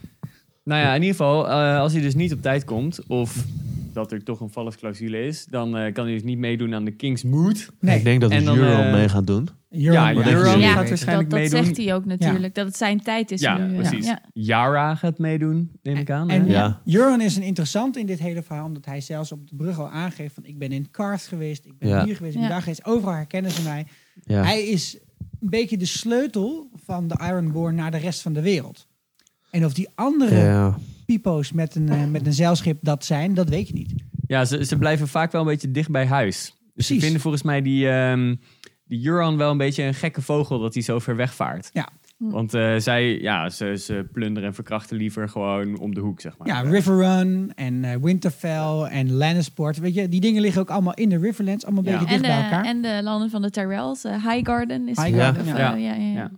S2: Nou ja, in ieder geval, eh, als hij dus niet op tijd komt, of dat er toch een vallusclausule is, dan eh, kan hij dus niet meedoen aan de King's Mood.
S1: nee.
S4: Ik denk dat
S2: En dan,
S4: Euron
S2: eh,
S4: mee gaat doen.
S2: Ja,
S1: Euron-
S4: Euron gaat
S1: Ja,
S2: waarschijnlijk
S5: dat, dat
S2: meedoen.
S5: zegt hij ook natuurlijk. Dat het zijn tijd is
S2: Ja,
S5: nu. eh,
S2: precies.
S5: ja.
S2: Yara gaat meedoen, neem ik aan. hè?
S1: En
S4: Ja.
S1: Euron is een interessant in dit hele verhaal, omdat hij zelfs op de brug al aangeeft van ik ben in Karth geweest, ik ben
S4: Ja.
S1: hier geweest, ik ben
S5: Ja.
S1: daar geweest. Overal herkennen ze mij.
S4: Ja.
S1: Hij is een beetje de sleutel van de Ironborn naar de rest van de wereld. En of die andere
S4: Ja.
S1: pipo's met een, eh, met een zeilschip dat zijn, dat weet je niet.
S2: Ja, ze, ze blijven vaak wel een beetje dicht bij huis. Dus
S1: Precies.
S2: ze vinden volgens mij die, ehm die Juran wel een beetje een gekke vogel dat hij zo ver wegvaart.
S1: Ja.
S2: Want eh, zij, ja, ze, ze plunderen en verkrachten liever gewoon om de hoek, zeg maar.
S1: Ja, Riverrun en eh, Winterfell en Lannisport. Weet je, die dingen liggen ook allemaal in de Riverlands, allemaal een
S2: Ja.
S1: beetje
S5: En,
S1: dicht bij
S5: de,
S1: elkaar.
S5: en de landen van de Tyrells. eh, Highgarden is
S1: Highgarden,
S5: ook,
S1: ja.
S5: eh, ja,
S2: Ja.
S5: ja.
S2: Ja.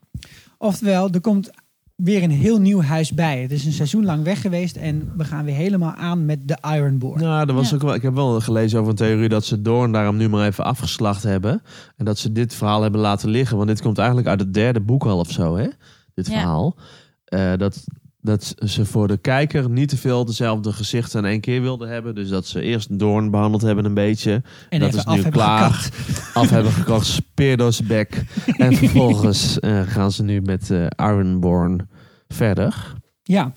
S1: Oftewel, er komt weer een heel nieuw huis bij. Het is een seizoen lang weg geweest en we gaan weer helemaal aan met de Ironborn.
S4: Nou, dat was
S5: Ja.
S4: ook wel, ik heb wel gelezen over een theorie dat ze Doorn daarom nu maar even afgeslacht hebben. En dat ze dit verhaal hebben laten liggen. Want dit komt eigenlijk uit het derde boek al of zo, hè? Dit
S5: Ja.
S4: verhaal. Eh, dat, dat ze voor de kijker niet te veel dezelfde gezichten in één keer wilden hebben. Dus dat ze eerst Doorn behandeld hebben een beetje.
S1: en
S4: dat
S1: even
S4: is
S1: af
S4: nu
S1: hebben
S4: klaar.
S1: gekapt.
S4: Af hebben gekocht, speer door zijn bek. En vervolgens eh, gaan ze nu met eh Ironborn verder.
S1: Ja.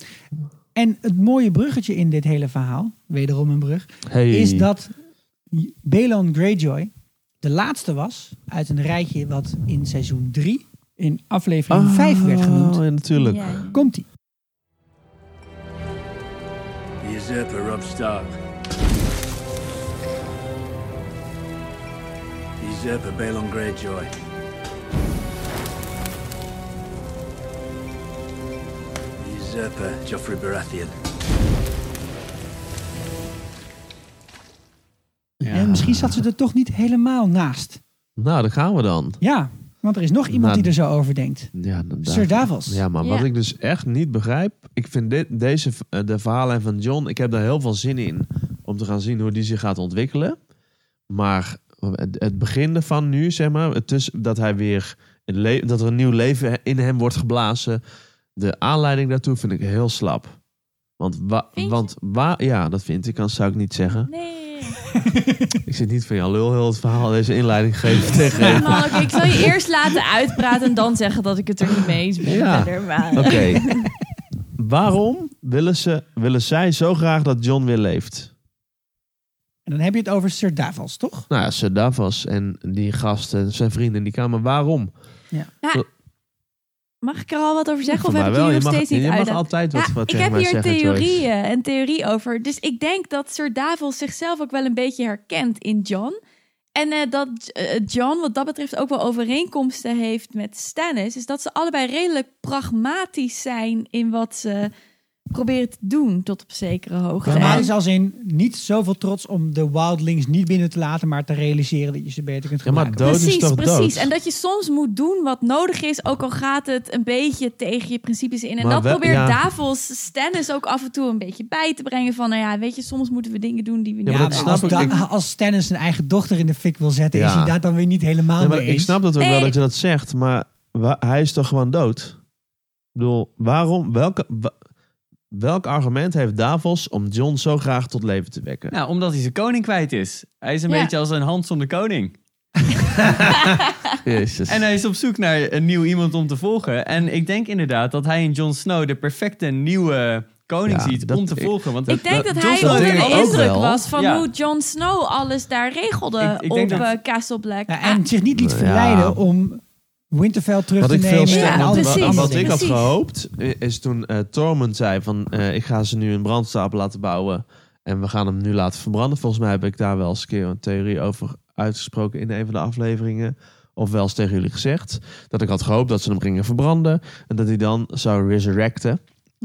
S1: En het mooie bruggetje in dit hele verhaal, wederom een brug,
S4: Hey.
S1: is dat Balon Greyjoy de laatste was uit een rijtje wat in seizoen 3 in aflevering 5 werd genoemd.
S4: Oh, ja, natuurlijk.
S5: Ja, ja.
S1: Komt-ie.
S9: The usurper Rob Stark. The usurper Balon Greyjoy. The usurper Joffrey Baratheon.
S1: En misschien zat ze er toch niet helemaal naast.
S4: Nou, daar gaan we dan.
S1: Ja, want er is nog iemand
S4: Nou,
S1: die er zo over denkt.
S4: Ja, dan-
S1: Sir Davos.
S4: Ja, maar wat
S5: Ja.
S4: ik dus echt niet begrijp. Ik vind dit, deze, eh, de verhalen van John. Ik heb daar heel veel zin in. Om te gaan zien hoe die zich gaat ontwikkelen. Maar het, het begin ervan nu, zeg maar. Het tuss- dat hij weer. het le- dat er een nieuw leven in hem wordt geblazen. De aanleiding daartoe vind ik heel slap. Want, wa-
S5: Vind je?
S4: want waar. Ja, dat vind ik. Dat zou ik niet zeggen.
S5: Nee.
S4: Ik zit niet van jou lul heel het verhaal. Deze inleiding geven tegen.
S5: Ja, Malk, ik zal je eerst laten uitpraten en dan zeggen dat ik het er niet mee eens ben.
S4: Ja.
S5: verder, maar-
S4: Oké. Waarom willen, ze, willen zij zo graag dat John weer leeft?
S1: En dan heb je het over Sir Davos, toch?
S4: Nou ja, Sir Davos en die gasten, zijn vrienden in die kamer. Waarom?
S5: Mag ik er al wat over zeggen? Of
S4: Voor
S5: heb
S4: mij
S5: ik hier nog
S4: Je mag,
S5: steeds niet
S4: je mag
S5: uit?
S4: altijd wat,
S5: Ja,
S4: wat
S5: ik
S4: tegen
S5: heb
S4: mij
S5: hier
S4: zeggen. Joyce.
S5: theorieën en theorie over. Dus ik denk dat Sir Davos zichzelf ook wel een beetje herkent in John. En eh, dat eh, John wat dat betreft ook wel overeenkomsten heeft met Stannis, is dat ze allebei redelijk pragmatisch zijn in wat ze proberen te doen tot op zekere hoogte.
S1: Dramatisch
S5: En-
S1: als in niet zoveel trots om de wildlings niet binnen te laten, maar te realiseren dat je ze beter kunt
S4: Ja, maar
S1: gebruiken.
S4: dood is
S5: precies,
S4: toch
S5: precies.
S4: dood?
S5: En dat je soms moet doen wat nodig is, ook al gaat het een beetje tegen je principes in. En
S4: Maar
S5: dat
S4: wel-
S5: probeert
S4: ja.
S5: Davos Stennis ook af en toe een beetje bij te brengen van, nou ja, weet je, soms moeten we dingen doen die we niet
S4: maar
S1: ja,
S4: dat
S1: maar
S4: snap
S1: als,
S4: ik.
S1: da-
S4: Ik-
S1: als Stannis zijn eigen dochter in de fik wil zetten,
S4: Ja.
S1: is hij daar dan weer niet helemaal
S4: Nee, maar
S1: mee
S4: ik
S1: eens.
S4: snap dat ook wel
S5: Nee.
S4: dat je dat zegt, maar wa- hij is toch gewoon dood? Ik bedoel, waarom, welke, wa- welk argument heeft Davos om John zo graag tot leven te wekken?
S2: Nou, omdat hij zijn koning kwijt is. Hij is een
S5: Ja.
S2: beetje als een hand zonder koning.
S4: Jezus.
S2: En hij is op zoek naar een nieuw iemand om te volgen. En ik denk inderdaad dat hij in Jon Snow de perfecte nieuwe koning
S4: Ja,
S2: ziet
S4: dat-
S2: om te
S4: ik-
S2: volgen. Want
S5: Ik denk dat,
S2: Jon
S5: hij
S2: Snow
S5: onder
S2: deed
S5: de
S2: dat ook
S5: indruk
S2: wel.
S5: was van
S2: Ja.
S5: hoe Jon Snow alles daar regelde
S2: Ik- ik
S5: op
S2: denk dat-
S5: eh, Castle Black.
S1: Ja, en zich niet liet
S4: Ja.
S1: verleiden om Winterfell terug
S4: Wat
S1: te
S4: ik veel
S1: nemen.
S4: sterker,
S1: en
S5: Ja,
S1: al
S4: wat,
S1: die
S5: precies.
S1: andere
S4: wat
S1: dingen.
S4: ik had
S5: precies.
S4: gehoopt, eh, is toen eh Tormund zei van eh, ik ga ze nu een brandstapel laten bouwen en we gaan hem nu laten verbranden. Volgens mij heb ik daar wel eens een keer een theorie over uitgesproken in een van de afleveringen. Of wel eens tegen jullie gezegd. Dat ik had gehoopt dat ze hem gingen verbranden. En dat hij dan zou resurrecten.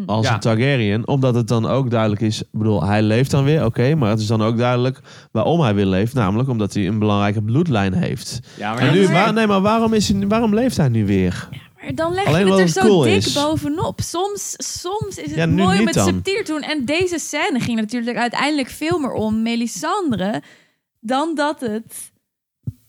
S4: Als
S2: Ja.
S4: een Targaryen. Omdat het dan ook duidelijk is. Ik bedoel, hij leeft dan weer. Oké. maar het is dan ook duidelijk waarom hij weer leeft. Namelijk omdat hij een belangrijke bloedlijn heeft.
S2: Ja, maar
S4: En nu,
S2: dat-
S4: waar- nee, maar waarom, is hij, waarom leeft hij nu weer?
S5: Maar dan leg
S4: Alleen
S5: je het
S4: omdat
S5: er
S4: het
S5: zo
S4: cool
S5: dik
S4: is.
S5: bovenop. Soms, soms is het
S4: Ja, nu
S5: mooi om
S4: niet
S5: het
S4: dan.
S5: subtiel te doen. En deze scène ging natuurlijk uiteindelijk veel meer om Melisandre dan dat het...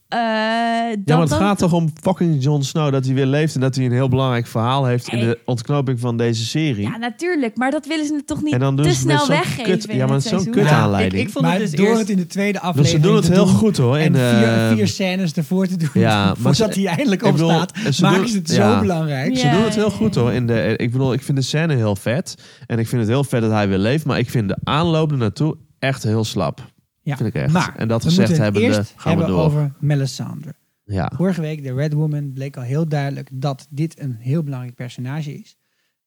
S5: eh, dan,
S4: Ja, maar het
S5: dan-
S4: gaat toch om fucking Jon Snow dat hij weer leeft en dat hij een heel belangrijk verhaal heeft in
S5: Hey.
S4: de ontknoping van deze serie.
S5: Ja, natuurlijk. Maar dat willen ze toch niet
S4: en dan doen
S5: te
S4: ze met
S5: snel
S4: zo'n
S5: weggeven.
S4: kut, ja,
S5: in
S4: maar
S5: het
S4: zo'n
S5: seizoen.
S4: kut aanleiding.
S2: Ik, ik vond
S1: Maar
S2: het dus
S1: door
S2: eerst...
S1: het in de tweede
S4: dus ze
S1: aflevering
S4: doen het
S1: te
S4: heel
S1: doen
S4: goed hoor.
S1: En
S4: En, eh,
S1: vier, vier scènes ervoor te doen,
S4: ja, maar
S1: voordat
S4: ze-
S1: hij eindelijk
S4: ik bedoel,
S1: opstaat,
S4: ze
S1: maken
S4: doen-
S1: ze het
S4: ja.
S1: zo belangrijk.
S5: Ja.
S4: Ze doen het heel goed hoor. In de, ik bedoel, ik vind de scène heel vet. En ik vind het heel vet dat hij weer leeft. Maar ik vind de aanloop ernaartoe echt heel slap.
S1: Ja.
S4: Vind ik echt.
S1: Maar
S4: en dat
S1: we
S4: gezegd
S1: moeten het
S4: hebbende
S1: eerst
S4: gaan we
S1: hebben
S4: door.
S1: over Melisandre.
S4: Ja.
S1: Vorige week, de Red Woman, bleek al heel duidelijk dat dit een heel belangrijk personage is.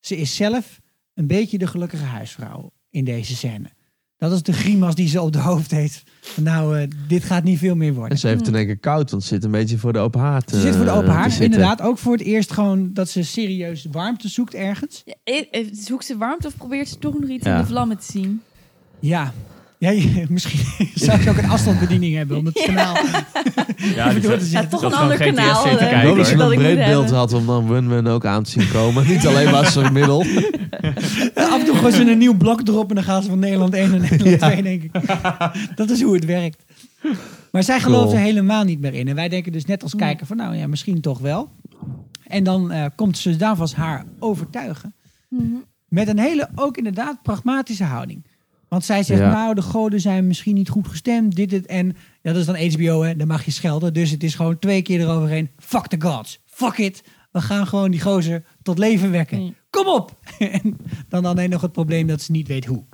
S1: Ze is zelf een beetje de gelukkige huisvrouw in deze scène. Dat is de grimas die ze op de hoofd heeft. Van, nou, eh, dit gaat niet veel meer worden.
S4: En ze heeft in één keer koud, want ze zit een beetje voor de open haard.
S1: Hmm. Ze zit voor de open
S4: eh,
S1: haard.
S4: te zitten.
S1: Inderdaad, ook voor het eerst gewoon dat ze serieus warmte zoekt ergens.
S5: Ja, eh, eh, Zoekt ze warmte of probeert ze toch nog iets
S4: Ja.
S5: in de vlammen te zien?
S1: Ja. Ja, je- misschien zou ze ook een afstandsbediening hebben om het kanaal
S2: Ja, dus- die-
S1: door te
S5: Ja,
S1: zetten.
S5: toch
S2: Dat
S5: een
S2: gewoon
S5: ander
S2: geen
S5: kanaal.
S2: TSC te
S5: eh,
S2: kijken,
S4: Ik hoop dat ze
S5: dat
S4: een
S5: ik
S4: breed
S5: moet
S4: beeld
S5: hebben.
S4: had om dan Win-Win ook aan te zien komen. Niet alleen maar zo'n middel.
S1: Eh, Af en toe gooien ze een nieuw blok erop en dan gaan ze van Nederland 1 naar Nederland 2, denk ik. Dat is hoe het werkt. Maar zij
S4: Cool.
S1: gelooft er helemaal niet meer in. En wij denken dus net als kijker van, nou ja, misschien toch wel. En dan eh, komt ze Davos haar overtuigen. Met een hele, ook inderdaad, pragmatische houding. Want zij zegt,
S4: Ja.
S1: nou, de goden zijn misschien niet goed gestemd, dit, dit en... Ja, dat is dan HBO, hè, dan mag je schelden. Dus het is gewoon twee keer eroverheen. Fuck the gods, fuck it. We gaan gewoon die gozer tot leven wekken.
S5: Mm.
S1: Kom op! en dan alleen nog het probleem dat ze niet weet hoe.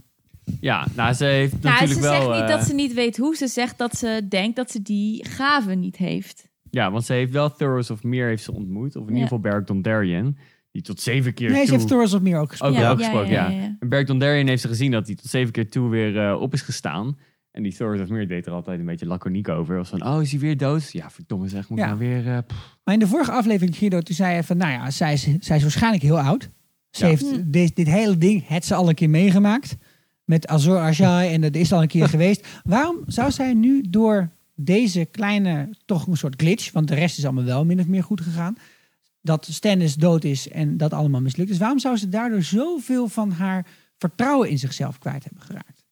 S2: Ja, nou, ze heeft
S5: Nou,
S2: natuurlijk
S5: ze
S2: wel...
S5: zegt niet
S2: eh,
S5: dat ze niet weet hoe. Ze zegt dat ze denkt dat ze die gave niet heeft.
S2: Ja, want ze heeft wel Thoros of Meer heeft ze ontmoet. Of in
S5: Ja.
S2: ieder geval Beric Dondarrion. Die tot zeven keer
S1: Nee, ze
S2: toe... Oh.
S1: heeft Thoros of meer ook
S2: Ook
S1: gesproken.
S5: Ja,
S2: wel
S5: ja,
S2: gesproken, ja.
S5: ja, ja, ja.
S2: En Beric Dondarrion heeft ze gezien dat hij tot zeven keer toe weer eh, op is gestaan. En die Thoros of Meer deed er altijd een beetje laconiek over. Was van, oh, is hij weer dood? Ja, verdomme zeg, moet ik
S1: Ja.
S2: nou weer... eh, pff.
S1: Maar in de vorige aflevering, Guido, toen zei hij van... Nou ja, zij is, zij is waarschijnlijk heel oud. Ze
S2: Ja.
S1: heeft dit, dit hele ding, het ze al een keer meegemaakt. Met Azor Ahai en dat is al een keer geweest. Waarom zou zij nu door deze kleine, toch een soort glitch... Want de rest is allemaal wel min of meer goed gegaan. Dat Stannis dood is en dat allemaal mislukt is. Waarom zou ze daardoor zoveel van haar vertrouwen in zichzelf kwijt hebben geraakt?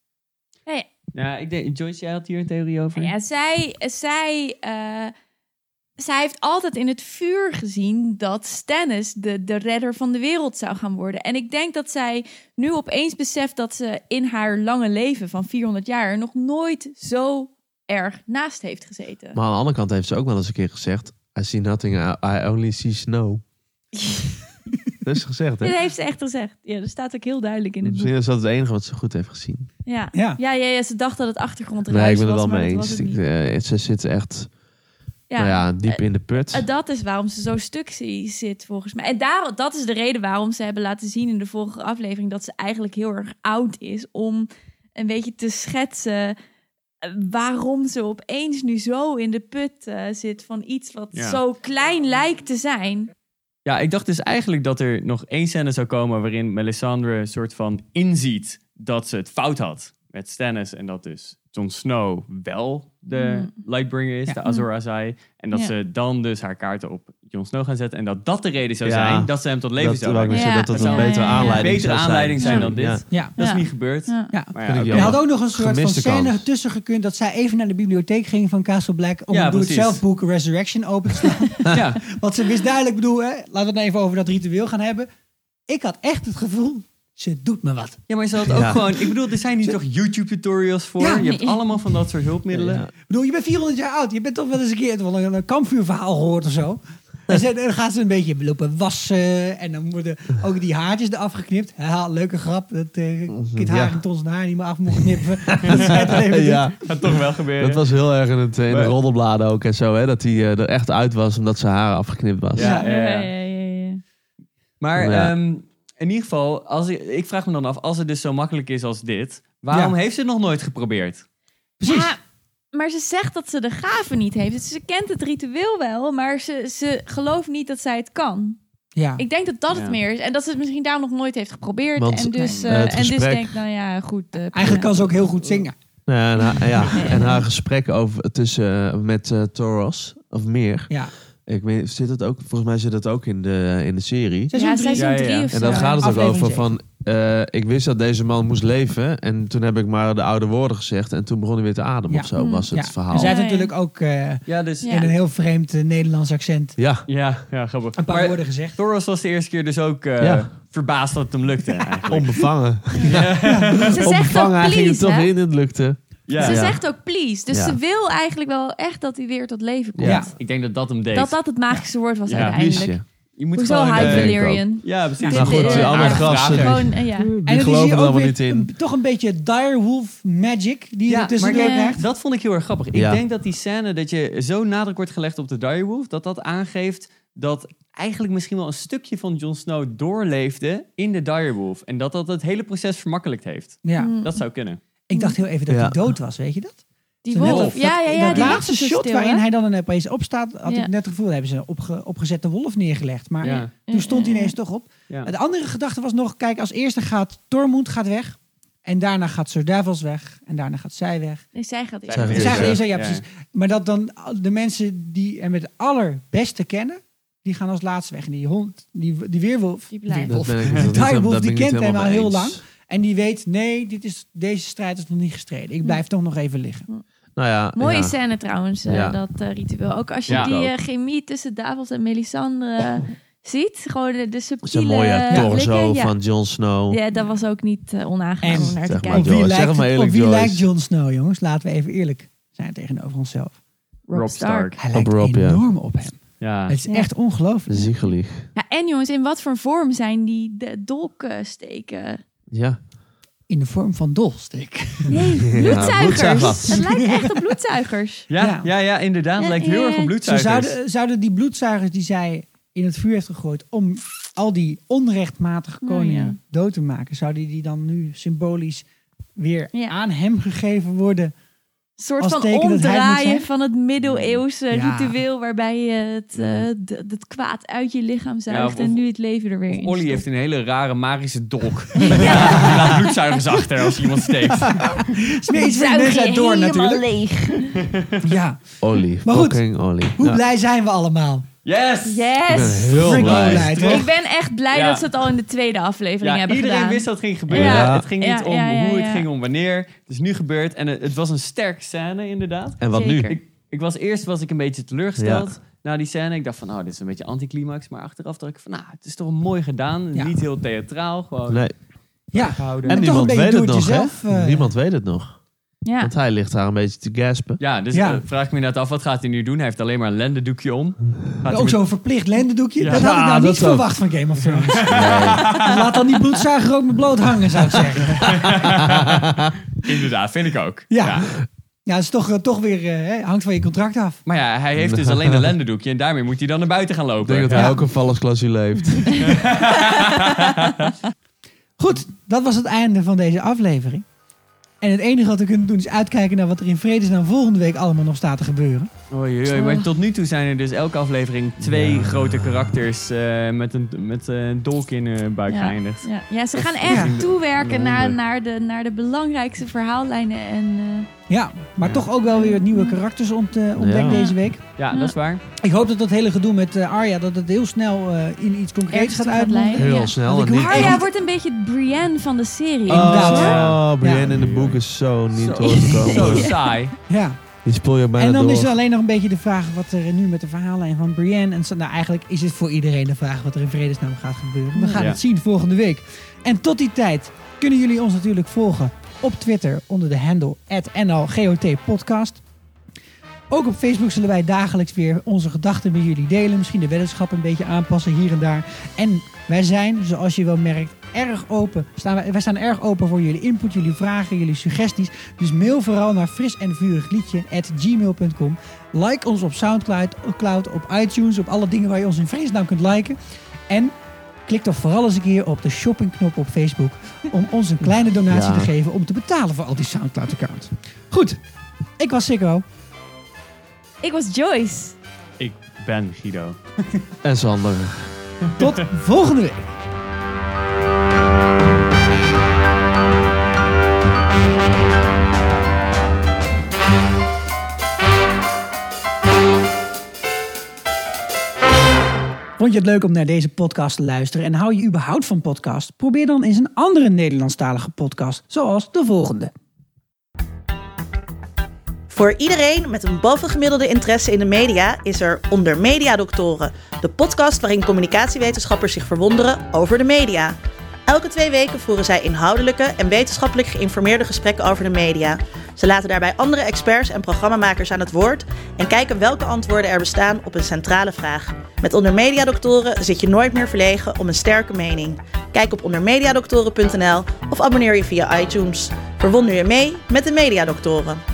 S5: Nou ja,
S2: Ja, ik denk, Joyce, jij had hier een theorie over?
S5: nou ja, zij, zij, eh, zij heeft altijd in het vuur gezien dat Stannis de, de redder van de wereld zou gaan worden. En ik denk dat zij nu opeens beseft dat ze in haar lange leven van 400 jaar er nog nooit zo erg naast heeft gezeten.
S4: Maar aan de andere kant heeft ze ook wel eens een keer gezegd... I see nothing, I- I only see snow. dat is gezegd, hè?
S5: Dit heeft ze echt gezegd. Ja, dat staat ook heel duidelijk in het boek.
S4: Misschien is dat het enige wat ze goed heeft gezien.
S5: Ja,
S1: Ja.
S5: ja. ja, ja, ze dacht dat het achtergrond
S4: nee, ik ben
S5: was,
S4: het wel
S5: maar
S4: mee
S5: dat was
S4: eens.
S5: het
S4: Ik,
S5: niet.
S4: eh, ze zit echt
S5: Ja.
S4: nou ja, diep
S5: Eh,
S4: in de put.
S5: Eh, dat is waarom ze zo stuk zi- zit, volgens mij. En daar, dat is de reden waarom ze hebben laten zien in de vorige aflevering dat ze eigenlijk heel erg oud is om een beetje te schetsen. eh, eh, waarom ze opeens nu zo in de put eh, zit van iets wat
S2: Ja.
S5: zo klein lijkt te zijn.
S2: Ja, ik dacht dus eigenlijk dat er nog één scène zou komen waarin Melisandre een soort van inziet dat ze het fout had met Stannis. En dat dus Jon Snow wel de Lightbringer is, de Azor Ahai. En dat
S5: Ja.
S2: ze dan dus haar kaarten op Jon Snow gaan zetten. En dat dat de reden zou
S4: Ja.
S2: zijn dat ze hem tot leven
S4: Dat,
S2: zou
S4: wou ik
S2: brengen.
S4: net zeggen, dat dat
S2: Ja.
S4: een betere
S5: Ja, ja, ja.
S4: aanleiding
S2: Betere
S4: zou
S2: aanleiding zijn dan dit.
S4: Ja.
S1: Ja.
S2: Dat
S5: Ja.
S2: is niet gebeurd.
S5: Ja.
S1: Ja.
S2: Maar
S4: Vind ik
S1: Je
S2: ja, oké.
S1: had ook nog een soort van
S4: Gemiste
S1: scène
S4: kans.
S1: tussen gekund dat zij even naar de bibliotheek ging van Castle Black om
S2: Ja,
S1: het doe het
S2: precies.
S1: zelf boek Resurrection open te slaan.
S2: ja.
S1: Want ze wist duidelijk, ik bedoel, hè, laten we het nou even over dat ritueel gaan hebben. Ik had echt het gevoel, ze doet me wat.
S2: Ja, maar ze had ook
S4: Ja.
S2: gewoon... Ik bedoel, er zijn hier toch YouTube-tutorials voor?
S1: Ja.
S2: je hebt allemaal van dat soort hulpmiddelen.
S4: Ja.
S1: Ik bedoel, je bent 400 jaar oud. Je bent toch wel eens een keer wel een, een kampvuurverhaal gehoord of zo. En ze- dan gaan ze een beetje lopen wassen. En dan worden ook die haartjes eraf geknipt. Haha, leuke grap. Dat eh kind haar
S4: Ja.
S1: en tons haar niet meer af mocht knippen. dat zij het alleen maar doet.
S4: Ja.
S2: Gaat toch wel gebeuren.
S4: Dat was heel erg in, het, eh, in de
S2: Maar-
S4: roddelbladen ook en zo, hè, dat hij eh, er echt uit was omdat zijn haar afgeknipt was.
S2: Ja, ja, ja.
S5: ja, ja.
S2: Maar
S4: Ja.
S2: ehm, in ieder geval, als ik, ik vraag me dan af, als het dus zo makkelijk is als dit, waarom
S1: Ja.
S2: heeft ze het nog nooit geprobeerd?
S5: Ja, maar ze zegt dat ze de gave niet heeft. Dus ze kent het ritueel wel, maar ze, ze gelooft niet dat zij het kan.
S1: Ja.
S5: Ik denk dat dat
S2: Ja.
S5: het meer is. En dat ze het misschien daarom nog nooit heeft geprobeerd.
S4: Want,
S5: en dus,
S4: eh,
S5: eh,
S4: het
S5: en dus
S4: gesprek-
S5: denkt, nou ja, goed. eh, prima.
S1: Eigenlijk kan ze ook heel goed zingen.
S4: Nou Ja, en, haar, ja. en haar gesprek over, tussen, eh, met eh, Toros, of meer.
S1: Ja.
S4: Ik weet, zit dat ook, volgens mij zit dat ook in de, in de serie.
S5: Ja,
S1: Seizoen drie.
S5: seizoen
S2: Ja, ja, ja.
S5: drie of
S4: En
S5: zo.
S4: daar gaat het ook
S1: Aflevering
S4: over
S1: zeven.
S4: van... eh, ik wist dat deze man moest leven. En toen heb ik maar de oude woorden gezegd. En toen begon hij weer te ademen
S1: Ja.
S4: of zo, was het
S1: Ja.
S4: verhaal.
S1: En zij heeft
S5: Ja, ja.
S1: natuurlijk ook eh,
S2: Ja, dus...
S5: Ja.
S1: in een heel vreemd eh, Nederlands accent
S4: Ja,
S2: Ja, ja, grappig.
S1: een paar
S2: maar
S1: woorden gezegd.
S2: Thoros was de eerste keer dus ook eh,
S4: Ja.
S2: verbaasd dat het hem lukte eigenlijk.
S4: onbevangen.
S5: Ze zegt ook
S4: Onbevangen, hij ging er
S5: please,
S4: toch
S5: hè?
S4: in en het lukte.
S2: Ja.
S5: Ze
S4: Ja.
S5: zegt ook please. Dus
S4: Ja.
S5: ze wil eigenlijk wel echt dat hij weer tot leven komt.
S1: Ja.
S2: Ik denk dat dat hem deed.
S5: Dat dat het magische woord was
S2: Ja.
S5: uiteindelijk.
S4: Liesje.
S2: Je moet
S5: Hoezo
S2: gewoon...
S5: High
S2: eh,
S4: denk ik
S5: Valyrian?
S2: ja, precies.
S4: Nou goed,
S5: Dit,
S4: die
S5: eh,
S4: andere
S5: aardige
S4: gasten.
S2: vragen.
S5: Gewoon, eh, ja.
S4: Die
S1: dan zie
S4: geloven
S1: je
S4: er
S1: ook
S4: allemaal
S1: weer
S4: niet in.
S1: een- toch een beetje direwolf magic die je
S2: Ja,
S1: er tussendoor
S5: maar- Ja.
S1: krijgt.
S2: Dat vond ik heel erg grappig. Ik
S4: Ja.
S2: denk dat die scène dat je zo nadruk wordt gelegd op de direwolf, dat dat aangeeft dat eigenlijk misschien wel een stukje van Jon Snow doorleefde in de direwolf. En dat dat het hele proces vermakkelijk heeft.
S1: Ja.
S5: mm.
S2: Dat zou kunnen.
S1: Ik dacht heel even dat
S4: Ja.
S1: hij dood was, weet je dat?
S5: Die
S1: Zo net
S5: wolf.
S1: of
S5: Ja, ja,
S1: dat-
S5: ja.
S1: dat
S5: Die
S1: laatste
S5: was zo
S1: shot
S5: stil,
S1: waarin
S5: hè?
S1: hij dan opeens opstaat, had
S5: Ja.
S1: ik net het gevoel, daar hebben ze een opge- opgezette wolf neergelegd. Maar
S2: Ja.
S1: toen stond hij ineens toch op.
S2: Ja.
S1: De andere gedachte was nog, kijk, als eerste gaat Tormund gaat weg. En daarna gaat Sir Davos weg. En daarna gaat zij weg.
S5: Nee, zij gaat eerst.
S2: Zij gaat
S1: En
S2: Dus,
S1: zij gaat
S2: eh,
S1: eerst, ja,
S2: ja.
S1: precies. Maar dat dan de mensen die hem het allerbeste kennen, die gaan als laatste weg. En die hond, die, die weerwolf,
S5: Die blijft.
S1: weerwolf,
S4: Dat ben ik niet- dat- dat
S1: Direwolf,
S4: ben
S1: die
S4: ik niet
S1: kent hem
S4: helemaal
S1: al
S4: mee
S1: heel
S4: eens.
S1: lang. En die weet, nee, dit is, deze strijd is nog niet gestreden.
S5: Hm.
S1: Ik blijf toch nog even liggen.
S4: Nou ja,
S5: Mooie
S4: ja.
S5: scène trouwens, eh,
S4: Ja.
S5: dat eh, ritueel. Ook als je
S2: Ja.
S5: die
S4: Ook.
S5: eh, chemie tussen Davos en Melisandre eh, ziet. Gewoon de, de subtiele
S4: Zijn mooie
S5: eh,
S4: torso
S5: blikken. Ja.
S4: van Jon Snow.
S5: Ja, dat was ook niet eh, onaangenaam
S1: En,
S5: om naar te
S4: zeg maar,
S5: kijken.
S4: Joyce, zeg het maar
S1: het-
S4: eerlijk,
S1: op wie
S4: Joyce.
S1: lijkt Jon Snow, jongens? Laten we even eerlijk zijn tegenover onszelf.
S5: Rob,
S2: Rob Stark.
S5: Stark.
S1: Hij lijkt
S4: Rob, ja.
S1: enorm op hem.
S2: Ja.
S1: Het is
S5: Ja.
S1: echt ongelooflijk.
S4: Ziegelig.
S5: Ja, en jongens, in wat voor vorm zijn die de dolken steken?
S4: Ja.
S1: In de vorm van dolstick.
S5: Nee, bloedzuigers.
S4: bloedzuigers.
S5: Het lijkt echt op bloedzuigers.
S2: Ja,
S1: Ja. Eh,
S2: ja, ja, inderdaad.
S5: Ja,
S2: lijkt heel
S5: ja,
S2: erg
S5: ja.
S1: Ze
S2: op bloedzuigers.
S1: zouden, zouden die bloedzuigers die zij in het vuur heeft gegooid... om al die onrechtmatige
S5: Nou,
S1: koningen
S5: ja.
S1: dood te maken... zouden die dan nu symbolisch weer
S5: Ja.
S1: aan hem gegeven worden?
S5: Een soort
S1: Als
S5: van
S1: teken dat hij het moet
S5: omdraaien
S1: zijn?
S5: van het middeleeuwse
S1: Ja.
S5: ritueel... waarbij je het, eh, d- het kwaad uit je lichaam zuigt
S2: of-
S5: en nu het leven er weer in
S2: Olly
S5: stopt.
S2: heeft een hele rare magische dolk. Die laat bloedzuigers achter als iemand steekt.
S1: Smeer iets van deze door natuurlijk.
S5: leeg.
S1: Ja.
S4: Olie.
S1: Maar goed,
S4: Fucking olie.
S1: Hoe
S4: Ja.
S1: blij zijn we allemaal?
S2: Yes!
S4: Ik ben
S5: Yes!
S4: heel
S1: Freaking
S4: blij.
S1: blij, toch?
S5: Ik ben echt blij
S2: Ja.
S5: dat ze het al in de tweede aflevering
S2: Ja,
S5: hebben
S2: iedereen
S5: gedaan.
S2: wist dat het ging gebeuren.
S4: Ja.
S2: Het ging niet
S5: Ja,
S2: om
S5: ja, ja,
S2: hoe, het
S5: ja.
S2: ging om wanneer. Het is nu gebeurd en het, het was een sterke scène inderdaad.
S4: En wat
S5: Zeker.
S4: nu?
S2: Ik, ik was eerst was ik een beetje teleurgesteld na die scène. Ik dacht van, oh, dit is een beetje anticlimax. Maar achteraf dacht ik van, nou, het is toch mooi gedaan.
S1: Ja.
S2: Niet heel theatraal, gewoon
S4: Nee.
S1: Ja.
S2: gehouden.
S4: En
S1: toch een
S4: niemand
S1: beetje
S4: weet
S1: doe
S4: het
S1: het
S4: nog,
S1: jezelf,
S4: hè?
S1: eh.
S4: Niemand weet het nog.
S5: Ja.
S4: Want hij ligt daar een beetje te gaspen.
S2: Ja, dus
S1: Ja.
S2: eh, vraag ik me inderdaad af, wat gaat hij nu doen? Hij heeft alleen maar een lendendoekje om. Gaat hij
S1: Ook
S2: met-
S1: zo'n verplicht lendendoekje.
S2: Ja.
S1: Dat had ik nou
S4: Ja,
S1: niet
S4: dat ook.
S1: verwacht van Game of Thrones. Dus Laat dan die bloedzuiger ook met bloot hangen, zou ik zeggen.
S2: Inderdaad, vind ik ook.
S1: Ja. Ja, dat is toch, eh, toch weer, eh, hè, hangt van je contract af.
S2: Maar ja, hij heeft dus alleen een lendendoekje en daarmee moet hij dan naar buiten gaan
S4: Ik
S2: lopen.
S4: denk dat hij ook een vallersklausule heeft.
S1: Goed, dat was het einde van deze aflevering. En het enige wat we kunnen doen is uitkijken naar wat er in vredesnaam volgende week allemaal nog staat te gebeuren.
S2: Oei, oei, oei. Maar tot nu toe zijn er dus elke aflevering twee grote karakters eh, met een, met een dolk in hun buik
S5: Ja,
S2: geëindigd.
S5: ja. ja, ze gaan
S2: Ja.
S5: echt toewerken
S2: Ja.
S5: naar, naar, de, naar de belangrijkste verhaallijnen. En, eh,
S1: Ja, maar toch ook wel weer nieuwe karakters ont, eh, ontdekt
S4: Ja.
S1: deze week.
S2: Ja, dat is waar.
S1: Ik hoop dat dat hele gedoe met eh, Arya, dat het heel snel eh, in iets concreets
S5: Ergens
S1: gaat
S5: toe gaat
S1: uitmonden.
S5: leiden.
S4: Heel
S5: Ja.
S4: snel.
S1: Want
S4: En
S1: ik
S4: niet
S1: hoor-
S5: Arya
S1: Echt?
S5: wordt een beetje het Brienne van de serie.
S1: Inderdaad.
S4: Oh, Brienne
S1: Ja.
S4: in de boek is zo niet
S2: Zo. Zo
S4: doorgekomen.
S2: saai.
S1: Ja.
S4: Die speel je bijna
S1: En dan
S4: door.
S1: is er alleen nog een beetje de vraag wat er nu met de verhaallijn van Brienne. En zo- nou, eigenlijk is het voor iedereen de vraag wat er in vredesnaam gaat gebeuren. We gaan
S2: Ja.
S1: het zien volgende week. En tot die tijd kunnen jullie ons natuurlijk volgen op Twitter onder de handle @nlgotpodcast. Ook op Facebook zullen wij dagelijks weer onze gedachten met jullie delen. Misschien de weddenschap een beetje aanpassen hier en daar. En wij zijn, zoals je wel merkt, erg open. Staan wij, wij staan erg open voor jullie input, jullie vragen, jullie suggesties. Dus mail vooral naar fris en vurig liedje gmail.com. Like ons op Soundcloud, op Cloud, op iTunes, op alle dingen waar je ons in vredesnaam kunt liken. En klik toch vooral eens een keer op de shoppingknop op Facebook om ons een kleine donatie
S4: Ja.
S1: te geven om te betalen voor al die Soundcloud-accounts. Goed, ik was Sikko.
S5: Ik was Joyce.
S2: Ik ben Guido.
S4: En Sander.
S1: Tot volgende week. Vond je het leuk om naar deze podcast te luisteren en hou je überhaupt van podcast? Probeer dan eens een andere Nederlandstalige podcast, zoals de volgende.
S10: Voor iedereen met een bovengemiddelde interesse in de media is er Onder Media Doctoren, de podcast waarin communicatiewetenschappers zich verwonderen over de media. Elke twee weken voeren zij inhoudelijke en wetenschappelijk geïnformeerde gesprekken over de media. Ze laten daarbij andere experts en programmamakers aan het woord en kijken welke antwoorden er bestaan op een centrale vraag. Met Onder Media Doctoren zit je nooit meer verlegen om een sterke mening. Kijk op ondermediadoctoren.nl of abonneer je via iTunes. Verwonder je mee met de Mediadoktoren.